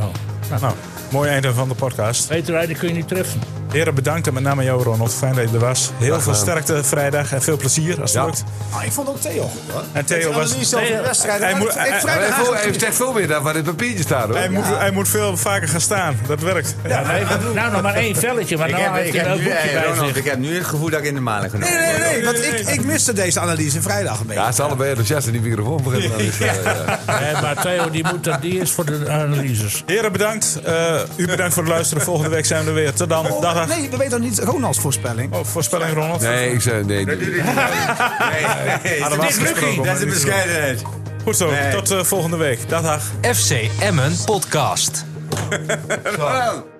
Speaker 2: Oh.
Speaker 4: Nou, mooi einde van de podcast.
Speaker 2: Beter rijden kun je niet treffen.
Speaker 4: Heren, bedankt en met name jou, Ronald. Fijn dat je er was. Heel
Speaker 5: Graag
Speaker 4: veel
Speaker 5: gedaan.
Speaker 4: sterkte vrijdag en veel plezier als het
Speaker 5: Ja.
Speaker 4: lukt.
Speaker 6: Ah, ik vond ook Theo goed hoor.
Speaker 4: En Theo was.
Speaker 6: Analyse over de wedstrijd.
Speaker 4: Hij
Speaker 6: Ik-
Speaker 4: moet-
Speaker 6: ik-
Speaker 4: hij-
Speaker 5: Maar
Speaker 6: vrijdag
Speaker 5: hij
Speaker 6: haast-
Speaker 5: voelt- hij zegt veel meer dan waar dit papiertje staat hoor.
Speaker 4: Hij moet, hij moet veel vaker gaan staan. Dat werkt.
Speaker 2: Ja, nee, nou, nog maar één velletje, maar
Speaker 3: Ik
Speaker 2: nou
Speaker 3: heb,
Speaker 2: heeft
Speaker 3: ik,
Speaker 2: hij
Speaker 3: heb
Speaker 2: een
Speaker 3: nu,
Speaker 2: leuk boekje
Speaker 3: eh,
Speaker 2: bij
Speaker 3: Ronald,
Speaker 2: zich.
Speaker 3: ik heb nu het gevoel dat ik in de maling genomen
Speaker 6: Nee, nee,
Speaker 3: word.
Speaker 6: nee, want ik, ik miste deze analyse vrijdag een beetje.
Speaker 5: Ja, ze zijn allebei enthousiast in die microfoon beginnen. dan is, eh, ja.
Speaker 2: Nee, maar Theo, die, moet, dat- die is voor de analyses.
Speaker 4: Heren, bedankt. Eh, u bedankt voor het luisteren. Volgende week zijn we er weer. Tot dan. Dag, dag.
Speaker 6: Nee, we weten nog niet Ronalds voorspelling.
Speaker 4: Oh, voorspelling, Ronald.
Speaker 5: Nee, ik zei nee. doe dit.
Speaker 3: nee.
Speaker 4: Hadden we
Speaker 3: Dick
Speaker 4: afgesproken
Speaker 3: Lugin,
Speaker 4: om
Speaker 3: dat is de
Speaker 4: dat niet te doen.
Speaker 3: bescheidenheid.
Speaker 4: Goed zo.
Speaker 3: Nee.
Speaker 4: Tot eh, volgende week. Dag, dag.
Speaker 1: FC Emmen Podcast.
Speaker 3: Zo.